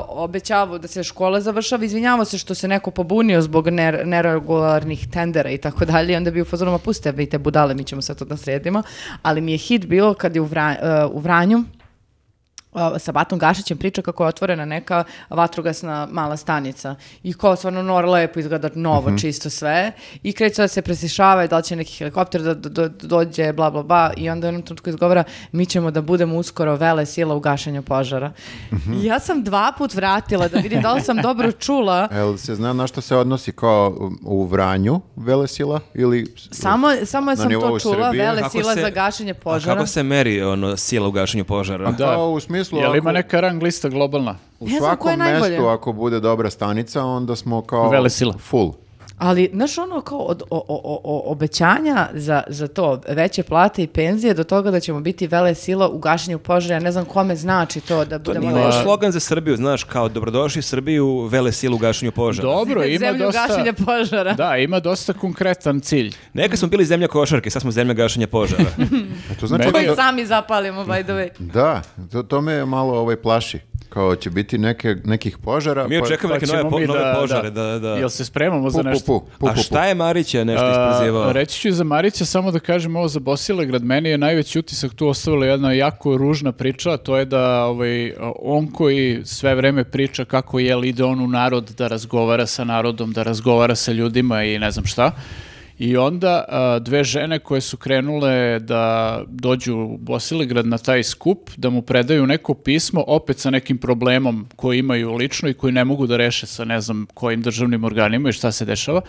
D: obećavao da se škola završava, izvinjavao se što se neko pobunio zbog ner- neregularnih tendera i tako dalje, i onda bi u fazonu, ma pustite vi te budale, mi ćemo sad to da sredimo, ali mi je hit bilo kad je u, Vra- uh, u Vranju, a, sa Batom Gašićem priča kako je otvorena neka vatrogasna mala stanica i kao stvarno nor lepo izgleda novo
A: Mhm.
D: čisto sve i kreće da se presišava i da li će neki helikopter da do- do- dođe bla bla bla i onda u jednom trenutku izgovara mi ćemo da budemo uskoro vele sila u gašenju požara.
A: Mhm.
D: I Ja sam dva put vratila da vidim da li sam dobro
A: *laughs*
D: čula
A: Jel se zna na što se odnosi kao u- u Vranju velesila ili...
D: Samo, samo
A: Na
D: sam to
A: nivou
D: čula,
A: Srbije?
D: vele
B: Kako
D: sila
B: se-
D: za gašenje
B: A
D: požara.
B: kako se meri ono, sila u gašenju požara?
C: Da.
A: Kao u smislu...
C: Jel
A: ako-
C: ima neka rang lista globalna?
A: U
D: Ne znam koja je
A: svakom
D: najbolja.
A: mestu ako bude dobra stanica, onda smo kao...
C: Velesila.
A: Full.
D: Ali, znaš, ono kao od o, o- o- o- obećanja za, za to veće plate i penzije do toga da ćemo biti vele sila u gašenju požara, ja ne znam kome znači to da
B: To
D: budemo...
B: nije
D: vele-
B: loš slogan za Srbiju, znaš, kao dobrodošli Srbiju, vele silu u gašenju požara.
C: Dobro, ima
D: *laughs* Zemlju
C: dosta...
D: gašenja požara. *laughs*
C: Da, ima dosta konkretan cilj.
B: Neka smo bili zemlja košarke, sad smo zemlja gašenja
C: *laughs*
B: požara.
A: E, to znači...
C: Meni-
D: Koji
A: da-
D: sami zapalimo, by the way.
A: Da, to, to me malo ovaj plaši. Kao će biti neke, nekih požara.
B: Mi
A: pa-
B: očekujemo neke nove,
C: ćemo
B: po-
C: mi
B: nove
C: da-
B: požare, da, da.
C: Jel se spremamo
A: Pu,
C: za
A: pu,
C: nešto?
A: pu, pu,
B: A
A: pu,
B: šta je Marića nešto
C: A,
B: isprozivao?
C: reći ću i za Marića samo da kažem ovo za Bosilegrad. Meni je najveći utisak tu ostavila jedna jako ružna priča, a to je da ovaj, on koji sve vreme priča kako je ide on u narod da razgovara sa narodom, da razgovara sa ljudima i ne znam šta. I onda a, dve žene koje su krenule da dođu u Bosilegrad na taj skup, da mu predaju neko pismo opet sa nekim problemom koji imaju lično i koji ne mogu da reše sa ne znam kojim državnim organima i šta se dešava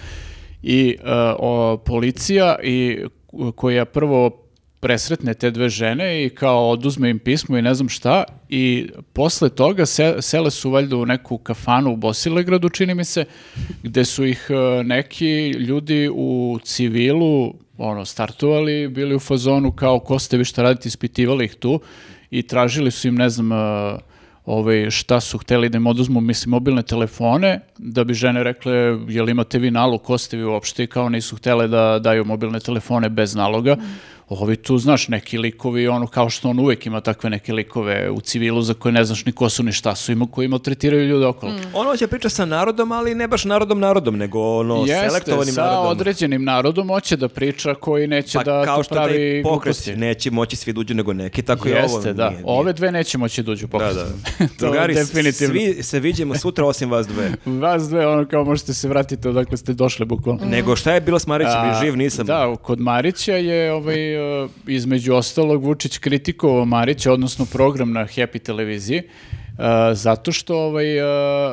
C: i e, o, policija i k- koja prvo presretne te dve žene i kao oduzme im pismo i ne znam šta i posle toga se, sele su valjda u neku kafanu u Bosilegradu čini mi se gde su ih e, neki ljudi u civilu ono startovali bili u fazonu kao ko ste vi šta radite ispitivali ih tu i tražili su im ne znam e, ovaj, šta su hteli da im oduzmu, mislim, mobilne telefone, da bi žene rekle, jel imate vi nalog, ko ste vi uopšte, i kao nisu htele da daju mobilne telefone bez naloga. Ovi tu, znaš, neki likovi, ono, kao što on uvek ima takve neke likove u civilu za koje ne znaš ni ko su ni šta su, ima koji maltretiraju ljude okolo.
B: Ono će priča sa narodom, ali ne baš narodom narodom, nego ono selektovanim
C: sa
B: narodom.
C: određenim narodom hoće da priča koji neće
B: pa
C: da
B: kao
C: tu
B: što
C: pravi
B: taj pokret
C: gluposti.
B: neće moći svi duđu nego neki, tako i ovo.
C: Jeste, da.
B: nije- nije.
C: Ove dve neće moći da uđu u
B: Da,
C: pokret.
B: da.
C: *laughs* To
B: Drugari, s-
C: definitivno.
B: svi se viđemo sutra osim vas dve.
C: Vas dve, ono, kao možete se vratiti odakle ste došli, bukvalno.
B: Nego šta je bilo s Marićem?
C: A,
B: Mm. Živ nisam.
C: Da, kod Marića je ovaj, e, između ostalog Vučić kritikovao Marića, odnosno program na Happy televiziji, e, zato što ovaj,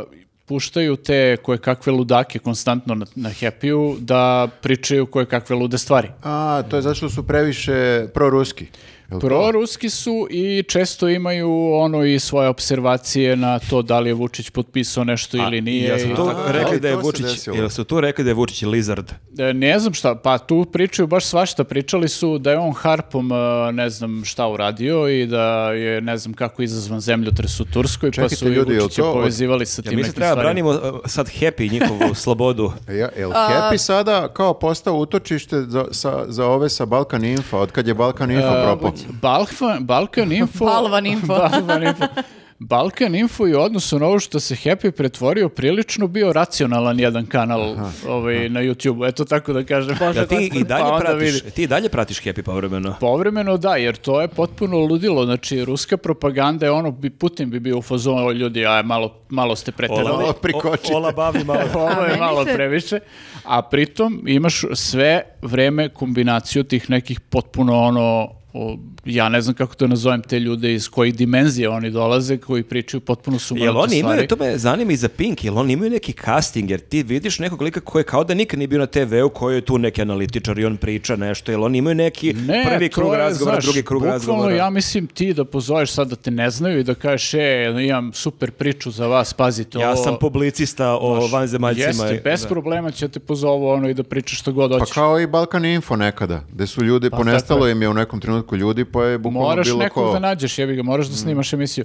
C: e, puštaju te koje kakve ludake konstantno na, na Happy-u da pričaju koje kakve lude stvari.
A: A, to je zato što su previše proruski. Jel to?
C: Proruski su i često imaju ono i svoje observacije na to da li je Vučić potpisao nešto ili nije.
B: Jel
C: i
B: su tu
C: tako-
A: A,
B: rekli
A: ali
B: da je
A: to se
B: Vučić,
A: desilo.
B: jel su tu rekli da je Vučić lizard?
C: E, Ne znam šta, pa tu pričaju baš svašta, pričali su da je on harpom e, ne znam šta uradio i da je ne znam kako izazvan zemljotres u Turskoj, pa
A: Čekajte,
C: su i
A: ljudi, jel
C: Vučića
A: to od-
C: povezivali sa
B: Ja,
C: tim
B: mi se
C: nekim
B: treba
C: stvarima.
B: branimo uh, sad happy i
A: *laughs*
B: njihovu slobodu.
A: E, Ja, jel Happy sada kao postao utočište za, sa, za ove sa Balkan Infa, od kad je Balkan Info propao?
C: E, Balkan, Balkan Info...
D: Balvan Info.
C: *laughs* Balvan Info. Balkan Info i u odnosu na ovo što se Happy pretvorio prilično bio racionalan jedan kanal ovaj, na YouTube. Eto tako da kažem.
B: Da ti i dalje
C: Pa onda
B: pratiš,
C: vidi.
B: ti i dalje pratiš Happy povremeno.
C: Povremeno da, jer to je potpuno ludilo. Znači, ruska propaganda je ono, bi, Putin bi bio u fazonu, "O, ljudi, aj, malo, malo ste preterali.
A: Malo Pa prikočite.
B: Ola bavi *laughs* malo.
C: *laughs* Ovo
D: A
C: je
D: meni
C: malo
D: se-
C: previše. A pritom imaš sve vreme kombinaciju tih nekih potpuno ono, o, ja ne znam kako to nazovem, te ljude iz kojih dimenzije oni dolaze, koji pričaju potpuno sumanute
B: Jel oni imaju,
C: stvari.
B: to me zanima i za Pink, jel oni imaju neki casting, jer ti vidiš nekog lika koji je kao da nikad nije bio na TV-u, koji je tu neki analitičar i on priča nešto, jel oni imaju neki prvi
C: to
B: krug
C: je,
B: razgovora,
C: znaš,
B: drugi krug
C: bukvalno
B: razgovora.
C: ja mislim ti da pozoveš sad da te ne znaju i da kažeš, e, imam super priču za vas, pazite
B: Ja
C: ovo.
B: sam publicista o vanzemaljcima.
C: Jeste, bez problema će te pozovu ono i da pričaš što god
A: Pa
C: hoćeš.
A: kao i Balkan Info nekada, gde su
B: Pa
A: ljudi,
C: tako
A: ponestalo im je u nekom trenutku ljudi, pa je bukvalno
C: Moraš
A: bilo
C: nekog
A: ko... *laughs* Mm.
C: da nađeš, jebi ga, moraš da snimaš emisiju.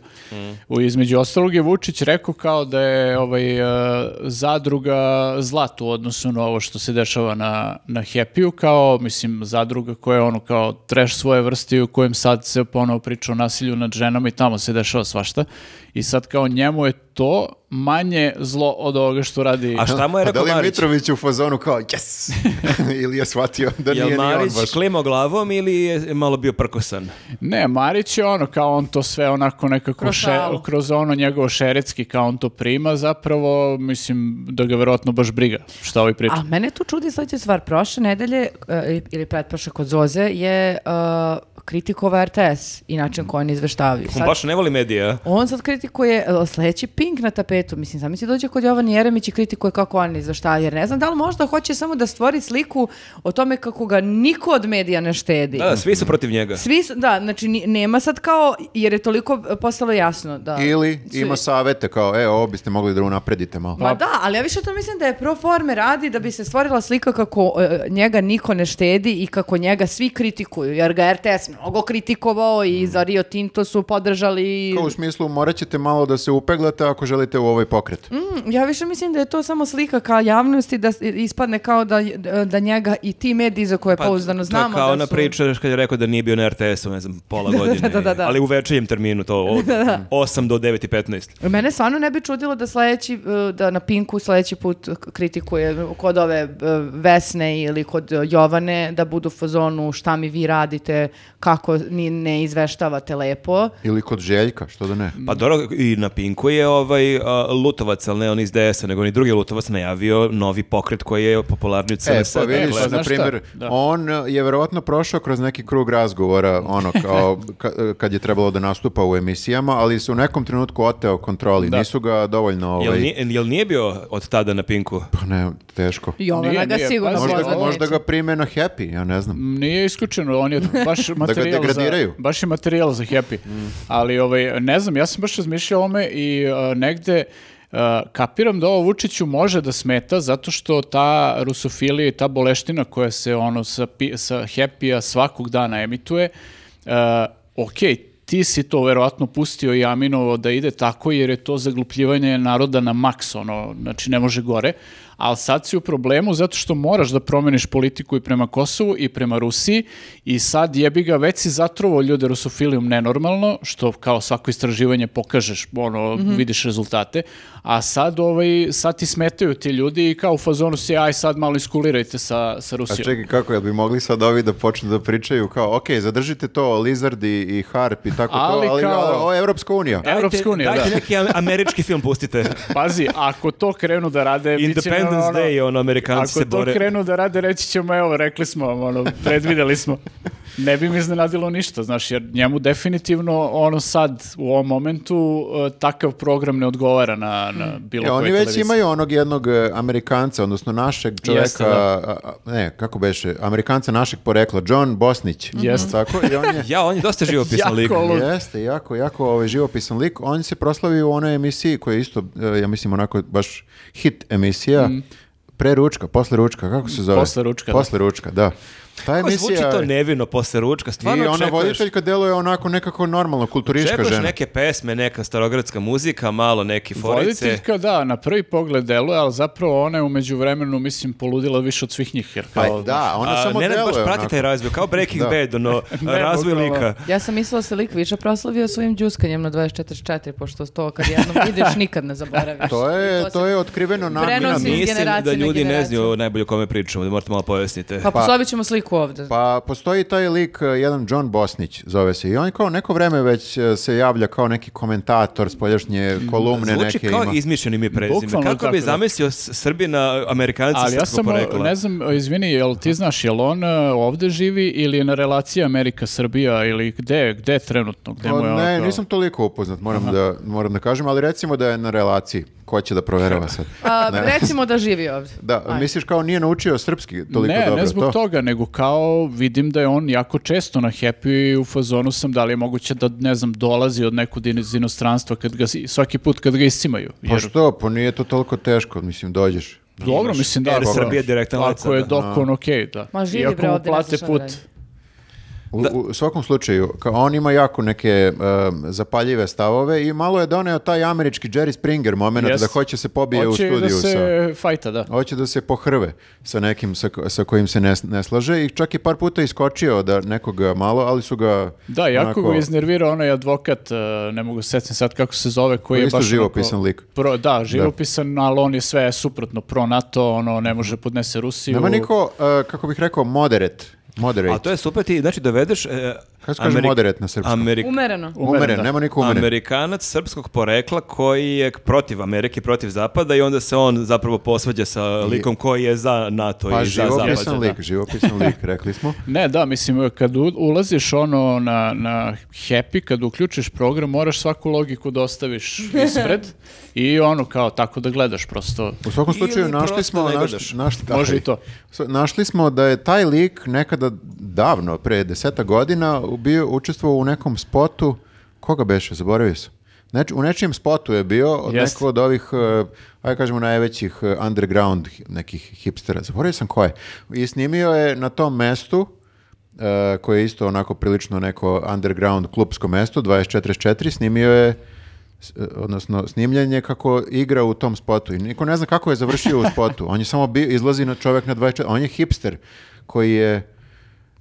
C: U, između ostalog je Vučić rekao kao da je ovaj, e, zadruga zlat u odnosu na ovo što se dešava na, na Happy-u, kao, mislim, zadruga koja je ono kao treš svoje vrste i u kojem sad se ponovo priča o nasilju nad ženama i tamo se dešava svašta. I sad kao njemu je to manje zlo od ovoga što radi...
B: A šta mu je
A: A da
B: rekao
A: li je
B: Marić?
A: Mitrović u fazonu kao yes? *laughs* Ili je shvatio da nije ni
B: Jel
A: on
B: Marić
A: baš?
B: klimao glavom ili je malo bio prkosan?
C: Ne, Marić je ono, kao on to sve onako nekako
D: Kroz
C: kroz,
D: šalu.
C: kroz ono njegovo šeretski, kao on to prima zapravo, mislim da ga verovatno baš briga šta ovi priča.
D: A mene tu čudi sledeća stvar. Prošle nedelje, e, ili pretprošle kod Zoze, je kritikovao kritikova RTS i način koji oni izveštavaju.
B: On
D: Sad-
B: baš ne voli medija.
D: On sad kritikuje e, sledeći pink na tapetu. Mislim, sam si dođe kod Jovan Jeremić i kritikuje kako on izveštava. Jer ne znam da li možda hoće samo da stvori sliku o tome kako ga niko od medija ne štedi.
B: Da, da, svi su protiv njega.
D: Svi, su- da, znači ni- nema sad kao, jer je toliko e, postalo jasno da...
A: Ili
D: su-
A: ima pa- savete kao, e, ovo biste mogli da unapredite malo.
D: Ma da, ali ja više to mislim da je pro forme radi da bi se stvorila slika kako e, njega niko ne štedi i kako njega svi kritikuju, jer ga je RTS mnogo kritikovao i za Rio Tinto su podržali.
A: Kao u smislu, morat ćete malo da se upeglate ako želite u ovaj pokret.
D: Mm, ja više mislim da je to samo slika ka javnosti da s- ispadne kao da, da njega i ti mediji za koje
B: Pa,
D: pouzdano
B: to je
D: znamo
B: kao
D: da
B: ona
D: su...
B: priča kad je rekao da nije bio na RTS-u, ne znam, pola godine.
D: *laughs* da, da, da.
B: Ali u večernjem terminu to
D: *laughs*
B: od 8 do 9 i 15.
D: Mene stvarno ne bi čudilo da sledeći, e, da na Pinku sledeći put k- kritikuje kod ove e, Vesne ili kod e, Jovane da budu u fazonu šta mi vi radite, kako ni ne izveštavate lepo.
A: Ili kod Željka, što da ne.
D: Mm.
B: Pa dobro, i na Pinku je ovaj a, Lutovac, ali ne on iz DS-a, nego on i drugi Lutovac najavio novi pokret koji je popularni u
A: E,
B: CNS.
A: pa vidiš,
C: E, pa,
A: na
C: znaš
A: primjer,
C: šta? Da.
A: on e, je verovatno prošao kroz neki krug razgovora, ono, kao ka- e, kad je trebalo da nastupa u emisijama, ali se u nekom trenutku oteo kontroli.
C: Da.
A: Nisu ga dovoljno,
B: Jel,
A: ovaj,
B: nije, jel nije bio od tada na Pinku?
A: pa ne, teško.
D: Jovana
C: Nije,
D: ga
C: nije,
D: sigurno
A: pa,
C: pazi,
A: Možda,
D: pozva
A: ga- možda
D: neće.
A: ga prime na Happy, ja ne znam.
C: Nije isključeno,
D: *laughs*
C: on je baš materijal za,
A: degradiraju.
C: baš je materijal za happy. Ali ovaj, ne znam, ja sam baš razmišljao o ome i uh, negde uh, kapiram da ovo Vučiću može da smeta zato što ta rusofilija i ta boleština koja se ono sa, pi- sa happy-a svakog dana emituje, uh, ok, ti si to verovatno pustio i Aminovo da ide tako jer je to zaglupljivanje naroda na maks, ono, znači ne može gore, ali sad si u problemu zato što moraš da promeniš politiku i prema Kosovu i prema Rusiji i sad jebi ga već si zatrovao ljude rusofilijom nenormalno, što kao svako istraživanje pokažeš, ono, vidiš rezultate, a sad, ovaj, sad ti smetaju ti ljudi i kao u fazonu si, aj sad malo iskulirajte sa, sa
A: A
C: Rusijom.
A: čekaj, kako, jel bi mogli sad ovi da počnu da pričaju kao, ok, zadržite to, Lizard i, i Harp i tako
C: Ali
A: to, ali ono,
C: kao- E,
A: ovo je Evropska unija.
C: Evropska unija,
B: dajte
C: da.
B: neki am- američki film pustite.
C: Pazi, ako to krenu da rade... bit će nam
B: Independence
C: ono-
B: Day, ono, Amerikanci
C: Ako
B: se
C: to
B: bore.
C: krenu da rade, reći ćemo, evo, rekli smo vam, ono, predvideli smo. Ne bi mi iznenadilo ništa, znaš, jer njemu definitivno, ono sad, u ovom momentu, eh, takav program ne odgovara na, na bilo
A: E,
C: koje
A: oni
C: televizije.
A: već imaju onog jednog e, Amerikanca, odnosno našeg čoveka,
C: Jeste, da.
A: a- a- ne, kako beše, Amerikanca našeg porekla, John Bosnić.
C: Jeste.
A: Tako, i on
C: *laughs*
A: je,
B: Ja, on je
D: *laughs*
B: dosta živopisan
C: Jako
B: lik.
C: lud.
A: jeste, jako, jako ovaj, živopisan lik. On se proslavio u onoj emisiji koja je isto, e, ja mislim, onako baš hit emisija, pre ručka, posle ručka, kako se zove?
C: Mm. Posle ručka, da.
A: Posle ručka, da. Ta
B: Kako zvuči
A: emisija
B: to
A: je-
B: nevino posle ručka, stvarno
A: I ona
B: očekuješ.
A: voditeljka deluje onako nekako normalno, kulturiška
B: Čekaš
A: žena.
B: neke pesme, neka starogradska muzika, malo neke forice.
C: Voditeljka, da, na prvi pogled deluje, ali zapravo ona je umeđu vremenu, mislim, poludila više od svih njih. Jer
A: Pa,
C: kao,
A: da, ona samo
B: ne,
A: deluje
B: baš prati
A: onako.
B: taj razvoj, kao Breaking
A: Da.
B: Bad, ono,
A: *laughs*
B: *laughs* razvoj
C: bukvalno.
B: lika.
D: Ja sam mislila da se lik više proslavio svojim džuskanjem na 24 pošto to kad jednom
A: *laughs*
D: ideš nikad ne zaboraviš.
A: To
D: I
A: je,
D: se-
A: to je otkriveno namjerno.
D: prenosi. Iz
B: Mislim
D: generacije
B: da
D: na
B: ljudi ne
D: generaciju.
B: znaju najbolje o kome pričamo, da morate malo pojasnite.
D: Pa poslovit ćemo sliku ovdje.
A: Pa postoji taj lik, eh, jedan John Bosnić zove se, i on kao neko vreme već eh, se javlja kao neki komentator spoljašnje kolumne
B: Zvuči
A: neke
B: kao
A: ima.
B: izmišljeni mi prezime.
C: Bukvalno
B: Kako bi
C: tako, da.
B: zamislio s- Srbina, Amerikanca,
C: Ali ja
B: srpskog
C: sam,
B: porekla?
C: ne znam, izvini, jel ti znaš, jel on e, ovde živi ili je na relaciji Amerika-Srbija ili gde, gde trenutno, gde
A: Pa,
C: mu je ono
A: ne,
C: kao-
A: nisam toliko upoznat, moram da, moram da kažem, ali recimo da je na relaciji. Ko će da proverava sad?
D: *laughs* A,
A: *laughs* Ne.
D: Pa recimo da živi ovdje.
A: Da, misliš kao nije naučio srpski toliko
C: ne,
A: dobro?
C: ne zbog
A: to?
C: toga, nego kao vidim da je on jako često na happy i u fazonu sam da li je moguće da, ne znam, dolazi od nekud in- iz inostranstva kad ga, si- svaki put kad ga iscimaju.
A: Pa
C: Jer,
A: što, pa nije to toliko teško, mislim, dođeš.
C: dobro, mislim da.
B: Air
C: ako-
B: Srbija direktan let
C: Ako je
B: sada.
C: dokon, okej, da.
D: Ma živi,
C: Iako
D: bre,
C: mu
D: ovde, ne
C: plate
D: znam šta da
C: put.
D: radi.
A: U, u svakom slučaju, kao on ima jako neke em, zapaljive stavove i malo je doneo taj američki Jerry Springer moment
C: Jest.
A: da hoće se pobije u
C: Hoće
A: studiju
C: da
A: sa...
C: se fajta, da.
A: Hoće da se pohrve sa nekim sa, ko- sa kojim se ne, s- ne slaže i čak je par puta iskočio da nekoga malo, ali su ga...
C: Da, jako
A: onako-
C: ga iznervirao onaj advokat, e, ne mogu se setim sad kako se zove, koji je
A: Pa Isto
C: baš... onako-
A: živopisan lik.
C: Pro, da, živopisan, ali on je sve suprotno pro-NATO, ono, ne može podnese Rusiju.
A: Mhm. Nema niko, e, kako bih rekao, moderate. Moderate.
B: A to je super, ti znači dovedeš... E,
A: Kako se kaže moderat na srpskom?
B: Ameri-
D: Umereno.
A: Umeren,
C: Umeren, da.
A: nema niko umeren.
B: Amerikanac srpskog porekla koji je protiv Amerike, protiv Zapada i onda se on zapravo posvađa sa likom koji je za NATO
A: Pa
B: i za Zapad.
A: živopisan lik, živopisan lik, rekli smo.
C: Ne, da, mislim, kad u- ulaziš ono na, na Happy, kad uključiš program, moraš svaku logiku da
D: *laughs*
C: ostaviš ispred i ono kao tako da gledaš prosto.
A: U svakom
B: Ili
A: slučaju našli
B: prosto
A: smo
B: ne
A: naš-
B: gledaš.
A: našli,
C: Može
A: aj.
C: i to.
A: S- Našli smo da je taj lik nekada davno, pre deseta godina, bio učestvovao u nekom spotu, koga beše, zaboravio sam. Neč, u nečijem spotu je bio od
C: Jest.
A: nekog od ovih, eh, ajde kažemo, najvećih eh, underground hi- nekih hipstera. Zaboravio sam ko je. I snimio je na tom mestu, eh, koje je isto onako prilično neko underground klubsko mesto, 24 snimio je s- eh, odnosno snimljenje kako igra u tom spotu i niko ne zna kako je završio u spotu. On je samo bio, izlazi na čovjek na 24, on je hipster koji je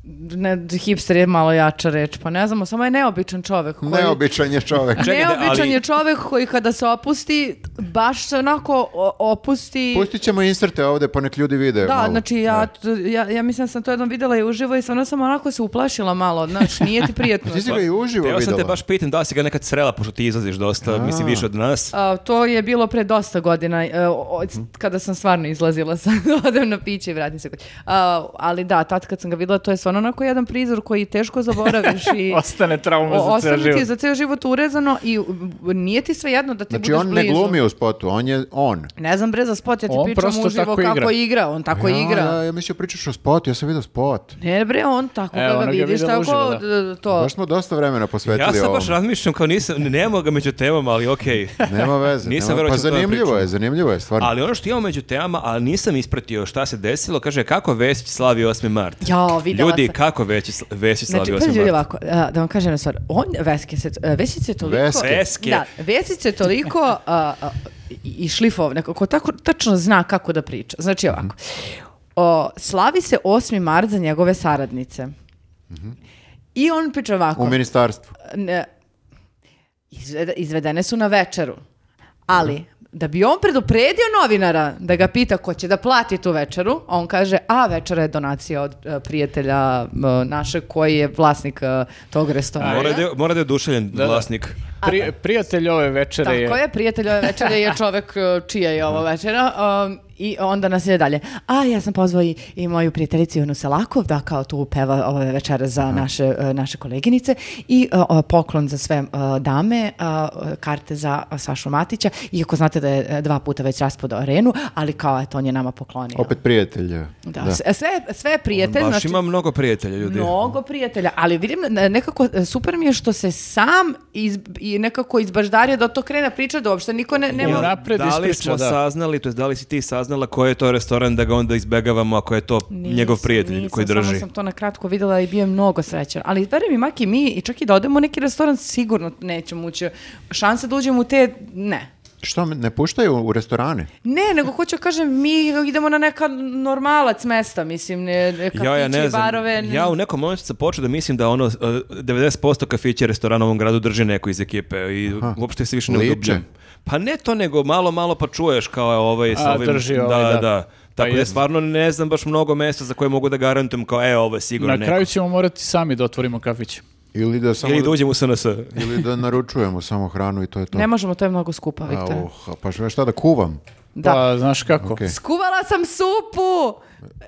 D: Ne, hipster je malo jača reč, pa ne znamo, samo je neobičan čovek. Koji...
A: neobičan je čovjek.
B: Čekajte,
D: Neobičan
B: ali-
D: je čovek koji kada se opusti, baš se onako o- opusti...
A: Pustit ćemo inserte ovdje pa nek ljudi vide.
D: Da,
A: malo.
D: znači ja, t- ja, ja mislim da sam to jednom videla i uživo i stvarno sam onako se uplašila malo, znaš, nije ti
A: Pa
D: prijetno.
A: Ti si ga i uživo
B: Teo sam
A: videla.
B: te baš pitam da li si ga nekad srela, pošto ti izlaziš dosta, mislim više od nas.
D: A, to je bilo pre dosta godina, e, o- o-
C: Mhm.
D: kada sam stvarno izlazila *laughs* sa odem na piće i vratim se kući. A, ali da, tad kad sam ga videla, to je stvarno onako jedan prizor koji teško zaboraviš i...
C: *laughs* Ostane trauma
D: O-
C: za ceo
D: ostane ti
C: život.
D: za ceo život urezano i m, nije ti svejedno da ti
A: Znači
D: budeš
A: on ne
D: blizu.
A: glumi u spotu, on je on.
D: Ne znam bre za spot, ja ti
C: On
D: pričam
C: prosto
D: uživo
C: tako
D: kako igra.
C: igra.
D: on tako
A: ja,
D: igra.
A: Ja, ja mislio pričaš o spotu, ja sam vidio spot.
D: Ne bre, on tako
C: Evo,
D: Evo,
C: ona
D: ga
C: ga
D: vidiš,
C: videla
D: tako
C: uživo, da.
D: d- d- to.
A: Baš smo dosta vremena
B: Ja
A: posvetili
B: sam
A: ovom.
B: baš razmišljam kao nisam, nema ga među temama, ali okej.
A: Nema
B: *laughs*
A: veze.
B: Nisam
A: nema-
B: verovao
A: Pa
B: da ćemo o tome
A: zanimljivo je,
B: pričamo.
A: zanimljivo je stvarno.
B: Ali ono što imamo među temama, a nisam ispratio šta se desilo, kaže kako Vesić slavi 8. mart.
D: Jao, videla
B: Ljudi,
D: sam.
B: kako Vesić, sl- Vesić slavi
D: Znači,
B: 8.
D: pazi
B: mart?
D: ljudi ovako, a, da vam kažem na stvar, on, Veske se, a, Vesić je toliko...
A: Veske.
B: Veske.
D: Da, Vesić je toliko a, a, i- i šlifov, nekako tako tačno zna kako da priča. Znači ovako, o, slavi se 8. mart za njegove saradnice. I on priča ovako.
A: U ministarstvu.
D: ne, izvede- izvedene su na večeru. Ali, da bi on predupredio novinara da ga pita ko će da plati tu večeru, a on kaže, a večera je donacija od e, prijatelja e, našeg koji je vlasnik e, tog restorana.
B: Mora da, je- mora da je oduševljen
C: da.
B: vlasnik.
C: Pri- prijatelj ove večere je...
D: Tako je, prijatelj ove večere je čovek e, čija je ovo večera um, i onda nas ide dalje. A ja sam pozvao i, i moju prijateljicu Ivanu Selakov da kao tu peva ove večere za naše, e, naše koleginice i e, o, poklon za sve e, dame, a, e, karte za Sašu Matića, iako znate da je e, dva puta već raspodao arenu, ali kao eto on je nama poklonio.
A: Opet prijatelje.
D: da, s- Sve, sve je
B: On
D: prijatelj,
B: baš
D: znači-
B: ima mnogo prijatelja, ljudi.
D: Mnogo prijatelja, ali vidim e, nekako e, super mi je što se sam iz, i i nekako izbaždario da to krene priča da uopšte niko ne, nema...
C: Ja. Unapred
B: da li
C: ispriča,
B: smo
C: da.
B: saznali, to jest da li si ti saznala koji je to restoran da ga onda izbegavamo ako je to
D: Nisam,
B: njegov prijatelj
D: nisam,
B: koji drži?
D: Samo sam to na kratko videla i bio je mnogo srećan. Ali veruj mi, Maki, mi i čak i da odemo u neki restoran, sigurno nećemo ući. Šanse da uđemo u te, ne.
A: Što, me ne puštaju u restorane?
D: Ne, nego hoću da kažem, mi idemo na neka normalac mesta, mislim, ne, ne, kafići,
B: Ja, ja ne znam.
D: barove. ne-
B: Ja u nekom momentu sam počeo da mislim da ono eh, 90% kafića i restorana u ovom gradu drži neko iz ekipe i uopšte se više ne
A: Liče.
B: udubljam. Pa ne to nego malo malo pa čuješ kao je ovaj sa
C: A,
B: ovim-
C: drži
B: da,
C: ovaj, da. Pa
B: Tako da
C: jest.
B: stvarno ne znam baš mnogo mesta za koje mogu da garantujem kao e ovo je sigurno
C: Na
B: neko.
C: kraju ćemo morati sami da otvorimo kafić.
A: Ili da, samo,
B: Ili da uđem u SNS.
A: ili da naručujemo samo hranu i to je to.
D: Ne možemo, to je mnogo skupa, Viktor.
A: A, oh, pa šta, šta da kuvam?
D: Da.
C: Pa, znaš kako?
A: Okej.
D: *laughs* Skuvala sam supu!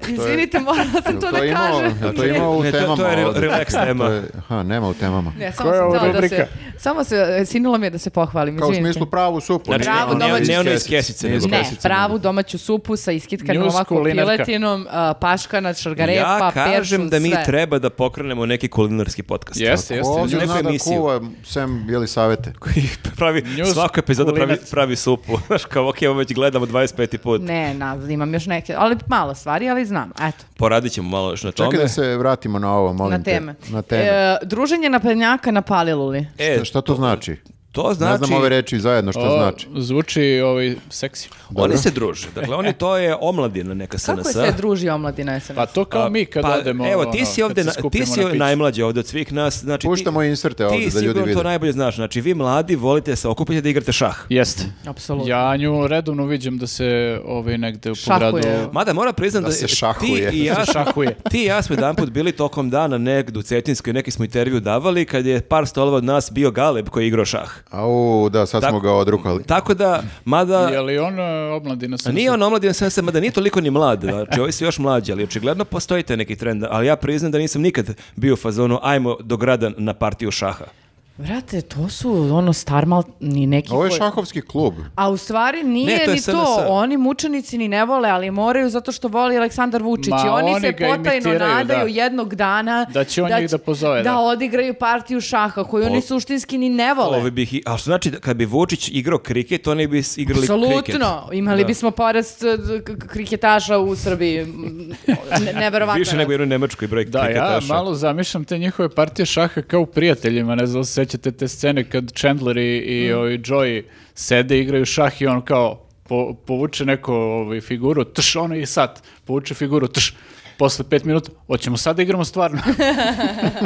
D: Izvinite, morala sam to
A: Jel
D: da
A: imao-
D: kažem.
A: jel to imao u
B: Ne, to- to je
A: temama
B: re-
A: ovde?
B: relax
C: *laughs*
B: tema.
A: To je- Aha, nema u temama.
D: Ne, samo
C: Koja je
D: sam
C: ovo
D: htela da se,
C: rubrika?
D: samo se, e, sinula mi je da se pohvalim,
A: Kao u
D: izvinite.
A: smislu pravu supu.
B: Znači,
D: Bravo,
B: ne- ne,
D: domaći
B: ne ono iz
A: kesice.
B: kesice,
A: Nije iz
B: nego
D: Ne,
A: kesice,
D: pravu domaću supu sa iskitkanom
C: Njuz
D: ovako
C: kulinarka.
D: piletinom, e, a, paškana, čargarepa,
B: Ja kažem
D: peršun,
B: da mi
D: sve.
B: treba da pokrenemo neki kulinarski podcast.
C: Jeste,
A: Ko
C: jeste.
A: ovdje
B: Neku
A: zna da
B: emisiju.
A: kuva, sem jeli savete.
B: Koji pravi,
C: News
B: svaka epizoda pravi,
C: kulinac.
B: pravi supu. *laughs* Znaš, kao, ok, ovo već gledamo 25. put.
D: Ne, na, imam još neke, ali malo stvari, ali znam, eto,
B: Poradit ćemo malo još na tome.
A: Čekaj da se vratimo na ovo, molim
D: na
A: te.
D: teme.
A: Na teme.
D: E, druženje naprednjaka na Paliluli.
B: E,
A: šta to znači?
B: to znači...
A: Ne znam ove reči zajedno šta
C: O,
A: znači.
C: Zvuči ovaj, seksi.
B: Oni se druže. Dakle, oni to je omladina neka SNS.
D: Kako je se druži omladina SNS?
C: Pa to kao mi kad
B: Pa,
C: odemo.
B: Evo, ti
C: ono,
B: si ovde,
C: kad se
B: na- ti
C: skupimo
B: si
C: na piću.
B: najmlađi ovde od svih nas. Znači,
A: Puštamo
B: ti,
A: inserte ovde
B: Ti
A: da ljudi
B: sigurno
A: vide.
B: to najbolje znaš. Znači, vi mladi volite se okupiti da igrate šah.
C: Jeste.
D: Apsolutno.
C: Ja nju redovno viđem da se ovaj negde u
D: Šahuje.
C: pogradu...
B: Mada mora priznam da,
A: se
B: ti
A: šahuje.
B: i ja
C: Da se šahuje.
B: ti i ja smo jedan put bili tokom dana negdje u Cetinskoj, neki smo intervju davali kad je par stolova od nas bio Galeb koji je igrao šah.
A: Au, da, sad smo
B: Tako-
A: ga odrukali.
B: Tako da, mada...
C: Je li on e, omladina
B: A
C: sam?
B: Nije on omladin SNS, mada nije toliko ni mlad, znači ovi su još mlađi, ali očigledno postoji taj neki trend, ali ja priznam da nisam nikad bio u fazonu ajmo do grada na partiju šaha.
D: Brate, to su ono starmalni neki...
A: Ovo je
D: koji-
A: šahovski klub.
D: A u stvari nije
B: Ne, to je
D: ni
B: SNS.
D: to. Oni mučenici ni ne vole, ali moraju zato što voli Aleksandar Vučić.
C: Ma,
D: I oni,
C: oni
D: se
C: ga
D: potajno
C: imitiraju,
D: nadaju
C: da.
D: jednog dana
C: Da će on njih da pozove,
D: da.
C: da.
D: odigraju partiju šaha koju oni suštinski ni ne vole.
B: Ovi bih, i- a što znači, da kad bi Vučić igrao kriket, oni bi s- igrali kriket.
D: Apsolutno. Imali
B: Da.
D: bismo porast eh, k- k- kriketaša u Srbiji. M, Ne, neverovatno.
B: Više nego jer u Nemačkoj broj
C: Da, ja
B: kriketaša.
C: malo zamišljam te njihove partije šaha kao u prijateljima, ne znam, da li se sećate te scene kad Chandler i, i
B: Mm.
C: ovaj Joey sede, igraju šah i on kao po- povuče neku ovaj, figuru, tš, ono i sad, povuče figuru, tš, posle pet minuta, hoćemo sad da igramo stvarno. *laughs*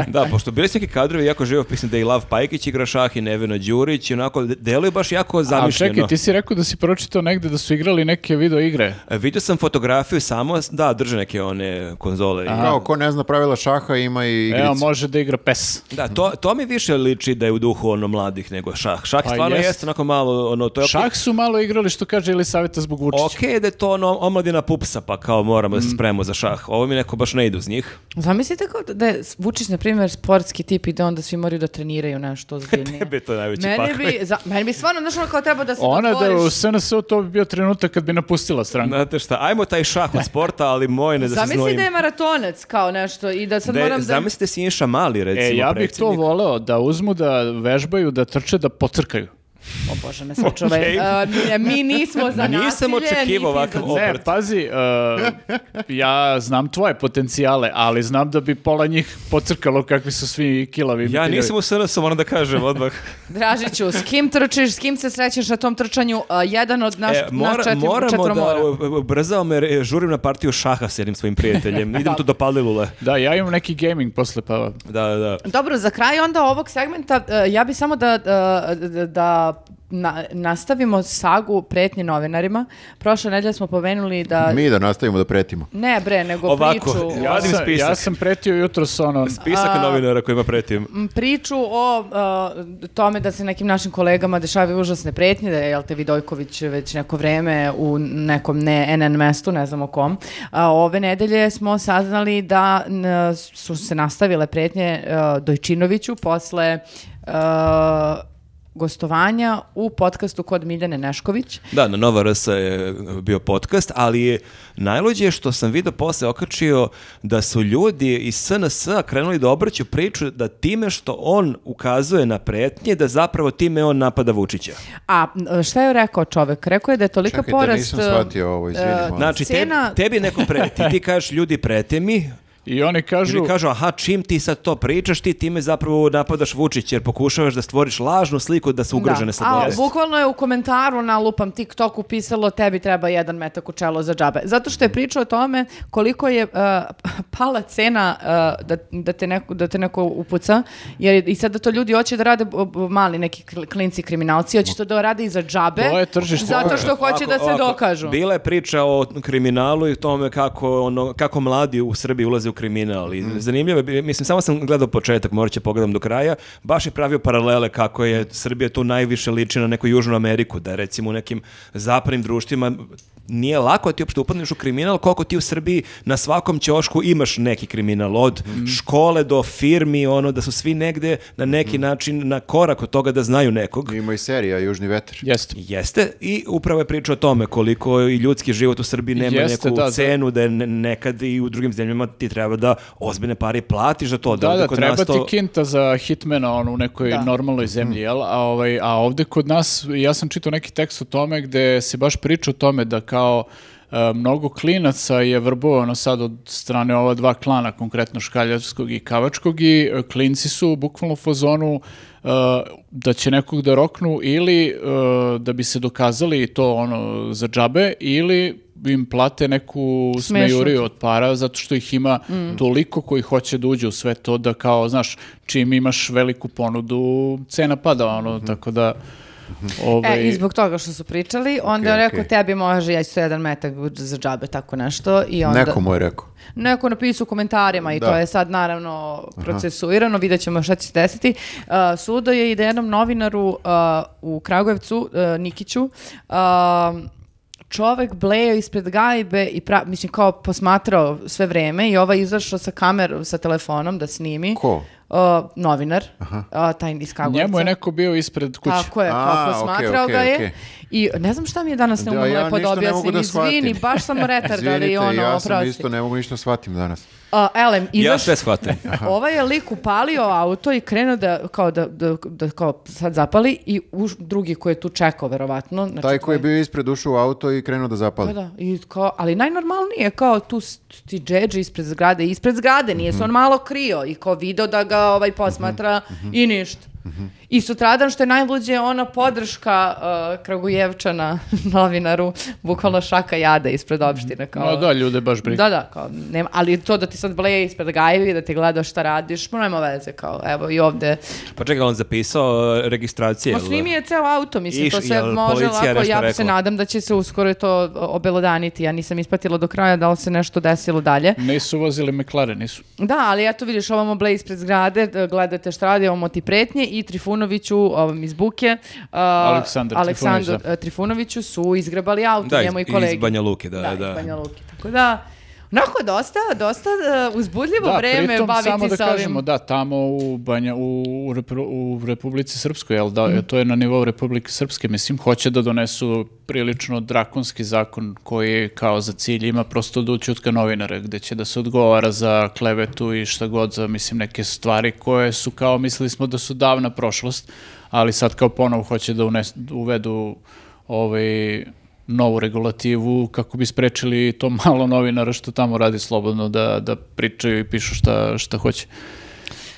B: Da, pošto bili su neki kadrovi jako živo, mislim da i Lav Pajkić igra šah i Neveno Đurić, i onako, de- deluje baš jako
C: A
B: zamišljeno.
C: čekaj, ti si rekao da si pročitao negde da su igrali neke video igre.
B: E, Vidio sam fotografiju samo, s- da, drže neke one konzole. i-
A: Kao ko ne zna pravila šaha ima i igricu.
C: Evo, može da igra pes.
B: Da, to, to mi više liči da je u duhu ono mladih nego šah. Šah
C: Pa
B: stvarno
C: jest.
B: jeste onako malo, ono, to je
C: Šah su malo igrali što kaže ili savjeta zbog Vučića.
B: Ok da je to ono omladina pupsa, pa kao moramo
C: Mm.
B: da se spremimo za šah. Ovo mi neko baš ne ide uz
C: *laughs*
B: njih.
D: Zamislite kao da- da je Vučić, na primjer, sportski tip i da onda svi moraju da treniraju
C: *laughs*
D: nešto ozbiljnije.
B: Tebe je to najveći
D: Meni
B: pakao.
D: bi, za, meni bi stvarno, znaš, ono kao treba da se
C: Ona da je u
D: dotvoriš.
C: SNS-u to bi bio trenutak kad bi napustila stranku.
B: Znate šta, ajmo taj šah od sporta, ali moj ne da se
D: Zamisli
B: znojim.
D: da je maratonac kao nešto i da sad
B: Da je-
D: moram da...
B: Zamislite Siniša Mali, recimo,
C: E, ja bih to
B: predsjednik.
C: voleo da uzmu da vežbaju, da trče, da pocrkaju.
D: O Bože, me
B: *laughs*
D: sačuvaj.
B: Okej.
D: A, ne, mi
B: *laughs*
D: nismo za nasilje,
B: Nisam očekivao
D: niti
B: ovakav
D: za-
B: O,
C: Ne,
B: brate.
C: pazi, e, ja znam tvoje potencijale, ali znam da bi pola njih pocrkalo kakvi su svi kilavi.
B: Ja
C: materijavi.
B: nisam u SNS-u, moram da kažem odmah.
D: Dražiću, s kim trčiš, s kim se srećeš na tom trčanju? A, jedan od naš,
B: E, mora-
D: naš četim-
B: moramo da
D: četvoromora.
B: brzao me, e, žurim na partiju šaha s jednim svojim prijateljem. Idem tu do Palilule.
C: Da, ja imam neki gaming posle, pa...
B: Da, da, da.
D: Dobro, za kraj onda ovog segmenta e, ja bi samo da, e, da, da na- nastavimo sagu pretnje novinarima. Prošle nedelje smo pomenuli da...
A: Mi da nastavimo da pretimo.
D: Ne bre, nego
B: Ovako,
D: priču.
B: ja-
D: o-
B: Radim
C: sam,
B: spisak.
C: ja sam pretio ono, jutro s onom...
B: Spisak novinara kojima pretim.
D: m, priču o a, tome da se nekim našim kolegama dešavaju užasne pretnje, da je Jelte Vidojković već neko vreme u nekom ne NN mestu, ne znamo kom. A, ove nedelje smo saznali da n, e, su se nastavile pretnje a, Dojčinoviću posle a, e, gostovanja u podcastu kod Miljane Nešković.
B: Da, na Nova RS je bio podcast, ali je najluđe što sam video posle okačio da su ljudi iz SNS krenuli da obrću priču da time što on ukazuje na pretnje, da zapravo time on napada Vučića.
D: A e, šta je rekao čovek? Rekao je da je tolika
A: Čekajte,
D: porast...
A: nisam
D: e,
A: shvatio ovo, izvini,
D: e,
A: molim.
B: Znači, te-
D: Cena-
B: tebi neko preti, ti kažeš ljudi prete mi,
C: I oni kažu...
B: Ili kažu, aha, čim ti sad to pričaš, ti time zapravo napadaš Vučić, jer pokušavaš da stvoriš lažnu sliku da su ugrožene
D: Da.
B: slobode.
D: A, bukvalno je u komentaru na lupam TikToku pisalo tebi treba jedan metak u čelo za džabe. Zato što je pričao o tome koliko je uh, pala cena uh, da, da, te neko, da te neko upuca. Jer i sad da to ljudi hoće da rade b- b- mali neki kl- klinci kriminalci, hoće to da rade i za džabe.
C: To je tržište.
D: Zato što hoće
B: Ovako,
D: da se
B: ovako,
D: dokažu.
B: Bila je priča o kriminalu i tome kako, ono, kako mladi u Srbiji ulaze u kriminal. I
D: Mm.
B: Zanimljivo je, bi- mislim, samo sam gledao početak, morat će pogledam do kraja, baš je pravio paralele kako je Srbija tu najviše liči na neku Južnu Ameriku, da recimo u nekim zapadnim društvima nije lako ti uopšte upadneš u kriminal, koliko ti u Srbiji na svakom ćošku imaš neki kriminal, od
D: Mm.
B: škole do firmi, ono da su svi negde na
D: Mm.
B: neki način na korak od toga da znaju nekog.
A: Ima i serija Južni vetar.
C: Jeste.
B: Jeste, i upravo je priča o tome koliko i ljudski život u Srbiji nema
C: Jeste,
B: neku
C: da, da.
B: cenu, da je ne- nekad i u drugim zemljama ti treba da ozbiljne pare platiš za to.
C: Da,
B: ovde
C: da,
B: kod
C: treba
B: nas to- Mhm.
C: ti kinta za hitmana ono, u nekoj
D: Da.
C: normalnoj zemlji, jel? A, ovaj, a ovde kod nas, ja sam čitao neki tekst o tome gde se baš priča o tome da kao e, mnogo klinaca je vrbovano sad od strane ova dva klana, konkretno Škaljarskog i Kavačkog i e, klinci su bukvalno u fazonu e, da će nekog da roknu ili e, da bi se dokazali i to ono za džabe ili im plate neku
D: Smešno.
C: smejuriju od para zato što ih ima toliko koji hoće da uđe u sve to da kao, znaš, čim imaš veliku ponudu, cena pada, ono, tako da... Ovaj,
D: E, i zbog toga što su pričali, onda
A: Okej,
D: je rekao
A: okej.
D: tebi može, ja ću to jedan metak za džabe, tako nešto. I onda...
A: Neko mu je rekao.
D: Neko napisao u komentarima i
A: Da.
D: to je sad naravno procesuirano, vidjet ćemo šta će se desiti. Uh, sudo je i da jednom novinaru uh, u Kragujevcu, uh, Nikiću, uh, čovek blejao ispred gajbe i pra- mislim kao posmatrao sve vreme i ovaj izašao sa kamerom, sa telefonom da snimi.
A: Ko?
D: Uh, novinar, uh, taj iz Kragujevca.
C: njemu je neko bio ispred kuće.
D: Tako je,
A: A,
D: kao
A: okej,
D: posmatrao
A: okej,
D: ga je.
A: okej.
D: I ne znam šta mi je danas
A: Da,
D: neumno
A: ja
D: lepo da
A: ništa ne mogu
D: objasnim.
A: da
D: Izvini,
A: shvatim.
D: baš
A: *laughs*
D: sam retardar i ono,
A: ja sam
D: oprosti.
A: isto ne mogu ništa shvatim danas.
D: A, elem,
B: Ja
D: izaš-
B: sve shvatim.
D: ovaj je lik upalio auto i krenuo da, kao da, da, da kao sad zapali i uš- drugi koji je tu čekao, verovatno. Znači,
A: Taj koji je
D: to
A: bio ispred ušao u auto i krenuo da
D: Da,
A: zapali.
D: da, i kao, ali najnormalnije je kao tu s- ti džedži ispred zgrade, ispred zgrade, nije
A: Mhm.
D: se on malo krio i kao video da ga ovaj posmatra i ništa.
A: Mhm.
D: I sutradan što je najluđe ona podrška uh, Kragujevčana *laughs* novinaru, bukvalno šaka jada ispred opštine.
A: Mhm.
D: Kao,
C: No da, ljude baš briga.
D: da, da, kao, nema, ali to da ti sad bleje ispred gajevi, da ti gleda šta radiš, ma nema veze, kao, evo i ovde.
B: Pa čekaj, on zapisao e, registracije.
D: Ma
B: jel?
D: snimi je ceo auto, mislim,
B: Iš-
D: to sve
B: jel
D: može
B: policija
D: lako,
B: nešto
D: ja se
B: rekla?
D: nadam da će se uskoro to obelodaniti, ja nisam ispatila do kraja da li se nešto desilo dalje.
C: Nisu vozili McLaren, nisu.
D: Da, ali eto vidiš, ovamo ble ispred zgrade, d- gledate šta radi, ovamo ti pretnje i Trifunoviću, ovom iz Buke, a,
C: Aleksandar
D: Aleksandru
C: Trifunović, da.
D: e, Trifunoviću su izgrebali auto,
B: Da, iz,
D: njemu i kolegi.
B: iz Banja Luke, da, da.
D: iz Banja Luke. Tako da, onako dosta, dosta e, uzbudljivo
C: Da,
D: vreme
C: pritom
D: baviti
C: samo da
D: se ovim.
C: kažemo, da, tamo u, Banja, u, u Repru- u Republici Srpskoj, jel da, to je na nivou Republike Srpske, mislim, hoće da donesu prilično drakonski zakon koji kao za cilj ima prosto da ućutka novinara, gde će da se odgovara za klevetu i šta god za, mislim, neke stvari koje su kao, mislili smo da su davna prošlost, ali sad kao ponovo hoće da unes- uvedu ovaj novu regulativu kako bi sprečili to *laughs* malo novinara što tamo radi slobodno da, da pričaju i pišu šta, šta hoće.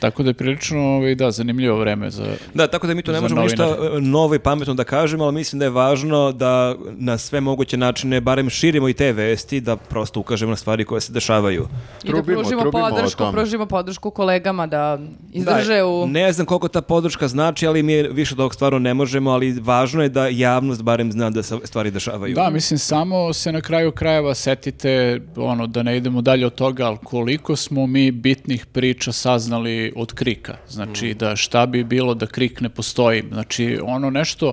C: Tako da je prilično ovaj, da, zanimljivo vreme za...
B: Da, tako da mi tu ne
C: Za
B: možemo ništa
C: novinare.
B: e, novo i pametno da kažemo, ali mislim da je važno da na sve moguće načine barem širimo i te vesti, da prosto ukažemo na stvari koje se dešavaju.
D: I da
A: Trubimo,
D: pružimo
A: trubimo o
D: podršku,
A: tome.
D: pružimo podršku kolegama da izdrže
B: Da,
D: u...
B: Ne znam koliko ta podrška znači, ali mi više od ovog stvarno ne možemo, ali važno je da javnost barem zna da se stvari dešavaju.
C: Da, mislim, samo se na kraju krajeva setite, ono, da ne idemo dalje od toga, ali koliko smo mi bitnih priča saznali od krika. Znači, da šta bi bilo da krik ne postoji. Znači, ono nešto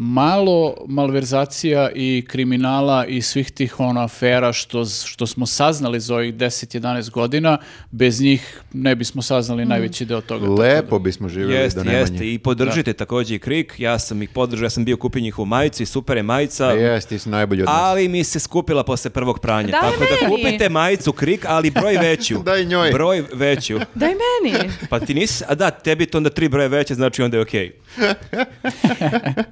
C: malo malverzacija i kriminala i svih tih ono afera što, što smo saznali za ovih 10-11 godina, bez njih ne bismo saznali najveći deo toga. tako da-
A: Lepo bismo živjeli
B: Jeste,
A: do Nemanje.
B: jeste. I podržite također i Krik. Ja sam ih podržao, ja sam bio kupio njihovu majicu i super je majica.
A: A Jeste, ti si najbolji od nas.
B: Ali mi se skupila posle prvog pranja.
D: Daj
B: tako da
D: meni!
B: kupite majicu Krik, ali
A: *laughs*
B: broj veću.
A: Daj njoj.
B: Broj veću.
D: Daj meni.
B: Pa ti nisi, a da, tebi to onda tri broje veće, znači onda je okej.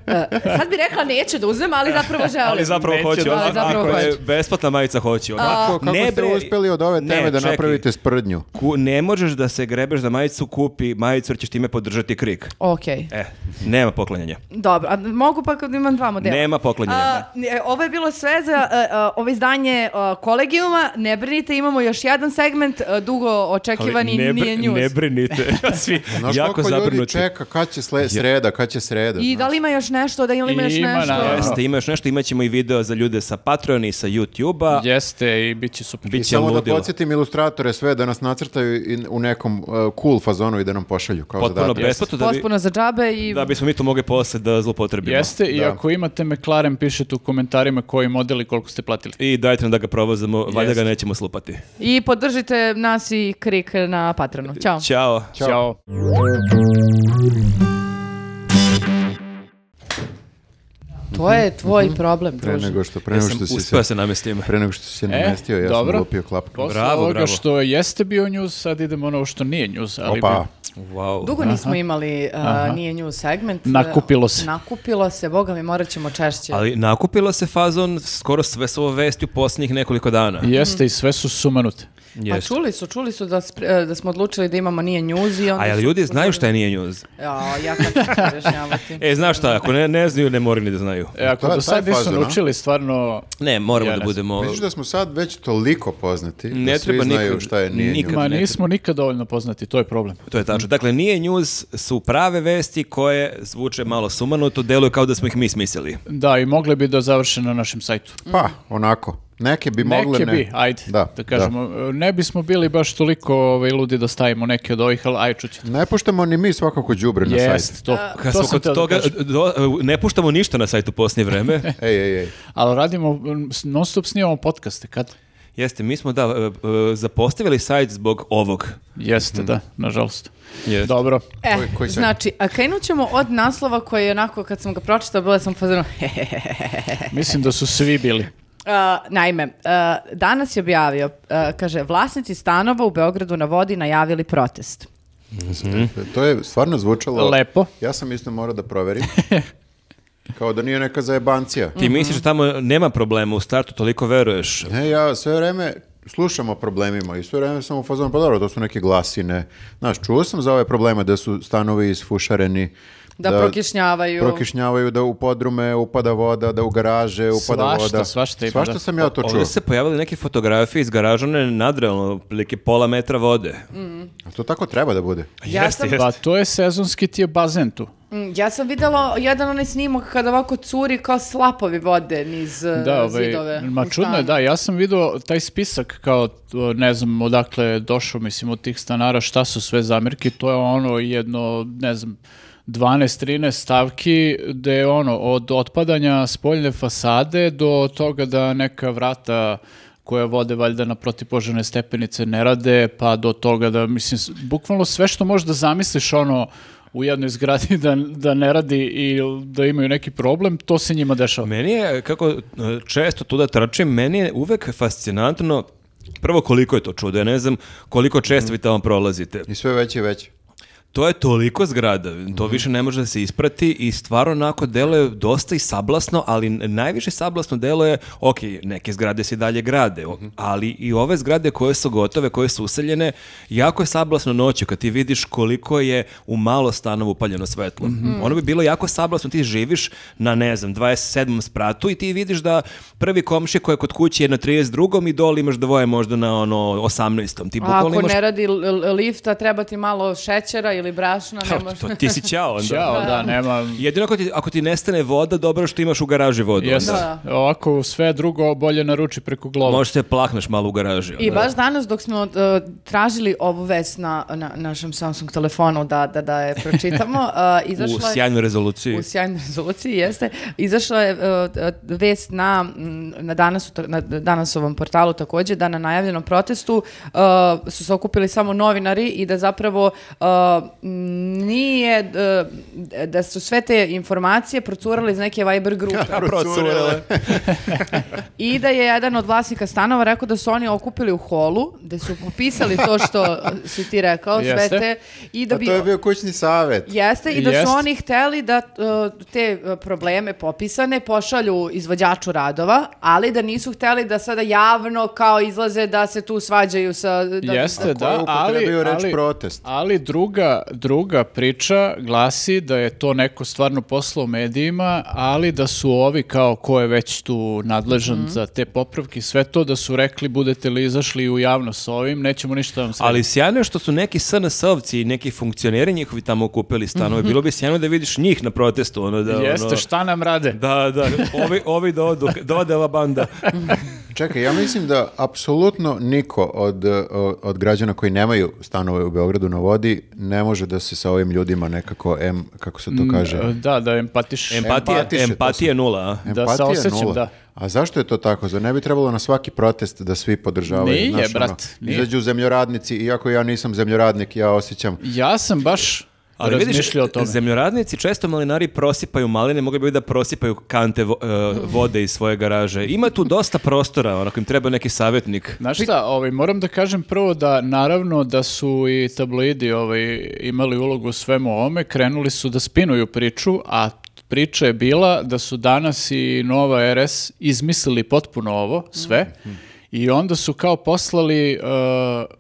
E: E, Sad bi rekla neće da uzmem, ali zapravo želim.
B: Ali zapravo
C: Veće,
B: hoću.
D: da,
B: ono,
D: zapravo
B: ako je
D: hoću.
B: besplatna majica hoću. Onako,
A: Kako ste
B: bre,
A: uspjeli od ove
B: ne,
A: teme da
B: čekaj.
A: napravite sprdnju?
B: Ku- ne možeš da se grebeš za majicu, kupi majicu jer ćeš time podržati krik.
D: Ok,
B: E, nema poklanjanja.
D: dobro. A mogu pa kad imam dva modela?
B: Nema poklanjanja.
D: A, e, ovo je bilo sve za e, e, ovo izdanje e, kolegijuma. Ne brinite, imamo još jedan segment e, dugo očekivani
B: ne, br-
D: nije news.
B: ne brinite.
D: *laughs*
B: *laughs* Svi
A: Znaš
B: jako
A: koliko ljudi
B: zabrinuti.
A: čeka, kad će sle- sreda, kad će sreda?
D: I da li ima još nešto? Da li ima još
C: Ima,
D: nešto?
C: naravno.
B: Jeste, ima još nešto, imat ćemo i video za ljude sa Patreon i sa YouTube-a.
C: Jeste i bit će super.
A: I
B: Biće
A: samo da
B: ludilo.
A: podsjetim ilustratore sve da nas nacrtaju i- u nekom uh, cool fazonu i da nam pošalju kao
B: Potpuno
A: zadatak.
B: besplatno da, bi,
D: Potpuno za džabe i...
B: da bismo mi to mogli posle da zlopotrebimo.
C: Jeste, i
A: Da.
C: ako imate McLaren, pišete u komentarima koji model i koliko ste platili.
B: I dajte nam da ga provozamo, valjda
C: Jeste.
B: ga nećemo slupati.
D: I podržite nas i krik na Patronu. Ćao.
B: Ćao.
A: Ćao.
C: Ćao.
D: To je tvoj problem,
A: Pre
D: druže.
A: nego što, pre
B: Ja
A: nego
B: sam
A: što si
B: uspeo
A: se...
B: se namestim.
A: Pre nego što si se
C: E,
A: namestio, ja
C: dobro.
A: sam lupio klapka.
C: Posle
B: Bravo,
C: ovoga
B: bravo.
C: što jeste bio news, sad idemo na ovo što nije news, ali
A: Opa,
C: bi-
B: Wow.
D: Dugo nismo imali uh, nije nju segment.
C: Nakupilo se.
D: Nakupilo se, boga mi, morat ćemo češće.
B: Ali nakupila se fazon skoro sve su ovo vesti u posljednjih nekoliko dana.
C: jeste i sve su sumanute.
D: Pa
B: Jeste.
D: čuli su, čuli su da, spre- e, da smo odlučili da imamo nije njuz i onda...
B: A jel
D: su-
B: ljudi znaju šta je nije njuz?
D: Ja, ja kako ću objašnjavati.
B: E, znaš šta, ako ne, ne znaju, ne moraju ni da znaju.
C: E, ako
A: To je
C: do sad
A: taj
C: nisu
A: fazon, a?
C: naučili, stvarno...
B: Ne, moramo
C: Ja
B: da
C: ne
B: budemo...
A: Vidiš da smo sad već toliko poznati,
B: Ne
A: da
B: treba
A: svi znaju
B: nikad-
A: šta je nije
B: nikad.
A: nju.
C: Ma
B: ne
C: nismo nikad dovoljno poznati, to je problem.
B: To je tačno. Dakle, nije njuz, su prave vesti koje zvuče malo sumanuto, deluje kao da smo ih mi smislili.
C: Da, i mogli bi da završe na našem sajtu.
A: Pa, onako. Neke bi mogle,
C: neke
A: ne.
C: bi, ajde, da, kažemo. Ne bismo bili baš toliko ovaj, ludi da stavimo neke od ovih, ali aj čuće.
A: Ne puštamo ni mi svakako đubre na sajt.
C: Jest, to,
B: Kad
C: to
B: smo
C: sam
B: kod
C: teo da
B: toga,
C: kažem.
B: do- e, ne puštamo ništa na sajtu u posljednje vreme. *laughs*
A: Ej, ej, ej.
C: Ali radimo, mm, non stop snimamo podcaste, kad?
B: Jeste, mi smo da e, e, zapostavili sajt zbog ovog.
C: Jeste, da, nažalost.
B: Jeste.
C: Dobro.
D: E,
A: Koji- koji sajt?
D: znači, a krenut ćemo od naslova koji je onako, kad sam ga pročitala, bila sam *laughs* pozorna,
C: Mislim da su svi bili.
D: Uh, naime, uh, danas je objavio, uh, kaže, vlasnici stanova u Beogradu na vodi najavili protest.
B: Mhm.
A: To je stvarno zvučalo...
C: Lepo.
A: Ja sam isto morao da proverim. Kao da nije neka zajebancija.
D: Mhm.
B: Ti misliš da tamo nema problema u startu, toliko veruješ.
A: Ne, ja sve vreme slušam o problemima i sve vreme sam u fazonu, pa dobro, to su neke glasine. Znaš, čuo sam za ove probleme da su stanovi isfušareni,
D: Da prokišnjavaju.
A: prokišnjavaju, da u podrume upada voda, da u garaže upada
C: Svašta,
A: voda.
C: svašta ima,
A: Svašta
C: da.
A: sam ja to čuo.
B: Ovdje se pojavili neke fotografije iz garaža, one nadrealno, otprilike pola metra vode.
A: A To tako treba da bude.
D: Mm. Ja sam-
C: Pa to je sezonski ti je bazen tu.
D: Mm, Ja sam vidjela jedan onaj snimak kada ovako curi kao slapovi vode niz e,
C: Da, ovaj,
D: zidove.
C: ma
D: u
C: čudno je,
D: stanu.
C: da, ja sam vidio taj spisak kao, to, ne znam odakle je došao, mislim, od tih stanara, šta su sve zamirke, to je ono jedno, ne znam, 12-13 stavki gde je ono, od otpadanja spoljne fasade do toga da neka vrata koja vode valjda na protipožarne stepenice ne rade, pa do toga da, mislim, s- bukvalno sve što možeš da zamisliš ono u jednoj zgradi *laughs* da, da ne radi i da imaju neki problem, to se njima dešava.
B: Meni je, kako e, često tuda trčim, meni je uvek fascinantno Prvo, koliko je to čudo, ja ne znam koliko često vi tamo prolazite.
A: I sve veće i veće.
B: To je toliko zgrada, to više ne može da se isprati i stvarno onako deluje dosta i sablasno, ali n- najviše sablasno deluje, ok, neke zgrade se i dalje grade, o- ali i ove zgrade koje su gotove, koje su useljene, jako je sablasno noću kad ti vidiš koliko je u malo stanova upaljeno svetlo. Ono bi bilo jako sablasno, ti živiš na, ne znam, 27. spratu i ti vidiš da prvi komšija koji je kod kuće je na 32. i dole imaš dvoje možda na ono 18. Ti
D: A
B: bukvalno *laughs*
D: ako
B: imaš
D: ne radi l- l- lifta, treba ti malo šećera ili ili brašna, ne
B: Ha,
D: može.
B: to, ti si ćao onda.
C: Ćao, da, nema...
B: Jedino ako ti, ako ti nestane voda, dobro je što imaš u garaži vodu.
C: Jeste.
D: Da.
C: Ovako sve drugo bolje naruči preko glova.
B: Možeš se plahneš malo u garaži.
D: I
B: onda.
D: baš danas dok smo e, tražili ovu vest na, na našem Samsung telefonu da, da, da je
C: *laughs*
D: pročitamo, e,
B: u
D: izašla je...
B: sjajnoj rezoluciji.
D: u sjajnoj rezoluciji, jeste. Izašla je e, e, vest na, mm, na, danas, na danasovom portalu takođe da na najavljenom protestu e, su se okupili samo novinari i da zapravo e, nije, e, da su sve te informacije procurale iz neke Viber grupe.
B: A, procurele.
D: I da je jedan od vlasnika stanova rekao da su oni okupili u holu, da su popisali to što si ti rekao, sve
C: Jeste.
D: te, i da
A: A
D: bi...
A: Pa to je bio kućni savjet.
D: Jeste, i da su
C: Jest.
D: oni hteli da uh, te uh, probleme popisane pošalju izvođaču radova, ali da nisu hteli da sada javno kao izlaze da se tu svađaju sa... Da,
C: Jeste,
A: Ko je
C: da, ali,
A: upotrebio reč
C: ali,
A: protest?
C: ali druga, druga priča glasi da je to neko stvarno poslo u medijima, ali da su ovi kao ko je već tu nadležan
A: Mhm.
C: za te popravke, i sve to da su rekli budete li izašli u javno s ovim, nećemo ništa vam srediti.
B: Ali sjajno je što su neki SNS-ovci i neki funkcioneri njihovi tamo okupili stanove.
D: Mhm.
B: Bilo bi sjajno da vidiš njih na protestu. Ono, da, ono,
C: Jeste, šta nam rade?
B: Da, da, ovi, ovi da odu, da ode ova banda.
A: Čekaj, ja mislim da apsolutno niko od, eh, od građana koji nemaju stanove u Beogradu na vodi ne može da se sa ovim ljudima nekako, em, kako se to kaže,
C: Mm, Da, da empatiš.
B: Empatija,
A: Empatiše, to
B: empatija nula, a?
C: da se
A: empatija
C: osjećam,
A: nula.
C: da.
A: A zašto je to tako? Zar ne bi trebalo na svaki protest da svi podržavaju?
C: Nije,
A: Znaš,
C: brat,
A: Ono,
C: nije.
A: izađu zemljoradnici, iako ja nisam zemljoradnik, ja osjećam.
C: Ja sam baš
B: Ali vidiš,
C: razmišljao o tome.
B: zemljoradnici često malinari prosipaju maline, mogli bi da prosipaju kante vo- e, vode iz svoje garaže. Ima tu dosta prostora, onako im treba neki savjetnik.
C: Znaš šta, ovaj, moram da kažem prvo da naravno da su i tabloidi ovaj, imali ulogu u svemu ovome, krenuli su da spinuju priču, a priča je bila da su danas i Nova RS izmislili potpuno ovo, sve, i onda su kao poslali e,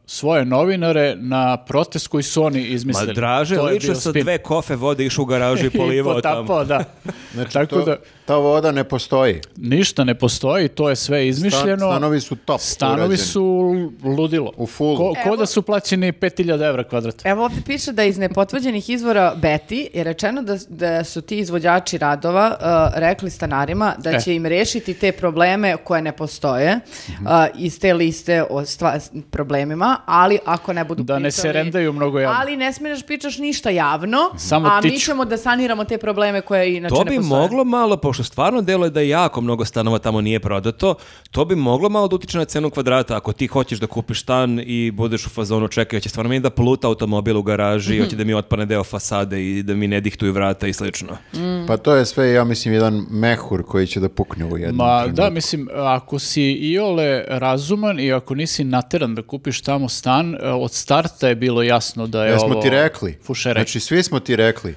C: svoje novinare na protest koji su oni
B: Ma
C: izmislili.
B: draže,
C: To je
B: lično
C: bio
B: sa
C: spin.
B: dve kofe vode išao u garažu i
C: *laughs* I
B: polivao tamo. Znači,
C: potapao, znači da. Tako
A: znači To-
C: da,
A: Ta voda ne postoji.
C: ništa ne postoji, to je sve izmišljeno.
A: stanovi su top
C: Stanovi
A: urađeni.
C: su ludilo.
A: U fullu.
C: Ko, ko
D: Evo-
C: da su plaćeni 5000 evra kvadrat.
D: Evo ovdje piše da iz nepotvrđenih izvora Beti je rečeno da, da su ti izvođači radova uh, rekli stanarima da
C: E.
D: će im rešiti te probleme koje ne postoje
C: Mhm.
D: uh, iz te liste o stva- s problemima, ali ako ne budu
C: Da ne
D: pričali-
C: se rendaju mnogo javno.
D: Ali ne smiješ pičaš ništa javno,
C: Samo
D: a mi
C: tiču.
D: ćemo da saniramo te probleme koje inače
B: To
D: ne
B: bi
D: postoje.
B: moglo malo, pošto stvarno deluje da jako mnogo stanova tamo nije prodato, to bi moglo malo da utiče na cenu kvadrata. Ako ti hoćeš da kupiš stan i budeš u fazonu čekaj, hoće stvarno mi da pluta automobil u
C: Mhm.
B: garaži, hoće da mi otpane deo fasade i da mi ne dihtuju vrata i slično.
C: Mm.
A: Pa to je sve, ja mislim, jedan mehur koji će da pukne u jednom
C: Ma
A: trenutku.
C: da, mislim, ako si iole razuman i ako nisi nateran da kupiš tamo stan, e, od starta je bilo jasno da je
A: Jesmo
C: ovo
A: ti rekli.
C: fušere.
A: Znači, svi smo ti rekli.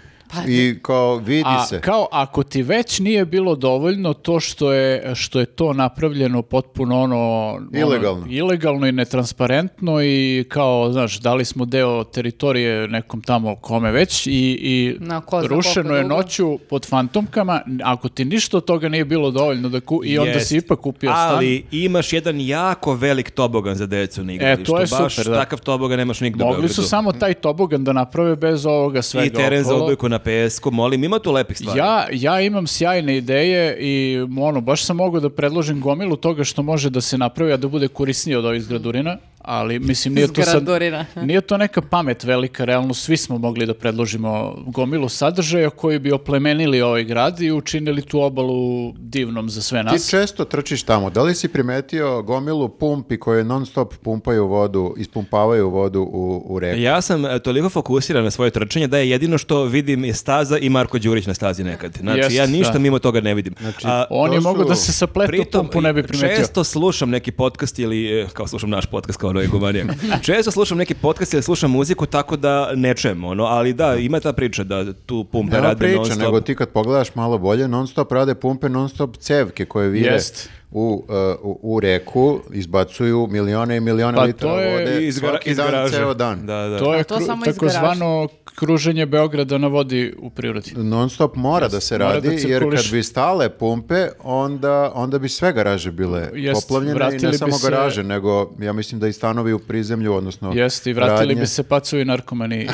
A: I kao, vidi
C: A
A: se.
C: kao ako ti već nije bilo dovoljno to što je, što je to napravljeno potpuno ono... ono,
A: Ilegalno.
C: ilegalno i netransparentno i kao, znaš, dali smo deo teritorije nekom tamo kome već i, i
D: Na ko zna koliko
C: rušeno je
D: dugo.
C: noću pod fantomkama. Ako ti ništa od toga nije bilo dovoljno da ku, i onda
B: Jest.
C: si ipak kupio stan.
B: Ali imaš jedan jako velik tobogan za decu na
C: E,
B: igralištu.
C: to je
B: Baš
C: super, da.
B: takav tobogan nemaš nigde u
C: Mogli su
B: Beogradu.
C: samo taj tobogan da naprave bez ovoga svega
B: I teren za
C: okolo.
B: odbojku na pesku, molim, ima tu lepih stvari.
C: Ja, ja imam sjajne ideje i ono, baš sam mogao da predložim gomilu toga što može da se napravi, a da bude korisnije od ovih zgradurina, ali mislim nije to sad...
D: Zgradurina.
C: Nije to neka pamet velika, realno svi smo mogli da predložimo gomilu sadržaja koji bi oplemenili ovaj grad i učinili tu obalu divnom za sve
A: Ti
C: nas.
A: često trčiš tamo. Da li si primetio gomilu pumpi koje non stop pumpaju vodu, ispumpavaju vodu u, u reku?
B: Ja sam e, toliko fokusiran na svoje trčanje da je jedino što vidim je staza i Marko Đurić na stazi nekad. Znači,
C: Jest,
B: ja ništa
C: da.
B: mimo toga ne vidim. A,
C: Oni
A: to su-
C: mogu da se sapletu
B: Pritom,
C: pumpu ne bi primetio.
B: često slušam neki podcast ili, e, kao slušam naš podcast kao onaj
C: *laughs*
B: gumanijak, često slušam neki podcast ili slušam muziku tako da ne čujem, ono, ali da, ima ta priča da tu pumpe
A: Nema
B: rade
A: priča,
B: non stop.
A: nego ti kad pogledaš malo bolje, non stop rade pumpe, non stop cevke koje vire
C: Jest.
A: u, uh, u, u reku, izbacuju milione i milione
C: Pa
A: litara
C: to je
A: vode
B: Iz gara-
A: svaki
B: iz
A: dan,
B: garaže.
A: ceo dan.
B: Da, da.
C: To je
D: to
C: kru-
D: samo iz
C: takozvano kruženje Beograda na vodi u prirodi.
A: Non stop mora da se
C: mora
A: radi,
C: da
A: jer kad
C: cirkuliše.
A: bi stale pumpe, onda, onda bi sve garaže bile
C: Jest,
A: poplavljene i
C: vratili
A: ne
C: bi
A: samo
C: se-
A: garaže, nego ja mislim da i stanovi u prizemlju, odnosno
C: Jeste, i vratili
A: radnje.
C: bi se pacovi narkomani. *laughs*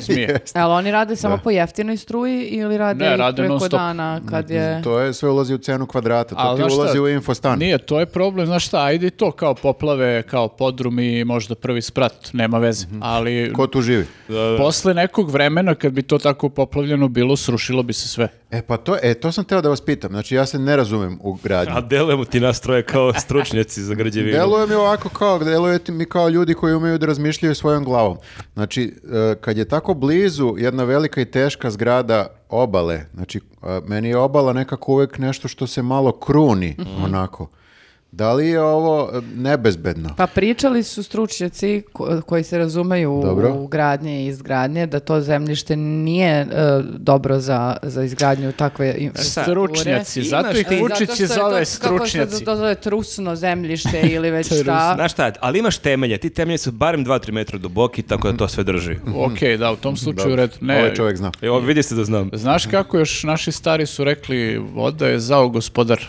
C: zmije.
D: Ali oni rade samo po jeftinoj struji ili rade,
C: Ne,
D: i
C: rade Mhm.
D: preko
C: non stop.
D: dana kad je...
A: To je sve ulazi u cenu kvadrata, to
C: Ali
A: ti
C: znaš šta?
A: ulazi u infostan.
C: Nije, to je problem, znaš šta, ajde i to kao poplave, kao podrumi, možda prvi sprat, nema veze.
B: Mhm.
C: Ali e,
A: Ko tu živi?
C: posle nekog vremena kad bi to tako poplavljeno bilo, srušilo bi se sve.
A: E pa to, e, to sam teo da vas pitam. Znači ja se ne razumem u gradnju.
B: A delujemo ti nas troje kao stručnjaci za građevinu.
A: Deluje mi ovako kao, deluje ti mi kao ljudi koji umeju da razmišljaju svojom glavom. Znači, e, kad je tako blizu jedna velika i teška zgrada obale, znači, e, meni je obala nekako uvek nešto što se malo kruni,
C: Mhm.
A: onako. Da li je ovo e, nebezbedno?
D: Pa pričali su stručnjaci ko- koji se razumeju u-
A: Dobro.
D: u gradnje i izgradnje da to zemljište nije e, dobro za, za izgradnju takve infrastrukture.
C: Stručnjaci, zato ih
B: ti-
C: Vučić je
D: Zato što je
C: zove
D: to- Kako se
C: stručnjaci.
D: to zove, trusno
C: *laughs*
D: zemljište ili već šta.
B: Znaš šta, ali imaš temelje, ti temelji su barem 2-3 metra duboki, tako da to sve drži.
C: Ok, da, u tom slučaju u redu. Pa, Ne,
A: Ovaj čovjek zna.
B: Evo, E, vidi se da znam.
C: Znaš kako još naši stari su rekli, voda je zao gospodar.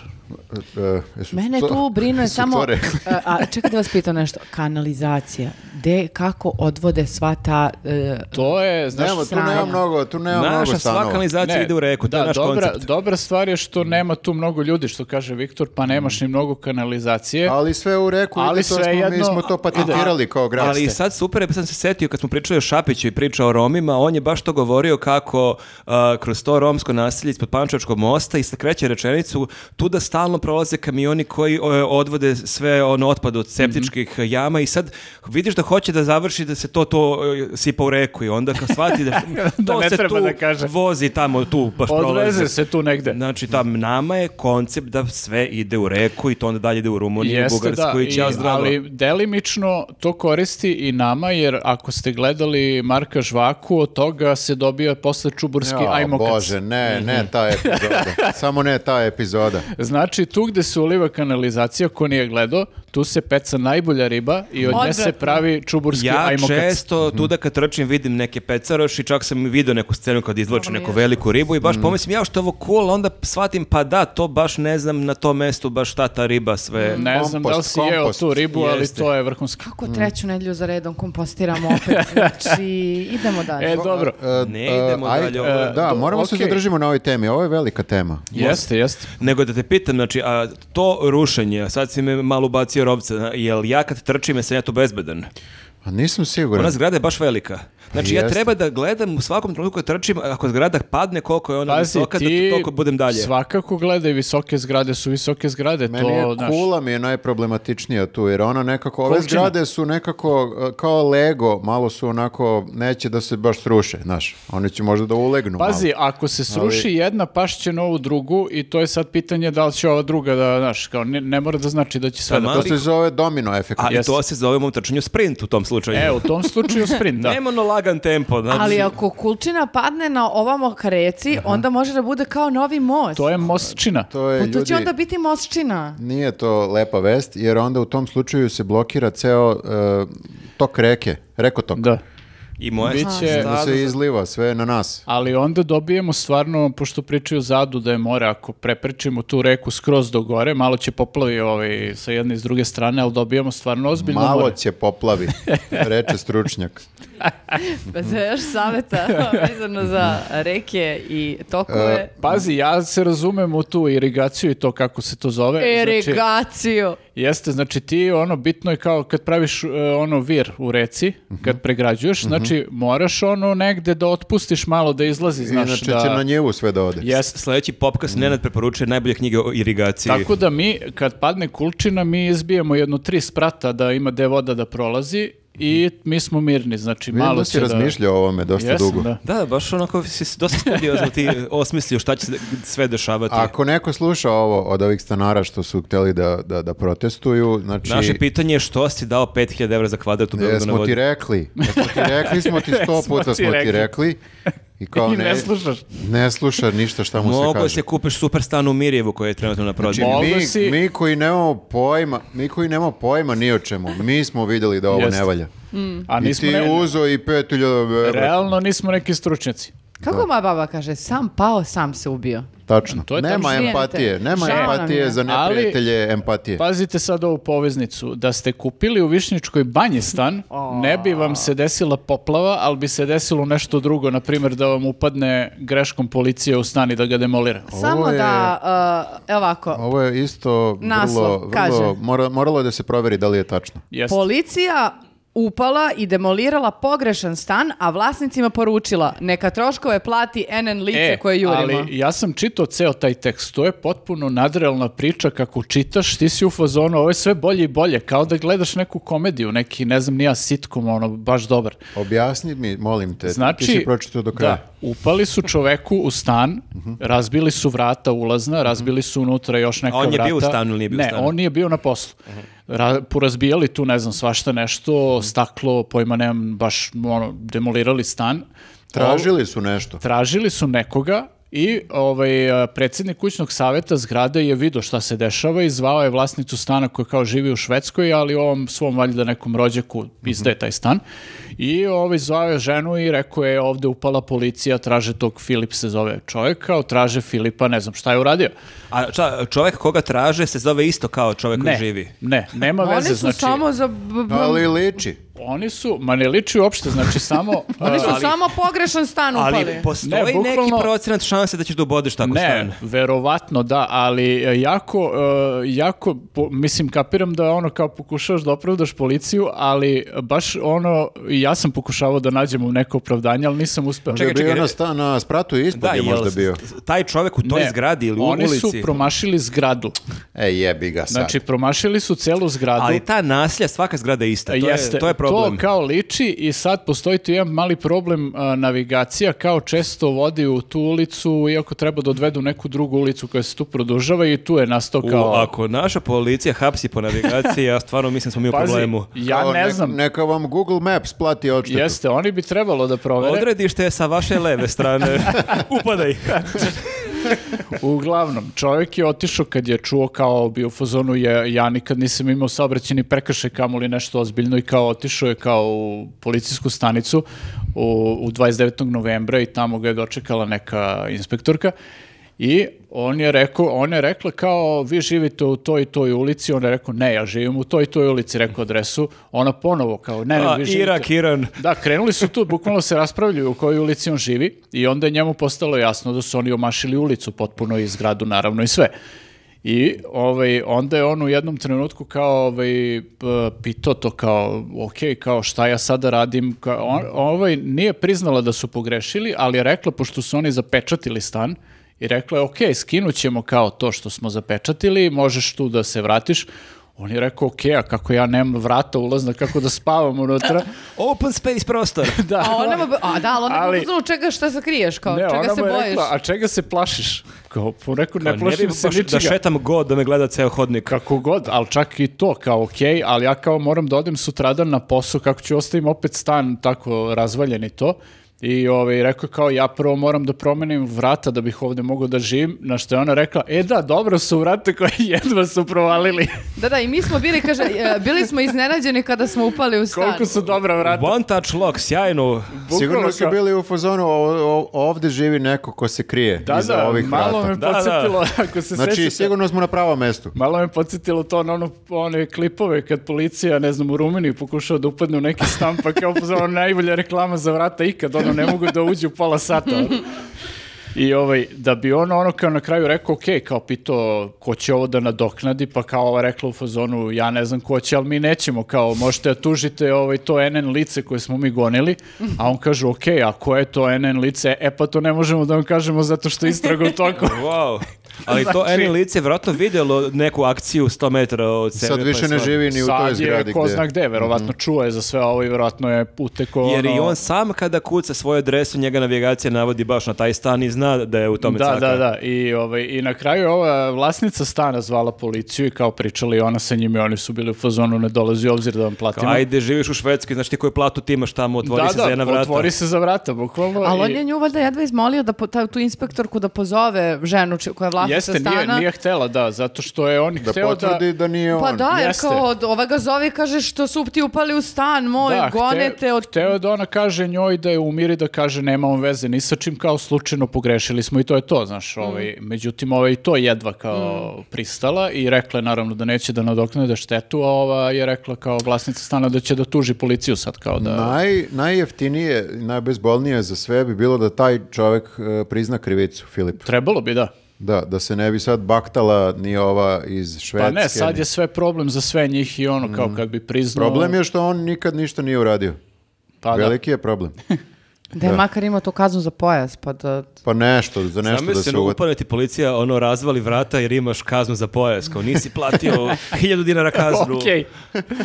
A: E, e, jesu
D: Mene
A: to-
D: tu
A: *laughs*
D: brine
A: jesu
D: samo...
A: to rekli?
D: a, a, čekaj da vas pitam nešto. Kanalizacija. De, kako odvode sva ta... e,
C: To je, znaš,
A: Nema, tu
D: sranja.
A: nema mnogo, tu nema mnogo
B: Naša sva
A: stanova.
B: kanalizacija
C: Ne,
B: ide u reku, to
C: da,
B: je naš
C: dobra,
B: koncept.
C: Dobra stvar je što nema tu mnogo ljudi, što kaže Viktor, pa nemaš ni mnogo kanalizacije.
A: Ali sve u reku,
C: Ali
A: ide, to
C: sve
A: smo, mi
C: jedno-
A: smo to patentirali kao grad.
B: Ali sad super, je, sad sam se setio kad smo pričali o Šapiću i pričao o Romima, on je baš to govorio kako a, kroz to romsko nasilje ispod Pančevačkog mosta i sa kreće rečenicu tu da stalno prolaze kamioni koji o, odvode sve ono otpad od septičkih
C: Mhm.
B: jama i sad vidiš da hoće da završi da se to to e, sipa u reku i onda kad shvati
C: *laughs*
B: da,
C: Da
B: to
C: ne
B: se
C: treba
B: tu
C: da kaže.
B: vozi tamo tu baš prolaze.
C: Odveze se tu negde.
B: Znači, tam nama je koncept da sve ide u reku i to onda dalje ide u Rumuniju, i
C: Jeste
B: Bugarsku
C: da,
B: i
C: i,
B: ćao zdravo.
C: ali delimično to koristi i nama, jer ako ste gledali Marka Žvaku, od toga se dobio posle čuburski
A: Ja,
C: ajmokac.
A: Bože, ne,
C: Mhm.
A: ne ta
C: *laughs*
A: epizoda. Samo ne ta epizoda.
C: Znači, tu gde se uliva kanalizacija, ko nije gledao, tu se peca najbolja riba i od nje se
D: Odvratno.
C: pravi čuburski
B: Ja
C: ajmokac.
B: često tu da kad trčim vidim neke pecaroš i čak sam i video neku scenu kad izvlače neku veliku ribu i baš
C: Mhm.
B: pomislim ja što je ovo cool, a onda shvatim pa da, to baš ne znam na tom mestu baš šta ta riba sve...
C: Ne znam da li
A: kompost,
C: si jeo
A: kompost.
C: tu ribu, ali
B: Jeste.
C: to je vrhunski.
A: Mm.
D: Kako treću nedlju za redom kompostiramo opet? Znači, idemo dalje.
C: E, dobro.
A: E,
B: Ne
A: e,
B: idemo
A: aj,
B: dalje,
A: e,
B: ovo je-
A: Da,
C: Do-
A: moramo se
C: okej.
A: zadržimo na ovoj temi. Ovo je velika tema.
C: Jeste, jeste.
B: Nego da te pitam, znači, a to rušenje, a sad si me malo ubacio rovca, jel ja kad trčim sam ja tu bezbedan?
A: A nisam siguran.
B: Ona zgrada je baš velika. Znači, ja
A: Jeste.
B: treba da gledam u svakom trenutku kad trčim, ako zgrada padne, koliko je ona
C: Pazi,
B: visoka, da
C: ti
B: toliko budem dalje.
C: svakako gledaj visoke zgrade, su visoke zgrade.
A: Meni
C: to,
A: je
C: znaš,
A: kula mi je najproblematičnija tu, jer ona nekako, ove
C: Količina.
A: zgrade su nekako e, kao Lego, malo su onako, neće da se baš sruše, znaš. Oni će možda da ulegnu
C: Pazi,
A: malo.
C: ako se sruši jedna, pašće na ovu drugu i to je sad pitanje da li će ova druga da, znaš, kao ne, ne mora da znači da će sve da...
B: Taman.
A: To se zove domino efekt.
B: A i
C: Jeste.
B: to se zove u mom trčanju sprint u tom slučaju.
C: E, u tom slučaju sprint,
A: *laughs*
C: da.
B: Nema ono lagan tempo. Znači,
D: Ali ako kulčina padne na ovamo ka reci, onda može da bude kao novi most.
C: To je mostčina.
A: To je,
D: Pa to
A: ljudi,
D: će onda biti mostčina.
A: nije to lepa vest, jer onda u tom slučaju se blokira ceo e, tok reke, rekotok.
C: Da.
B: I moje
C: Biće-
A: Da se izliva sve na nas.
C: Ali onda dobijemo stvarno, pošto pričaju zadu da je more, ako preprečimo tu reku skroz do gore, malo će poplavi ovaj, sa jedne i s druge strane, ali dobijemo stvarno ozbiljno
A: Malo
C: more.
A: će
C: *laughs*
A: poplavi, reče stručnjak.
C: Mhm.
D: Pa za još saveta
C: *laughs*
D: vezano za reke i tokove.
C: Pazi, ja se razumem u tu irigaciju i to kako se to zove.
A: E,
C: Znači,
D: Irigaciju.
C: Jeste, znači ti ono bitno je kao kad praviš e, ono vir u reci,
A: Mhm.
C: kad pregrađuješ, znači moraš ono negde da otpustiš malo da izlazi, znaš
A: Inače
C: da
A: će na njevu sve da ode.
C: Jeste.
B: Sljedeći popkast Nenad preporučuje najbolje knjige o irigaciji.
C: Tako da mi, kad padne kulčina, mi izbijemo jedno tri sprata da ima gde voda da prolazi i mi smo mirni, znači
A: Vidim
C: malo
A: Mhm. da
C: će
A: si
C: da...
A: razmišljao o ovome dosta
C: Jesam,
A: dugo.
C: da.
B: Da, da, baš onako si dosta studiozno
A: *laughs*
B: ti osmislio šta će se sve dešavati.
A: Ako neko sluša ovo od ovih stanara što su hteli da, da, da protestuju, znači...
B: Naše pitanje je što si dao 5000 evra za kvadrat u Beogradu na
A: Jesmo ti
B: vodi.
A: rekli, jesmo ti rekli smo
C: *laughs*
A: ti sto
C: Jesmo
A: puta
C: ti
A: smo ti
C: rekli.
A: rekli. I kao
C: *laughs* I
A: ne,
C: ne slušaš.
A: Ne sluša ništa šta mu se
B: Mogu
A: kaže. Znači,
B: se kupiš super stan u Mirjevu koji je trenutno na prodaju.
C: Mo- Mogu
A: Mi,
C: si-
A: mi koji nemamo pojma, mi koji nemamo pojma ni o čemu, mi smo vidjeli da ovo
C: Jeste.
A: ne valja.
C: A
A: I
C: nismo
A: ti
C: ne-
A: uzo i 5000 evra.
C: realno nismo neki stručnjaci.
D: Kako moja baba kaže, sam pao, sam se ubio.
A: Tačno.
C: To je
A: nema
D: tačno.
A: empatije, nema
D: Žao nam
A: empatije
D: je.
A: za
C: Ali- Pa-
A: neprijatelje, empatije.
C: Pazite sad ovu poveznicu. Da ste kupili u Višnjičkoj banji stan, ne bi vam se desila poplava, ali bi se desilo nešto drugo. Na primjer, da vam upadne greškom policija u stan i da ga demolira.
D: Samo
A: je-
D: da, uh, evo ovako,
A: Ovo je isto
D: Naslov,
A: vrlo,
D: kaže.
A: vrlo mora- moralo je da se proveri da li je tačno.
C: Jeste.
D: policija upala i demolirala pogrešan stan, a vlasnicima poručila neka troškove plati NN lice koje jurimo.
C: E, ali ja sam čitao ceo taj tekst, to je potpuno nadrealna priča kako čitaš, ti si u fazonu, ovo je sve bolje i bolje, kao da gledaš neku komediju, neki, ne znam, nija sitkom, ono, baš dobar.
A: Objasni mi, molim te, ti
C: Znači,
A: si pročitao do kraja.
C: Da, upali su čoveku u stan, razbili su vrata ulazna, razbili su unutra još neka
B: A on je
C: vrata.
B: bio u stanu ili nije bio u
C: ne,
B: stanu?
C: on nije bio na poslu. Ra- porazbijali tu, ne znam, svašta nešto, staklo, pojma nemam, baš ono, demolirali stan.
A: Tražili su nešto.
C: Tražili su nekoga i ovaj, a, predsjednik kućnog saveta zgrade je vidio šta se dešava i zvao je vlasnicu stana koja kao živi u Švedskoj, ali ovom svom valjda nekom rođaku izdaje taj stan. I ovaj, zvao je ženu i rekao je ovde upala policija, traže tog Filip se zove čovjeka, traže Filipa, ne znam šta je uradio.
B: A ča, čovek koga traže se zove isto kao čovek
C: Ne,
B: koji živi.
C: ne, nema
D: Oni
C: veze.
D: su
C: znači,
D: samo za... b- b-
A: Ali liči.
C: Oni su, ma ne liči uopšte, znači
D: *laughs*
C: samo...
D: Oni su
C: ali-
D: Pa samo pogrešan stan upali.
B: Ali postoji
C: Ne, bukvalno-
B: neki procenat šanse da ćeš da ubodeš tako stan.
C: Ne, verovatno da, ali e, jako, e, jako, po- mislim, kapiram da ono kao pokušavaš da opravdaš policiju, ali baš ono, i ja sam pokušavao da nađem neko opravdanje, ali nisam uspeo.
A: Čekaj, bio
B: Čekaj, čekaj,
A: na
B: re-
A: stan ono na spratu ispod je
B: jel
A: možda bio.
B: s- taj čovek u toj
C: Ne,
B: zgradi ili u
C: Oni
B: ulici.
C: su promašili zgradu.
A: E, jebi ga sad.
C: Znači, promašili su celu zgradu.
B: Ali ta naslja, svaka zgrada je ista. To,
C: Jeste,
B: je, to je problem.
C: To kao liči i sad postoji tu jedan mali problem a, navigacija, kao često vodi u tu ulicu, iako treba da odvedu neku drugu ulicu koja se tu produžava i tu je nastao
B: U,
C: kao...
B: ako naša policija hapsi po navigaciji, ja stvarno mislim smo mi u
C: Pazi,
B: problemu.
C: ja
A: Kao
C: ne
A: nek-
C: znam,
A: Neka vam Google Maps plati odštetu.
C: Jeste, oni bi trebalo da provere.
B: Odredište je sa vaše leve
C: *laughs*
B: strane. Upadaj.
C: Uglavnom, čovjek je otišao kad je čuo kao bio u fazonu je, ja nikad nisam imao saobraćeni prekršaj kamoli nešto ozbiljno i kao otišao je kao u policijsku stanicu u, u 29. novembra i tamo ga je dočekala neka inspektorka i on je rekao, on je rekla kao vi živite u toj i toj ulici, on je rekao ne, ja živim u toj i toj ulici, rekao adresu, ona ponovo kao ne, ne,
B: A,
C: vi živite.
B: Pa, Irak, Iran.
C: Da, krenuli su tu, bukvalno se raspravljaju u kojoj ulici on živi i onda je njemu postalo jasno da su oni omašili ulicu potpuno i zgradu naravno i sve. I ovaj, onda je on u jednom trenutku kao ovaj, p- pitao to kao, ok, kao šta ja sada radim. Kao, on, ovaj, nije priznala da su pogrešili, ali je rekla, pošto su oni zapečatili stan, i rekla je, ok, skinut ćemo kao to što smo zapečatili, možeš tu da se vratiš. On je rekao, ok, a kako ja nemam vrata ulazna, kako da spavam unutra.
B: Open space prostor.
C: Da.
D: A ona mu, a da, ali ona
C: Ali-
D: ali... čega šta se kriješ, kao,
C: Ne, ona
D: čega se
C: mu je
D: bojiš?
C: rekla, a čega se plašiš? Kao, po rekao,
B: Pa
C: ne
B: ne bi
C: plašim se
B: baš da
C: ničega.
B: šetam god da me gleda ceo hodnik.
C: Kako god, ali čak i to, kao okej, ali ja kao moram da odem sutradan na posao, kako ću ostavim opet stan tako razvaljen i to. I ovaj, rekao je kao, ja prvo moram da promenim vrata da bih ovdje mogao da živim, na što je ona rekla, e da, dobro su vrata koje *laughs* jedva su provalili.
D: Da, da, i mi smo bili, kaže, e, bili smo iznenađeni kada smo upali u stan.
C: Koliko su dobra vrata.
B: One touch lock, sjajno.
A: Sigurno
C: Bukvalno
A: su
C: kao-
A: bili u fazonu, o- o- ovdje živi neko ko se krije
C: Da,
A: iza
C: da,
A: ovih
C: malo
A: vrata.
C: me
B: Da, da.
C: podsjetilo, ako se
A: Znači,
C: sećate.
A: sigurno smo na pravom mestu.
C: Malo me podsjetilo to na ono, one klipove kad policija, ne znam, u Rumuniji pokušava da upadne u neki stan, pa kao *laughs* pozvao najbolja reklama za vrata ikad, ono, ne mogu da uđu pola sata. ono. I ovaj, da bi ono, ono kao na kraju rekao, ok, kao pitao ko će ovo da nadoknadi, pa kao ova rekla u fazonu, ja ne znam ko će, ali mi nećemo, kao možete da tužite ovaj, to NN lice koje smo mi gonili, a on kaže, ok, a koje je to NN lice, e pa to ne možemo da vam kažemo zato što je istraga u toku.
B: Wow. Ali to
C: Znači-
B: Eni lice je vjerojatno vidjelo neku akciju 100 metara od sebe.
A: Sad
B: pa je
A: više ne
B: shvatilo.
A: živi ni u toj
C: Sad
A: zgradi.
C: je ko
A: gde-
C: zna gde, verovatno čuo je za sve ovo i verovatno je uteko
B: Mhm. Jer i
C: ono-
B: on sam kada kuca svoju adresu, njega navigacija navodi baš na taj stan i zna da je u tome
C: Da,
B: caka.
C: da, da. I, ovaj, I na kraju je ova vlasnica stana zvala policiju i kao pričali ona sa njim i oni su bili u fazonu ne dolazi u obzir da vam
B: Kao,
C: platimo.
B: Ajde, živiš u Švedskoj, znači ti koju platu ti imaš tamo, otvori
C: da,
B: se
C: da,
B: za jedna vrata.
C: otvori se za vrata, bukvalno.
D: Ali
C: i-
D: on je nju valjda jedva izmolio da po- ta- tu inspektorku da pozove ženu či- koja je mafica
C: Jeste,
D: stana.
C: nije, nije htela, da, zato što je on
A: Da
C: hteo
A: potvrdi da, nije on.
D: Pa da, jer
C: Jeste.
D: kao od ova ga zove i kaže što su ti upali u stan moj,
C: Da,
D: gonete
C: hteo,
D: od...
C: hteo da ona kaže njoj da je umiri, da kaže nema on veze ni sa čim, kao slučajno pogrešili smo i to je to,
D: Mm.
C: znaš, ovaj, međutim ovaj to jedva kao pristala i rekla je naravno da neće da nadoknade štetu, a ova je rekla kao vlasnica stana da će da tuži policiju sad kao da...
A: Naj, najjeftinije, najbezbolnije za sve bi bilo da taj čovek e, prizna krivicu, Filip.
C: Trebalo bi, da.
A: Da, da se ne bi sad baktala ni ova iz Švedske.
C: Pa ne, sad
A: ni-
C: je sve problem za sve njih i ono kao kad bi priznao...
A: Mm. Problem je što on nikad ništa nije uradio.
C: Pa da.
A: Veliki je problem.
D: Da je makar imao tu kaznu za pojas, pa da...
A: Pa nešto, za nešto da se
B: Zamisli,
A: uvati.
B: upadne ti policija, ono, razvali vrata jer imaš kaznu za pojas, kao nisi platio
C: *laughs*
B: hiljadu dinara kaznu.
C: *laughs* Okej.
D: *laughs*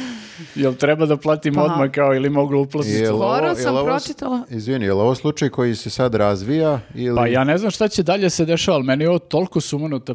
C: Jel treba da platim
D: Pa.
C: odmah kao ili mogu uplatiti?
A: Jel ovo-
D: Skoro
A: jel
D: sam
A: ovo-
D: pročitala.
A: Izvini, je li ovo slučaj koji se sad razvija? Ili...
C: Pa ja ne znam šta će dalje se dešava, ali meni je ovo toliko sumanuta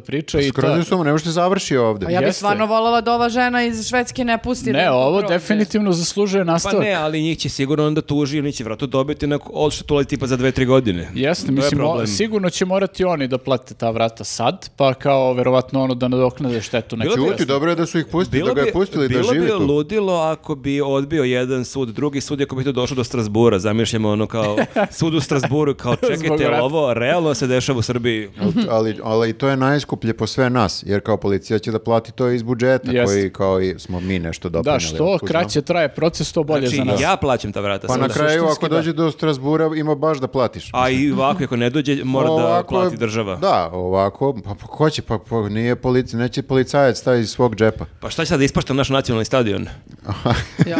B: Pa
C: priča i
A: Skroz
C: ta...
A: je sumo, ne možete završi ovde.
D: Pa ja bih
C: Jeste.
D: stvarno volala da ova žena iz Švedske ne pusti. da im
C: Ne,
D: to
C: ovo
D: prođe.
C: definitivno zaslužuje
B: Pa
C: nastavak.
B: ne, ali njih će sigurno onda tuži, oni će vratno dobiti neko odštetule tipa za dve, tri godine. To
C: Jeste,
B: je
C: mislim, o-
B: problem.
C: sigurno će morati oni da plate ta vrata sad, pa kao verovatno ono da nadoknade štetu neku.
B: Bilo bi-
A: Ćuti, dobro je da su ih pustili, da ga je pustili da
B: bilo
A: živi
B: bi
A: tu.
B: ludilo ako bi odbio jedan sud, drugi sud ako bi to došlo do Strasbura. Zamišljamo ono
A: *laughs*
B: kao sud u Strasburu kao
C: Zbog
B: čekajte jel
C: rata.
B: ovo realno se dešava u Srbiji.
A: *laughs* ali, ali to je najskuplje po sve nas, jer kao policija će da plati to iz budžeta,
C: Jeste.
A: koji kao i smo mi nešto doprinjeli.
C: Da, što kraće traje proces, to bolje za nas.
B: Znači, ja plaćam ta vrata.
A: Pa
B: sada.
A: na kraju,
C: Suštinski
A: ako
C: da.
A: dođe do Strasbura, ima baš da platiš.
B: A i ovako, ako ne dođe, mora da
A: Ovako je-
B: plati država.
A: Da, ovako, pa, pa ko će, pa, pa nije polici, neće policajac taj iz svog džepa. *laughs*
B: Pa šta će sad da ispaštam naš nacionalni stadion?
C: *laughs*
D: Ja,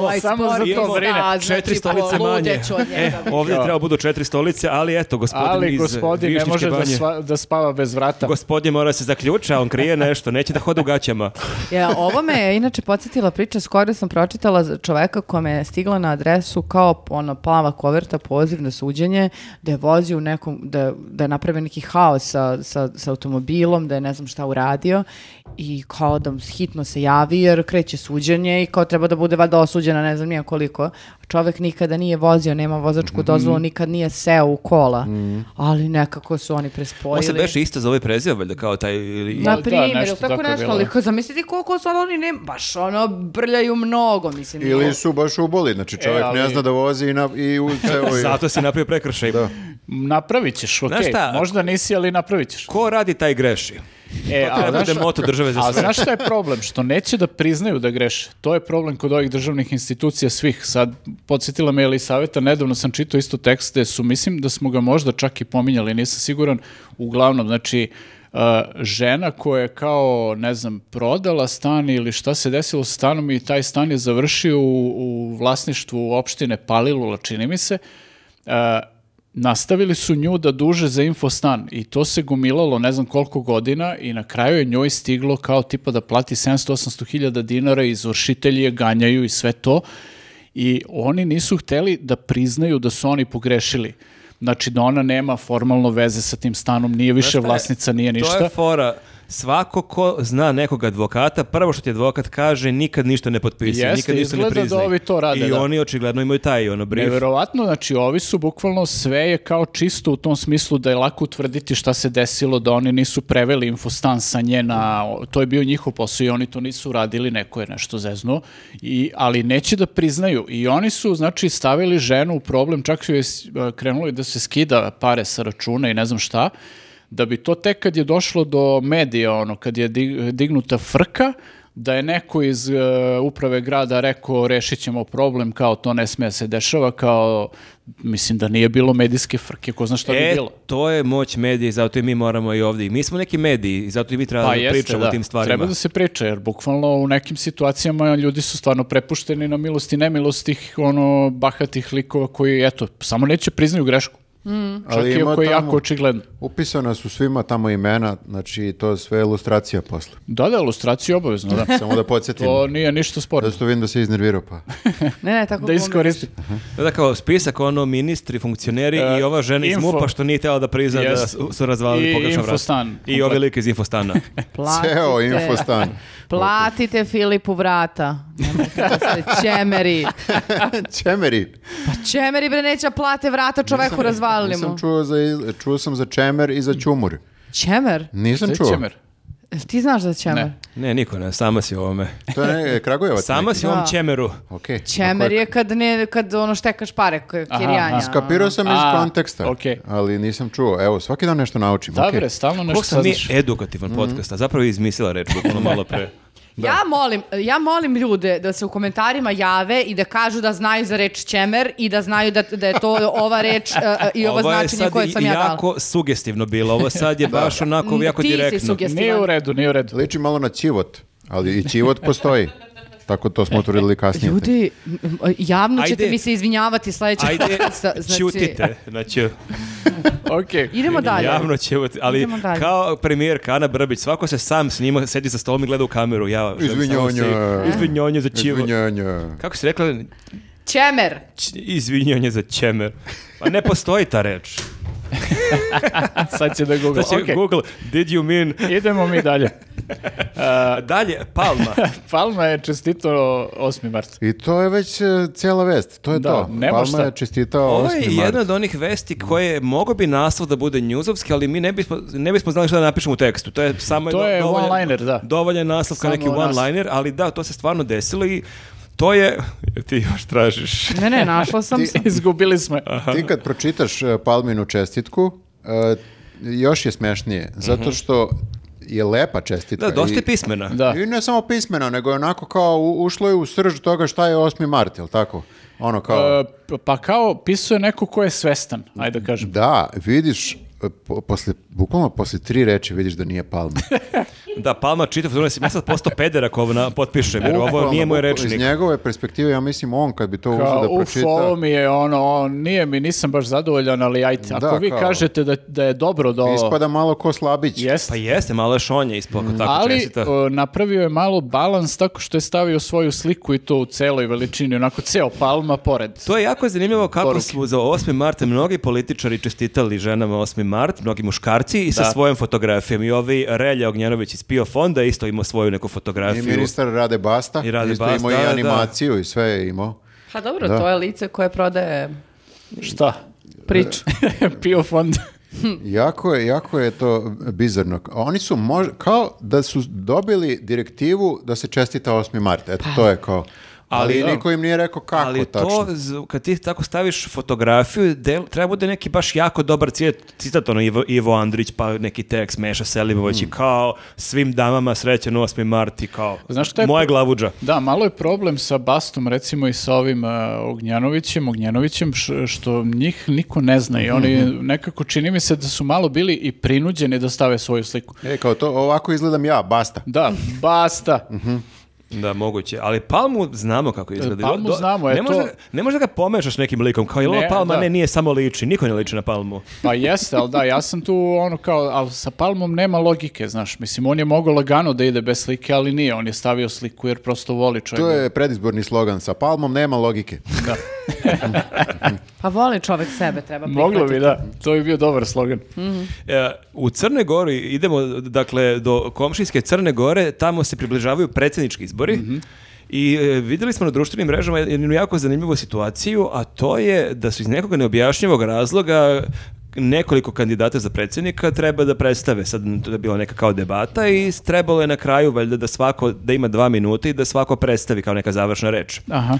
D: ovaj
C: samo
D: sport
C: za to
D: ima
C: brine.
D: staza,
B: Četiri
D: znači,
B: stolice manje.
D: poludeću od
B: E,
D: njega.
B: ovdje treba budu četiri stolice, ali eto, gospodin
C: Ali
B: iz
C: gospodin ne
B: Višnjičke
C: može da,
B: banje.
C: sva- da spava bez vrata.
B: Gospodin mora se zaključa, on krije nešto, neće da hoda u gaćama.
D: Ja, ovo me je inače podsjetila priča, skoro sam pročitala za čoveka kome je stigla na adresu kao ono plava koverta, poziv na suđenje, da je vozio u nekom, da, je- da je napravio neki haos sa, sa, sa automobilom, da je ne znam šta uradio i kao da hitno se javi jer kreće suđenje i kao treba da bude valjda osuđena ne znam nije koliko. Čovek nikada nije vozio, nema vozačku dozvolu, nikad nije seo u kola, ali nekako su oni prespojili.
B: On se beše isto zove preziva, valjda kao taj... Ili...
C: Ma,
D: Na
C: da,
D: primjer,
C: nešto
D: ili tako
C: tako je
D: nešto,
C: bilo,
D: ali
C: da.
D: kao zamisliti koliko sad oni ne, baš ono, brljaju mnogo, mislim.
A: Ili su baš uboli, znači čovjek
C: E, ali-
A: ne zna da vozi i, na, i
C: *laughs*
A: u ceo...
B: Pa Zato si napravio prekršaj.
C: Napravit ćeš, okej,
B: šta?
C: možda nisi, ali napravit ćeš.
B: Ko radi taj greši?
C: E,
B: Treba da
C: znaš
B: bude
C: šta-
B: moto države za
C: A
B: sve.
C: znaš šta je problem? Što neće da priznaju da greše. To je problem kod ovih državnih institucija svih. Sad, podsjetila me Elisaveta, nedavno sam čitao isto tekst gde su, mislim da smo ga možda čak i pominjali, nisam siguran. Uglavnom, znači, uh, žena koja je kao, ne znam, prodala stan ili šta se desilo s stanom i taj stan je završio u, u vlasništvu opštine Palilula, čini mi se, uh, nastavili su nju da duže za infostan i to se gomilalo ne znam koliko godina i na kraju je njoj stiglo kao tipa da plati 700-800 hiljada dinara i izvršitelji je ganjaju i sve to i oni nisu hteli da priznaju da su oni pogrešili. Znači da ona nema formalno veze sa tim stanom, nije više vlasnica, nije
B: To
C: ništa.
B: je fora. Svako ko zna nekog advokata, prvo što ti advokat kaže, nikad ništa ne potpisuje,
C: Jeste,
B: nikad ništa ne
C: izgleda da
B: priznaj.
C: ovi to rade,
B: I
C: da.
B: oni očigledno imaju taj ono brief.
C: Neverovatno, znači ovi su bukvalno sve je kao čisto u tom smislu da je lako utvrditi šta se desilo, da oni nisu preveli infostan sa nje na, to je bio njihov posao i oni to nisu radili, neko je nešto zeznuo, i, ali neće da priznaju i oni su znači stavili ženu u problem, čak su je s- e, krenuli da se skida pare sa računa i ne znam šta, da bi to tek kad je došlo do medija, ono, kad je di- dignuta frka, da je neko iz e, uprave grada rekao rešit ćemo problem, kao to ne sme da se dešava, kao mislim da nije bilo medijske frke, ko zna šta bi bilo.
B: E, to je moć medija i zato i mi moramo i ovdje. I Mi smo neki mediji i zato i mi trebamo
C: Pa
B: da
C: jeste,
B: pričamo
C: da.
B: o tim stvarima.
C: Treba da se priča, jer bukvalno u nekim situacijama ljudi su stvarno prepušteni na milost i nemilost tih ono, bahatih likova koji, eto, samo neće priznaju grešku. Čak
A: Ali
C: i
A: ima
C: ako je
A: tamo-
C: jako očigledno.
A: Upisana su svima tamo imena, znači to je sve ilustracija posle.
C: Da, da, ilustraciju obavezno,
A: *laughs*
C: da.
A: Samo da podsjetim.
C: To nije ništa sporno.
A: Da što vidim da se iznervirao pa.
D: Ne, ne, tako
C: Da
D: glumiš.
C: iskoristi.
B: Da, da, kao spisak, ono, ministri, funkcioneri
C: E,
B: i ova žena iz
C: info.
B: MUPA što nije htjela da prizna da
C: Jest.
B: su, su razvalili
C: I
B: pogrešan vrat.
C: infostan.
B: I ovi lik iz infostana.
C: *laughs*
D: Platite,
A: Ceo
D: *laughs*
A: infostan.
D: Platite Filipu vrata. Nemojte da
C: *laughs*
D: se čemeri.
A: Čemeri.
D: Pa čemeri bre neće, a plate vrata čoveku razvalimo.
A: Nisam čuo za, iz- čuo sam za čemer i za ćumur.
D: Čemer?
A: Nisam
C: Šta
A: čuo.
C: je Čemer?
D: Jel Ti znaš za Čemer?
C: Ne.
B: Ne, niko ne, sama si u ovome.
A: To je ne, Kragujevac.
B: Sama
A: neki.
B: si u ovom
D: Da.
B: čemeru.
A: Okej.
D: Čemer je kad, ne, kad ono štekaš pare koje
C: Aha,
D: kirjanja.
C: aha.
A: Skapirao sam iz
C: A,
A: konteksta,
C: okej.
A: ali nisam čuo. Evo, svaki dan nešto naučim.
C: Da
A: okej.
C: bre, stalno nešto
B: Kako sam mi
C: saznaš.
B: edukativan
D: Mhm.
B: podcast, a zapravo je izmislila reč, bukvalno malo pre.
D: Ja molim, ja molim ljude da se u komentarima jave i da kažu da znaju za reč čemer i da znaju da, da je
B: *laughs*
D: to ova reč e, e, *laughs* i ovo,
B: Ovo je
D: značenje
B: sad
D: koje sam ja dala.
B: jako sugestivno bilo, ovo sad
D: *laughs*
B: je baš onako jako
D: Ti si
B: direktno.
D: sugestivan.
C: Nije u redu, nije u redu.
A: Liči malo na ćivot, ali i ćivot postoji. Tako to smo utvrdili kasnije.
D: Ljudi, m, javno ćete
B: Ajde.
D: mi se izvinjavati sledećeg *laughs*
B: Ajde,
D: podcasta,
B: ćutite. Znači,
C: Okej.
D: Idemo Pa dalje.
B: javno ćutite. Ali
D: Idemo dalje.
B: kao premijerka Ana Brbić, svako se sam snima, sedi za stolom i gleda u kameru. Ja, želim samo
A: Izvinjonje.
B: se- Izvinjonje za čivo.
A: Izvinjanje.
B: Kako si rekla?
D: Čemer.
B: Č- Izvinjonje za čemer. Pa ne postoji ta reč.
C: Sad
B: *laughs*
C: će da google.
B: To će
C: Okej.
B: Google, did you mean...
C: Idemo mi dalje.
B: A dalje, Palma.
C: Palma je čestito 8.
B: *laughs*
C: mart.
A: I to je već e, cijela vest. To je
C: Da,
A: to.
C: nema
A: Palma
C: šta.
A: je čestitao
B: Ovo je
A: 8. mart.
B: jedna od onih vesti koje mogo bi naslov da bude njuzovski, ali mi ne bismo, ne bismo znali šta da napišemo u tekstu. To je samo
C: To je one-liner, da.
B: Dovoljan naslov kao
C: Samo
B: neki one-liner, ali da, to se stvarno desilo i to je... Ti još tražiš.
D: Ne, ne, našla sam se.
C: Izgubili smo. je.
B: Ah.
A: Ti kad pročitaš e, Palminu čestitku, e, još je smešnije, zato što je lepa čestitka.
B: Mhm. Da, dosta
A: i-
B: je pismena.
C: Da.
A: I ne samo pismeno, nego je onako kao u- ušlo je u srž toga šta je 8. mart, jel tako? Ono kao,
C: E, p- pa kao pisuje neko ko je svestan, ajde da kažem.
A: da, vidiš, e, po- posle, bukvalno posle tri reči vidiš da nije Palma.
B: Da, Palma čitav, ja sad postao peder ako ovo na- potpišem, *laughs* jer ovo
A: Bukvalno,
B: nije moj
A: bukvalno,
B: rečnik.
A: Iz njegove perspektive, ja mislim, on kad bi to uzeo
C: Kao,
A: da
C: uf,
A: pročita...
C: ovo mi je ono, on, nije mi, nisam baš zadovoljan, ali ajte, ako
A: Da,
C: vi
A: kao-
C: kažete da, da je dobro da ovo...
A: Ispada malo ko slabić.
C: Jest,
B: Pa jeste, malo je šonje ispod ako tako
C: ali
B: čestita.
C: o, napravio je malo balans tako što je stavio svoju sliku i to u celoj veličini, onako ceo palma pored.
B: To je jako zanimljivo kako
C: Poruke.
B: su za 8. marta mnogi političari čestitali ženama 8. mart, mnogi muškarci i sa
C: Da.
B: svojom fotografijom. I ovi Relja Ognjanović iz PIO fonda je isto imao svoju neku
A: I
B: fotografiju.
A: ministar Rade Basta.
B: I Rade
A: isto
B: Basta,
A: imao
B: da,
A: i
B: da.
A: animaciju i sve je imao.
E: Pa dobro,
A: Da.
E: to je lice koje prodaje
C: Šta? *laughs*
D: Priču.
C: Pio fond.
A: Jako je, jako je to bizarno. Oni su mož- kao da su dobili direktivu da se čestita 8. mart. Eto, to je kao. Ali,
B: Ali-
A: niko im nije rekao kako
B: Ali to,
A: tačno.
B: z- kad ti tako staviš fotografiju, del, treba bude neki baš jako dobar cijet, citat, ono Ivo, Ivo Andrić, pa neki tekst Meša Selimović
C: Hmm.
B: i kao svim damama srećan 8. mart i kao
C: Znaš šta je
B: moja
C: pro-
B: glavuđa.
C: Da, malo je problem sa Bastom, recimo i sa ovim e, Ognjanovićem, Ognjanovićem, š- što njih niko ne zna i oni
A: Mhm.
C: nekako čini mi se da su malo bili i prinuđeni da stave svoju sliku.
A: E, kao to, ovako izgledam ja, basta.
C: Da, Basta.
A: Mhm.
B: Da, moguće. Ali Palmu znamo kako izgleda.
C: E, Palmu znamo,
B: ne
C: je
B: možeš
C: to-
B: da, ga- ne možeš da ga pomešaš nekim likom, kao je
C: Ne,
B: Palma,
C: da.
B: ne, nije samo liči, niko ne liči na Palmu.
C: Pa jeste, ali da, ja sam tu ono kao, ali sa Palmom nema logike, znaš. Mislim, on je mogao lagano da ide bez slike, ali nije, on je stavio sliku jer prosto voli čovjek.
A: To je predizborni slogan sa palmom, nema logike.
D: Pa voli čovek sebe, treba prihvatiti.
C: Moglo bi, da. To bi bio dobar slogan.
A: Mhm.
B: E, u Crnoj Gori idemo dakle do komšijske Crne Gore, tamo se približavaju predsjednički izbori. I e, vidjeli smo na društvenim mrežama jednu jako zanimljivu situaciju, a to je da su iz nekog neobjašnjivog razloga nekoliko kandidata za predsjednika treba da predstave. Sad to je bila neka kao debata i trebalo je na kraju valjda da svako, da ima dva minuta i da svako predstavi kao neka završna reč.
C: Aha.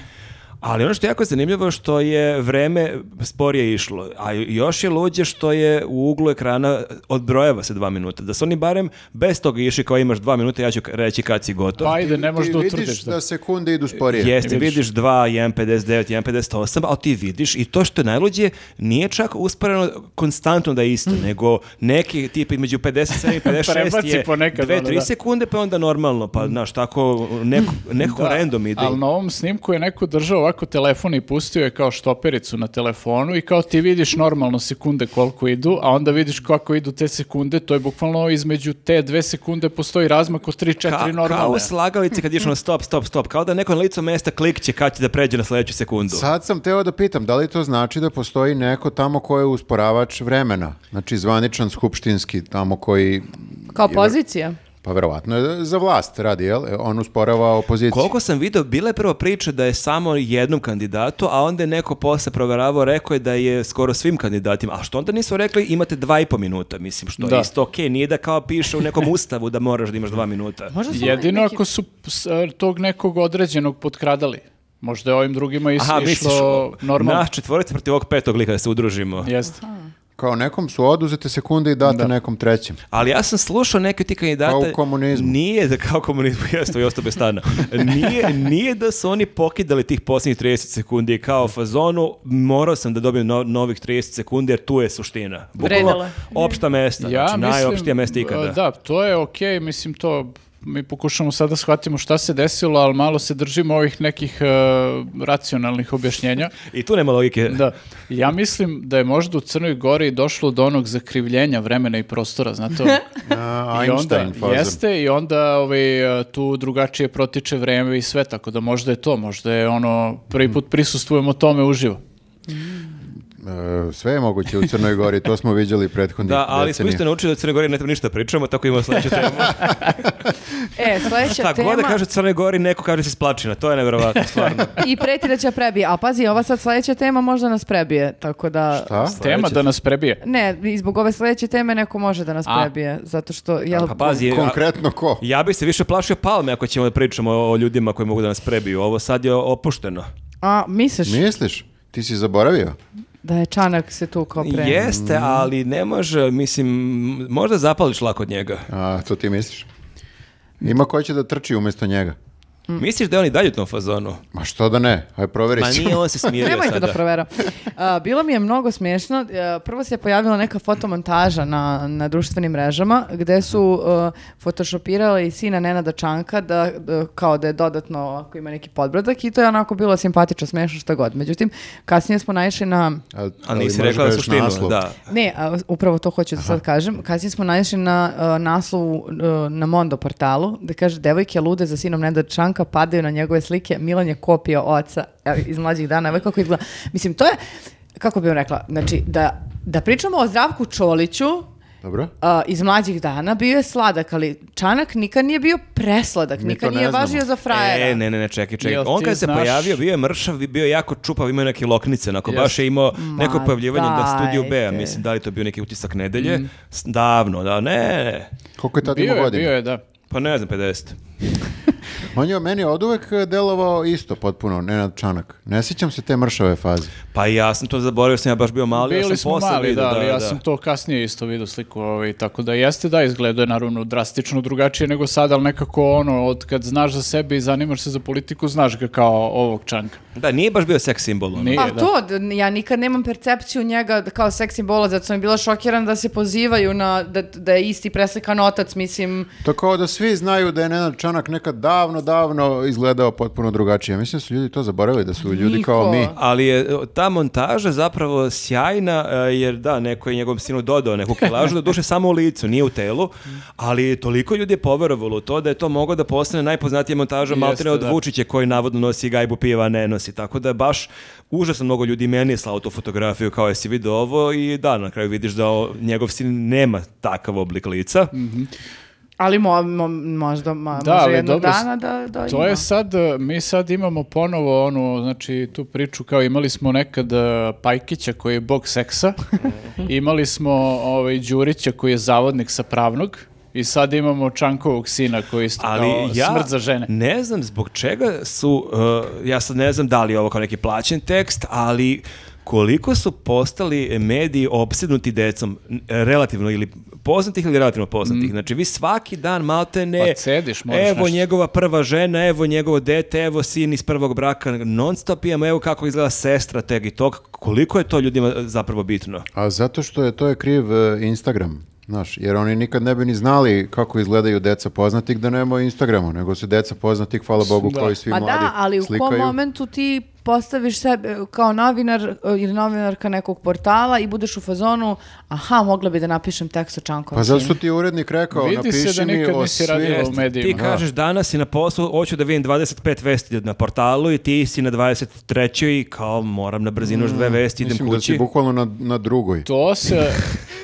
B: Ali ono što je jako zanimljivo što je vreme sporije išlo, a još je luđe što je u uglu ekrana odbrojeva se dva minuta. Da su oni barem bez toga išli kao imaš dva minuta, ja ću reći kad si gotov.
C: Pa *laughs* ajde, ne možeš
A: Ti
C: da utvrdiš.
A: vidiš
C: Da.
A: da sekunde idu sporije.
B: Jeste, vidiš 2, 1,59, 1,58, ali ti vidiš i to što je najluđe nije čak usporeno konstantno da je isto, nego neki tip između
C: *laughs*
B: 57 i 56
C: Mm. Prebaci
B: je
C: ponekad,
B: 2-3
C: ono, da. Mm.
B: sekunde, pa onda normalno, pa znaš, tako neko, nekako
C: Da,
B: random ide.
C: Ali na ovom snimku je neko držao ovako telefon i pustio je kao štopericu na telefonu i kao ti vidiš normalno sekunde koliko idu, a onda vidiš kako idu te sekunde, to je bukvalno između te dve sekunde postoji razmak od 3-4
B: Ka- Kao
C: normalne.
B: u slagalici kad išao na stop, stop, stop. Kao da neko na licu mesta klikće kad će da pređe na sljedeću sekundu.
A: Sad sam teo da pitam, da li to znači da postoji neko tamo ko je usporavač vremena? Znači zvaničan skupštinski tamo koji...
D: Kao pozicija.
A: Pa verovatno je za vlast radi, jel? E, On usporava opoziciju.
B: Koliko sam video, bila je prva priča da je samo jednom kandidatu, a onda je neko posle proveravao, rekao je da je skoro svim kandidatima. A što onda nisu rekli, imate dva i po minuta, mislim, što
C: Da.
B: je isto okej, nije da kao piše u
C: *laughs*
B: nekom ustavu da moraš da imaš dva minuta.
D: Možda su
C: Jedino
D: neki-
C: ako su s- e, tog nekog određenog potkradali. Možda je ovim drugima is,
B: Aha, misliš,
C: išlo normalno.
B: naš četvorica protiv ovog petog lika da se udružimo.
C: Jeste.
A: Kao nekom su oduzete sekunde i date nekom
B: *laughs*
A: trećem.
B: Ali ja sam slušao neke od tih kandidata...
A: Kao u komunizmu.
B: Nije da kao u komunizmu, *laughs* jasno, i ostao bez stana. Nije, nije da su oni pokidali tih posljednjih 30 sekundi i kao fazonu, morao sam da dobijem no- novih 30 sekundi jer tu je suština. Bukvalno,
E: Vredelo je.
B: opšta mesta,
C: Ja
B: znači
C: mislim,
B: najopštija mesta ikada.
C: e, Da, to je okej, mislim to mi pokušamo sada da shvatimo šta se desilo, ali malo se držimo ovih nekih e, racionalnih
B: *laughs*
C: objašnjenja.
B: I tu nema logike.
C: Da, ja mislim da je možda u Crnoj Gori došlo do onog zakrivljenja vremena i prostora,
B: *laughs*
C: znate? ono-
A: A,
C: I
A: Einstein
C: onda,
A: faza.
C: jeste, i onda ovaj, e, tu drugačije protiče vreme i sve, tako da možda je to, možda je ono,
B: Mhm.
C: prvi put prisustujemo tome uživo.
A: E, Sve je moguće u Crnoj Gori, to smo viđali prethodnih
B: Da, ali smo
A: decenija.
B: isto naučili da u Crnoj Gori ne treba ništa da pričamo, tako imamo sledeću temu.
D: E, sledeća
B: Šta
D: tema...
B: god da kaže u Crnoj Gori, neko kaže se splačina, to je nevjerovatno, stvarno.
D: I preti da će prebije. A pazi, ova sad sledeća tema možda nas prebije, tako da...
A: Šta?
C: Tema da nas prebije.
D: Ne, i zbog ove sledeće teme neko može da nas
C: A.
D: prebije, zato što... Jel,
B: Pa pazi, a-
A: Konkretno ko?
B: Ja bih se više plašio palme ako ćemo da pričamo o o ljudima koji mogu da nas prebiju. Ovo sad je opušteno.
D: A, misliš
A: Misliš? Ti si zaboravio?
D: da je Čanak se tu kao pre...
B: Jeste, ali ne može, mislim, možda zapališ lako od njega.
A: A, to ti misliš? Ima ko će da trči umjesto njega.
D: Mm.
B: Misliš da je on i dalje u tom fazonu?
A: Ma što da ne? Aj proveri
B: Ma nije, on se smirio
D: *laughs* Nemojte da
B: sada. *laughs*
D: proveram. A, bilo mi je mnogo smiješno. E, Prvo se je pojavila neka fotomontaža na, na društvenim mrežama gde su e, photoshopirali sina Nenada Čanka da, da- kao da je dodatno ako ima neki podbradak i to je onako bilo simpatično, smiješno šta god. Međutim, kasnije smo naišli na
A: A,
B: Ali nisi rekla suštinu, da.
D: Ne, a, upravo to hoću da sad kažem. Kasnije smo naišli na a, naslovu a, na Mondo portalu da kaže devojke lude za sinom Neda Čanka padaju na njegove slike, Milan je kopio oca evo, iz mlađih dana, evo kako izgleda. Mislim, to je, kako bih vam rekla, znači da, da pričamo o Zdravku Čoliću,
A: Dobro.
D: a, iz mlađih dana bio je sladak, ali Čanak nikad nije bio presladak,
A: Mi
D: nikad
A: to
D: nije
A: ne znamo.
D: važio za frajera.
B: E, ne, ne, ne, čekaj, čekaj.
C: Jel
B: On
C: ti
B: kad se
C: znaš-
B: pojavio, bio je mršav, bio je jako čupav, imao je neke loknice, onako, baš je imao
D: Ma,
B: neko pojavljivanje na studiju B,
D: dajte. Mm.
B: mislim, da li je to bio neki utisak nedelje, S- davno, da, ne,
A: Koliko je tad
C: Bio
A: imao
C: je,
A: godina?
C: bio je, da.
B: pa ne znam, 50.
A: On je meni od uvek delovao isto potpuno, Nenad Čanak. Ne sjećam se te mršave faze.
B: Pa ja sam to zaboravio, sam ja baš bio mali, ja
C: Bili
B: sam
C: smo
B: posle
C: mali,
B: vidio,
C: da,
B: da,
C: ali ja
B: da.
C: sam to kasnije isto vidio sliku, ovaj, tako da jeste da izgleda je naravno drastično drugačije nego sad, ali nekako ono, od kad znaš za sebe i zanimaš se za politiku, znaš ga kao ovog čanka.
B: Da, nije baš bio seks simbol. ono.
C: Nije,
D: Pa
C: da.
D: to, d- ja nikad nemam percepciju njega d- kao seks simbola, zato sam bila šokirana da se pozivaju na, da, da je isti preslikan otac, mislim,
A: To kao da svi znaju da je Nenad Čanak nekad davno, davno izgledao potpuno drugačije. Mislim da su ljudi to zaboravili, da su ljudi
D: Niko.
A: kao mi.
B: Ali je e, ta montaža zapravo sjajna, e, jer da, neko je njegovom sinu dodao neku kilažu, da duše samo u licu, nije u telu, ali toliko ljudi je poverovalo u to da je to moglo da postane najpoznatija montaža
C: Jeste,
B: Maltene od
C: da.
B: Vučića koji navodno nosi gajbu piva, a ne nosi. Tako da je baš užasno mnogo ljudi meni je slao tu fotografiju kao jesi vidio ovo i da, na kraju vidiš da o- njegov sin nema takav oblik lica.
D: ali mo, mo- možda ma,
C: Da,
D: može
C: ali
D: jednog
C: dobro,
D: dana da, da
C: To
D: ima.
C: je sad, e, mi sad imamo ponovo onu, znači tu priču kao imali smo nekad e, Pajkića koji je bog seksa, imali smo ovaj, Đurića koji je zavodnik sa pravnog i sad imamo Čankovog sina koji je isto
B: Ali
C: kao
B: ja
C: smrt za žene.
B: ne znam zbog čega su, uh, ja sad ne znam da li je ovo kao neki plaćen tekst, ali koliko su postali mediji opsednuti decom, n- relativno ili poznatih ili relativno poznatih. Znači vi svaki dan malte ne...
C: Mm. Pa cediš, moraš
B: Evo
C: nešto.
B: njegova prva žena, evo njegovo dete, evo sin iz prvog braka, non stop imamo, evo kako izgleda sestra teg i tog. Koliko je to ljudima zapravo bitno?
A: A zato što je to je kriv e, Instagram. Znaš, jer oni nikad ne bi ni znali kako izgledaju deca poznatih da nema Instagrama, nego su deca poznatih, hvala Bogu,
C: Da.
A: koji svi
D: Ma
A: mladi
D: Pa da, ali u kom
A: slikaju.
D: momentu ti postaviš sebe kao novinar e, ili novinarka nekog portala i budeš u fazonu, aha, mogla bi da napišem tekst o Čankovom
A: Pa zato
D: sinu."
A: što ti je urednik rekao,
C: Vidi se
A: napiši
C: da
A: mi
C: nikad
A: o
C: nisi
A: svim-
C: radio
B: Jeste,
C: u medijima.
B: Ti kažeš danas si na poslu, hoću da vidim 25 vesti na portalu i ti si na 23. i kao moram na brzinu još dve vesti, idem
A: Mm, Mislim da si
B: kući.
A: bukvalno na, na drugoj.
C: To se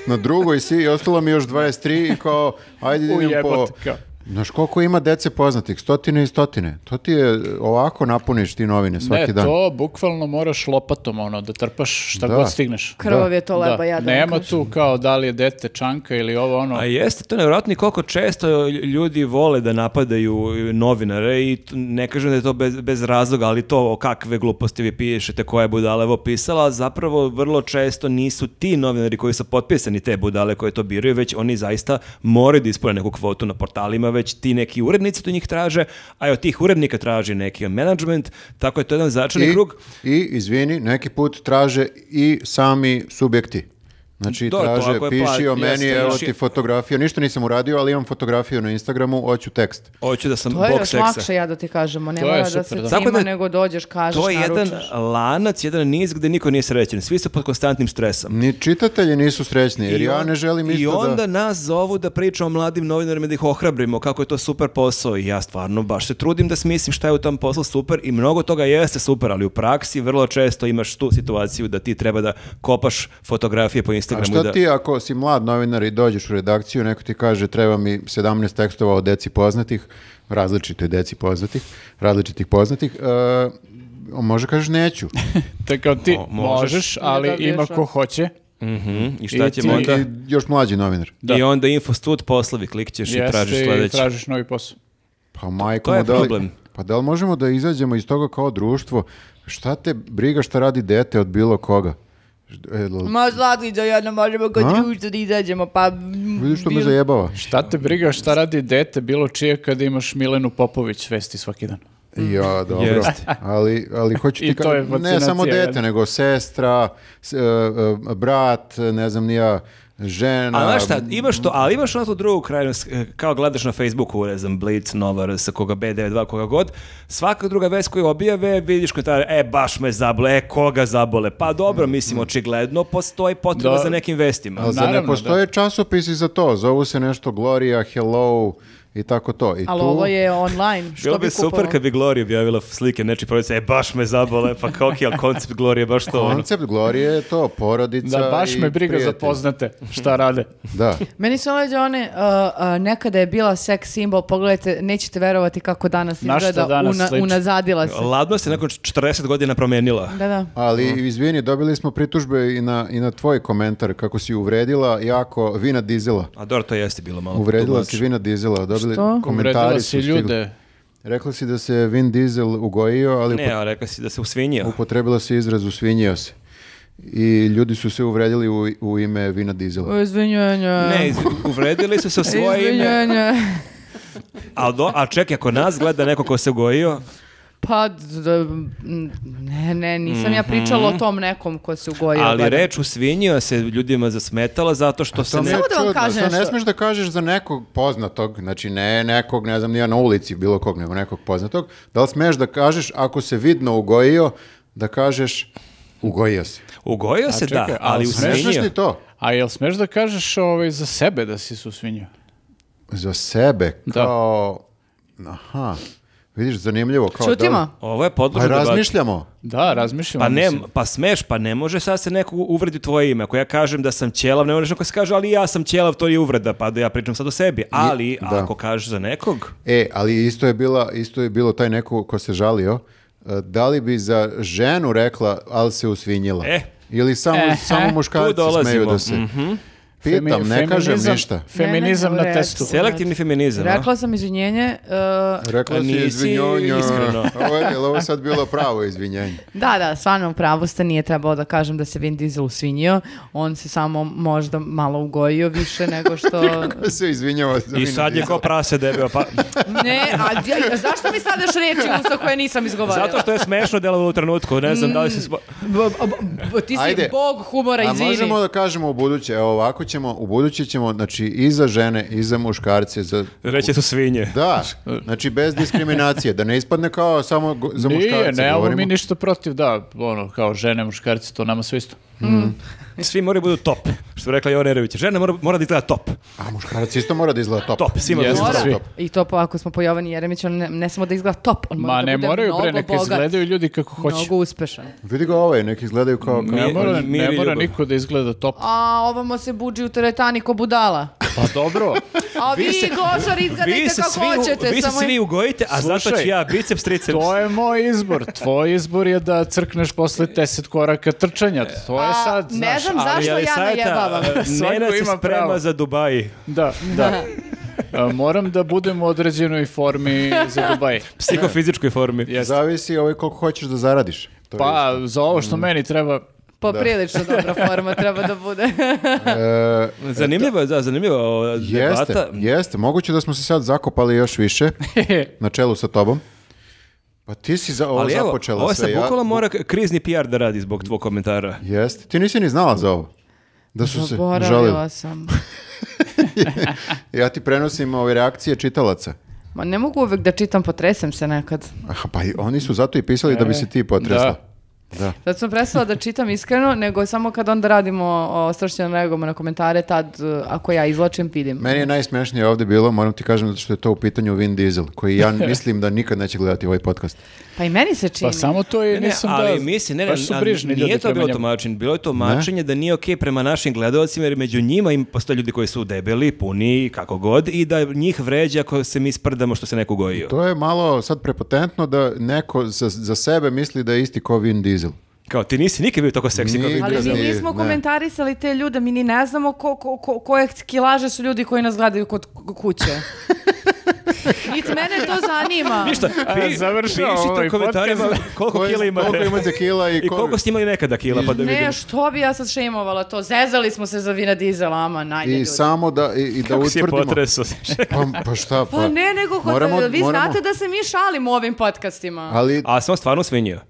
A: Na drugoj si i ostalo mi još 23 i kao, ajde idem po
C: ujebote kao.
A: Znaš koliko ima dece poznatih? Stotine i stotine. To ti je e, ovako napuniš ti novine svaki
C: ne,
A: dan.
C: to bukvalno moraš lopatom ono, da trpaš šta
A: Da.
C: god stigneš.
D: Krvav je to leba, ja da vam
C: Nema
D: kažem.
C: tu kao da li je dete čanka ili ovo ono.
B: A jeste to nevjerojatno i koliko često ljudi vole da napadaju novinare i t- ne kažem da je to bez, bez razloga, ali to o kakve gluposti vi pišete, koja je budala ovo pisala, zapravo vrlo često nisu ti novinari koji su potpisani te budale koje to biraju, već oni zaista moraju da ispune neku kvotu na portalima, već ti neki urednici to njih traže, a i od tih urednika traži neki menadžment, tako je to jedan začarni
A: I,
B: krug.
A: I, izvini, neki put traže i sami subjekti. Znači,
B: To je to,
A: traže,
B: ako je
A: piši
B: pla-
A: o meni,
B: jeste, znači-
A: evo
B: još je-
A: ti fotografiju. Ništa nisam uradio, ali imam fotografiju na Instagramu, hoću tekst.
B: Hoću da sam
D: To je
B: bog
D: još
B: seksa.
D: lakše, ja da ti kažemo. Ne
C: To je
D: mora da
C: super,
D: se
C: da.
D: cima,
B: Tako da-
D: nego dođeš, kažeš,
B: To je jedan
D: naručiš.
B: lanac, jedan niz gde niko nije srećen. Svi su pod konstantnim stresom.
A: Ni čitatelji nisu srećni, jer
B: I
A: ja
B: on-
A: ne želim isto
B: I
A: da...
B: onda nas zovu da pričamo o mladim novinarima, da ih ohrabrimo, kako je to super posao i ja stvarno baš se trudim da smislim šta je u tom poslu super i mnogo toga jeste super, ali u praksi vrlo često imaš tu situaciju da ti treba da kopaš fotografije po
A: A
B: Instagramu. i
A: Pa šta
B: da...
A: ti ako si mlad novinar i dođeš u redakciju, neko ti kaže treba mi 17 tekstova o deci poznatih, različitoj deci poznatih, različitih poznatih, e, može kažeš neću.
C: Te kao ti
B: O, možeš.
C: možeš,
D: Ne
C: ali
D: dobiješ,
C: ima
D: da.
C: ko hoće.
B: Mhm, I šta
C: I
B: ćemo *laughs*
C: ti-
B: onda?
A: I još mlađi novinar.
C: Da.
B: I onda infostud poslovi, klikćeš i tražiš
C: Jeste, i
B: sledeći.
C: tražiš novi posao.
A: Pa majko,
B: to je
A: mu, da li-
B: problem.
A: Pa da li možemo da izađemo iz toga kao društvo? Šta te briga šta radi dete od bilo koga? E, l-
D: Ma Zlatkica, ja ne možemo kod
A: A?
D: društva da izađemo, pa...
A: Vidiš što me
D: bilo-
A: zajebava.
C: Šta te briga šta radi dete bilo čije kada imaš Milenu Popović vesti svaki dan?
A: Ja, dobro.
B: Jeste.
A: ali, ali hoću ti
C: Mm. I to je
A: ka- ne samo
C: vakcinacija,
A: dete,
C: jel?
A: nego sestra, s- e, e, brat, e, ne znam nija, žena.
B: A znaš šta, imaš to, ali imaš ono tu drugu krajnost, eh, kao gledaš na Facebooku, ne znam, Blitz, Nova RS, koga B92, koga god, svaka druga vest koju objave, vidiš komentar, e, baš me zabole, e, koga zabole, pa dobro, mislim, očigledno postoji potreba
C: Da.
B: za nekim vestima.
A: Ali zar ne
C: Naravno,
A: postoje časopisi za to? Zovu se nešto Gloria, Hello i tako to. I
D: Ali
A: tu-
D: ovo je online, što
B: Bilo
D: bi
B: bi
D: kupalo?
B: super kad bi Gloria objavila slike nečije porodice, e, baš me zabole, pa kao, ok, ali koncept Gloria je baš to. ono.
A: Koncept Glorije je to, porodica
C: Da, baš
A: i
C: me briga za
A: prijatelji.
C: poznate šta rade.
A: Da.
D: Meni se ovaj one, uh, uh, nekada je bila seks simbol, pogledajte, nećete verovati kako danas
C: Na šta
D: izgleda,
C: danas
D: una-
C: sliči?
D: unazadila se.
B: Ladno se nakon 40 godina promenila.
D: Da, da.
A: Ali izvini, dobili smo pritužbe i na, i na tvoj komentar kako si uvredila jako Vina Dizela.
B: A dobro, to jeste bilo malo.
A: Uvredila
B: tumač.
A: si Vina Dizela, dobili
D: Što?
A: *laughs* komentari
C: Uvredila
A: su
C: si
A: stigli.
C: ljude.
A: Rekla si da se Vin Diesel ugojio, ali
B: Ne, a rekla si da se usvinjio.
A: upotrebila si izraz usvinjio se. I ljudi su se uvredili u, u ime Vina Dizela.
D: Izvinjenje.
B: Ne, iz- uvredili su se
D: *laughs*
B: u svoje ime.
D: Izvinjenje.
B: A, do, a čekaj, ako nas gleda neko ko se gojio,
D: *laughs* Pa, d- d- m, ne, ne, nisam ja pričala o tom nekom ko se ugojio.
B: Mhm. ali
D: Pa barem.
B: reč usvinjio se ljudima zasmetala zato što se
A: To mi
B: ne...
A: je
D: Samo da vam
A: čudno,
D: kažem
A: to Ne
D: nešto.
A: smeš da kažeš za nekog poznatog, znači ne nekog, ne znam, nije na ulici bilo kog, nego nekog poznatog. Da li smeš da kažeš, ako se vidno ugojio, da kažeš ugojio se.
B: Ugojio se,
C: čekaj,
B: da,
C: ali
B: ali
A: Smešno
B: usvinjio.
A: ti to?
C: A jel smeš da kažeš ovaj, za sebe da si susvinjio?
A: Za sebe,
C: Da.
A: kao... Aha, vidiš, zanimljivo. Kao
D: Čutimo?
B: Ovo je
A: Da, pa
B: podložno debati.
A: razmišljamo.
C: Da, razmišljam.
B: Pa, ne,
C: mislim.
B: pa smeš, pa ne može sad se neko uvredi tvoje ime. Ako ja kažem da sam ćelav, ne možeš neko se kaže, ali ja sam ćelav, to je uvreda, pa da ja pričam sad o sebi. Ali,
A: da.
B: ako kažeš za nekog,
D: Znači,
A: E, ali isto je, bila, isto je bilo taj neko ko se žalio. e, Da li bi za ženu rekla, ali se usvinjila?
B: E.
A: Ili samo,
C: Ehe.
A: samo muškarci
B: Tu dolazimo. Mhm.
A: smeju da se... Pitam,
C: Femi-
A: ne kažem
C: feminizam-
A: ništa.
C: Feminizam
D: Ne, ne, ne,
C: na
D: u redu.
C: testu.
B: selektivni feminizam. a?
D: Rekla sam izvinjenje. e,
A: Rekla si
B: Nisi
A: izvinjenja.
B: iskreno.
A: *laughs* Ovo je, jel ovo sad bilo pravo
B: *laughs*
A: izvinjenje.
D: da, da, stvarno u pravu ste, nije trebalo da kažem da se Vin Diesel usvinjio. On se samo možda malo ugojio više
B: *laughs*
D: nego što...
A: Ko se izvinjava za
B: I
A: Vina
B: sad je
A: Diesela?
B: ko prase debeo,
D: *laughs*
B: pa...
D: ne, a di- zašto mi sada još reči usta koje nisam izgovorila?
B: Zato što je smešno delovalo u trenutku, ne
D: Mm.
B: znam da li se... spo-
D: B- b- b- ti si
A: Ajde.
D: bog humora,
A: A
D: izvini.
A: možemo da kažemo u buduće, evo ovako ćemo, u buduće ćemo, znači i za žene, i za muškarce, za...
B: Reće su svinje. *laughs*
A: Da, znači bez diskriminacije, da ne ispadne kao samo go- za muškarce.
C: Nije, nemamo
A: govorimo.
C: mi ništa protiv, da, ono, kao žene, muškarci, to nama sve isto.
B: Svi moraju budu top, što je rekla Jovan Erević. Žena mora, mora da izgleda top.
A: A muškarac isto mora da izgleda top.
B: Top, svi moraju da
C: Jeste.
B: izgleda
D: Mora.
C: Svi.
D: I to pa ako smo po Jovani Jeremiću, on ne, ne samo da izgleda top, on mora
C: Ma
D: da
C: ne
D: bude
C: moraju,
D: mnogo
C: bre, neka
D: bogat,
C: izgledaju ljudi kako hoće.
D: Mnogo uspešan.
A: Vidi ga ovaj, neki izgledaju kao... kao...
C: Ne
B: Mi-
C: mora,
B: mir i
C: ne mora
B: ljubav.
C: niko da izgleda top.
D: A ovamo se buđi u teretani ko budala.
A: Pa
D: *laughs*
A: dobro.
E: A vi,
B: Vi se-
E: Goša,
B: Vi
E: rizganite
B: se
E: kako
B: svi, u-
E: hoćete.
B: vi se
E: samo-
B: svi ugojite, a zato
C: Slušaj,
B: ću ja biceps, triceps.
C: To je moj izbor. Tvoj izbor je da crkneš posle 10 koraka trčanja. To je
E: A,
C: sad,
E: ne
C: znaš.
E: znam zašto-
C: ali-
E: ja
B: *laughs*
E: najebavam?
C: Svako
B: Nena se
C: ima
B: sprema
C: pravo.
B: za Dubaji.
C: Da,
D: *laughs*
C: da. A, Moram da budem u određenoj formi za
B: *laughs*
C: Dubaj.
B: Psihofizičkoj formi.
C: Jeste.
A: Zavisi ovaj koliko hoćeš da zaradiš. To je
C: Pa, za ovo
B: Mm.
C: što meni treba... pa
D: Poprilično dobra forma treba da bude.
B: Zanimljivo je, da, zanimljivo o,
A: e, Jeste,
B: debata.
A: jeste. Moguće da smo se sad zakopali još
B: *laughs*
A: više, na čelu sa tobom. Pa ti si za ovo
B: Ali evo,
A: započela
B: ovo sad
A: sve. ja-
B: bukvalno mora k- krizni PR da radi zbog tvog komentara.
A: Jeste. Ti nisi ni znala za ovo. Da su se žalili.
D: Zaboravila sam.
A: *laughs* Ja ti prenosim ove reakcije čitalaca.
D: Ma ne mogu uvek da čitam, potresem se nekad.
A: Aha, pa i oni su zato i pisali da bi
B: E,
A: se ti potresla.
C: Da.
D: Zato sam prestala da čitam iskreno, nego samo kad onda radimo o stršćenom reagujemo na komentare, tad e, ako ja izlačim, vidim.
A: Meni je najsmješnije ovdje bilo, moram ti kažem, zato što je to u pitanju Vin Diesel, koji
B: *laughs*
A: ja mislim da nikad neće gledati ovaj podcast.
D: Pa i meni se čini.
C: Pa samo to je,
B: Ne, ne,
C: nisam
B: ali
C: da...
B: mislim, ne, ne,
C: baš su
B: a
C: brižni ljudi
B: nije to
C: prema
B: bilo
C: njemu. *laughs*
B: tumačenje, bilo je tumačenje da nije okej prema našim gledalcima, jer među njima im postoje ljudi koji su debeli, puni, kako god, i da njih vređa ako se mi sprdamo što se neko gojio.
A: To je malo sad prepotentno da neko za, za sebe misli da je isti ko Vin Diesel.
B: Kao, ti nisi nikad bio tako seksi kao
A: Ni-
B: Vin
D: Ali mi
B: Diesel.
A: Nikada.
D: nismo
A: Ne.
D: komentarisali te ljude, mi ni ne znamo ko, ko, ko, koje kilaže su ljudi koji nas gledaju kod ku-
A: *laughs*
D: kuće. Niti mene to zanima.
B: Ništa, pi,
C: završava
B: pišite u
C: ovaj
B: komentarima *laughs* koliko
A: Koji-
B: kila imate.
A: Koliko imate kila i,
B: *laughs* I koliko ste imali nekada kila, pa da vidimo.
D: Ne, što bi ja sad šemovala to? Zezali smo se za vina dizela, ama, najde
A: I
D: ljudi.
A: samo da, i, i da
B: Kako si je
A: utvrdimo. *laughs*
B: potresao?
A: Pa, pa šta?
D: Pa ne, nego kod-
A: Moramo-
D: vi
A: moramo-
D: znate da se mi šalimo u ovim podcastima.
A: Ali,
B: *laughs* A sam stvarno svinjio.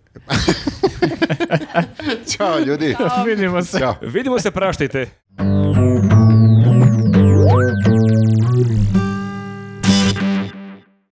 A: čao ljudi.
C: Vidimo se.
A: Ćao.
B: Vidimo se, praštajte.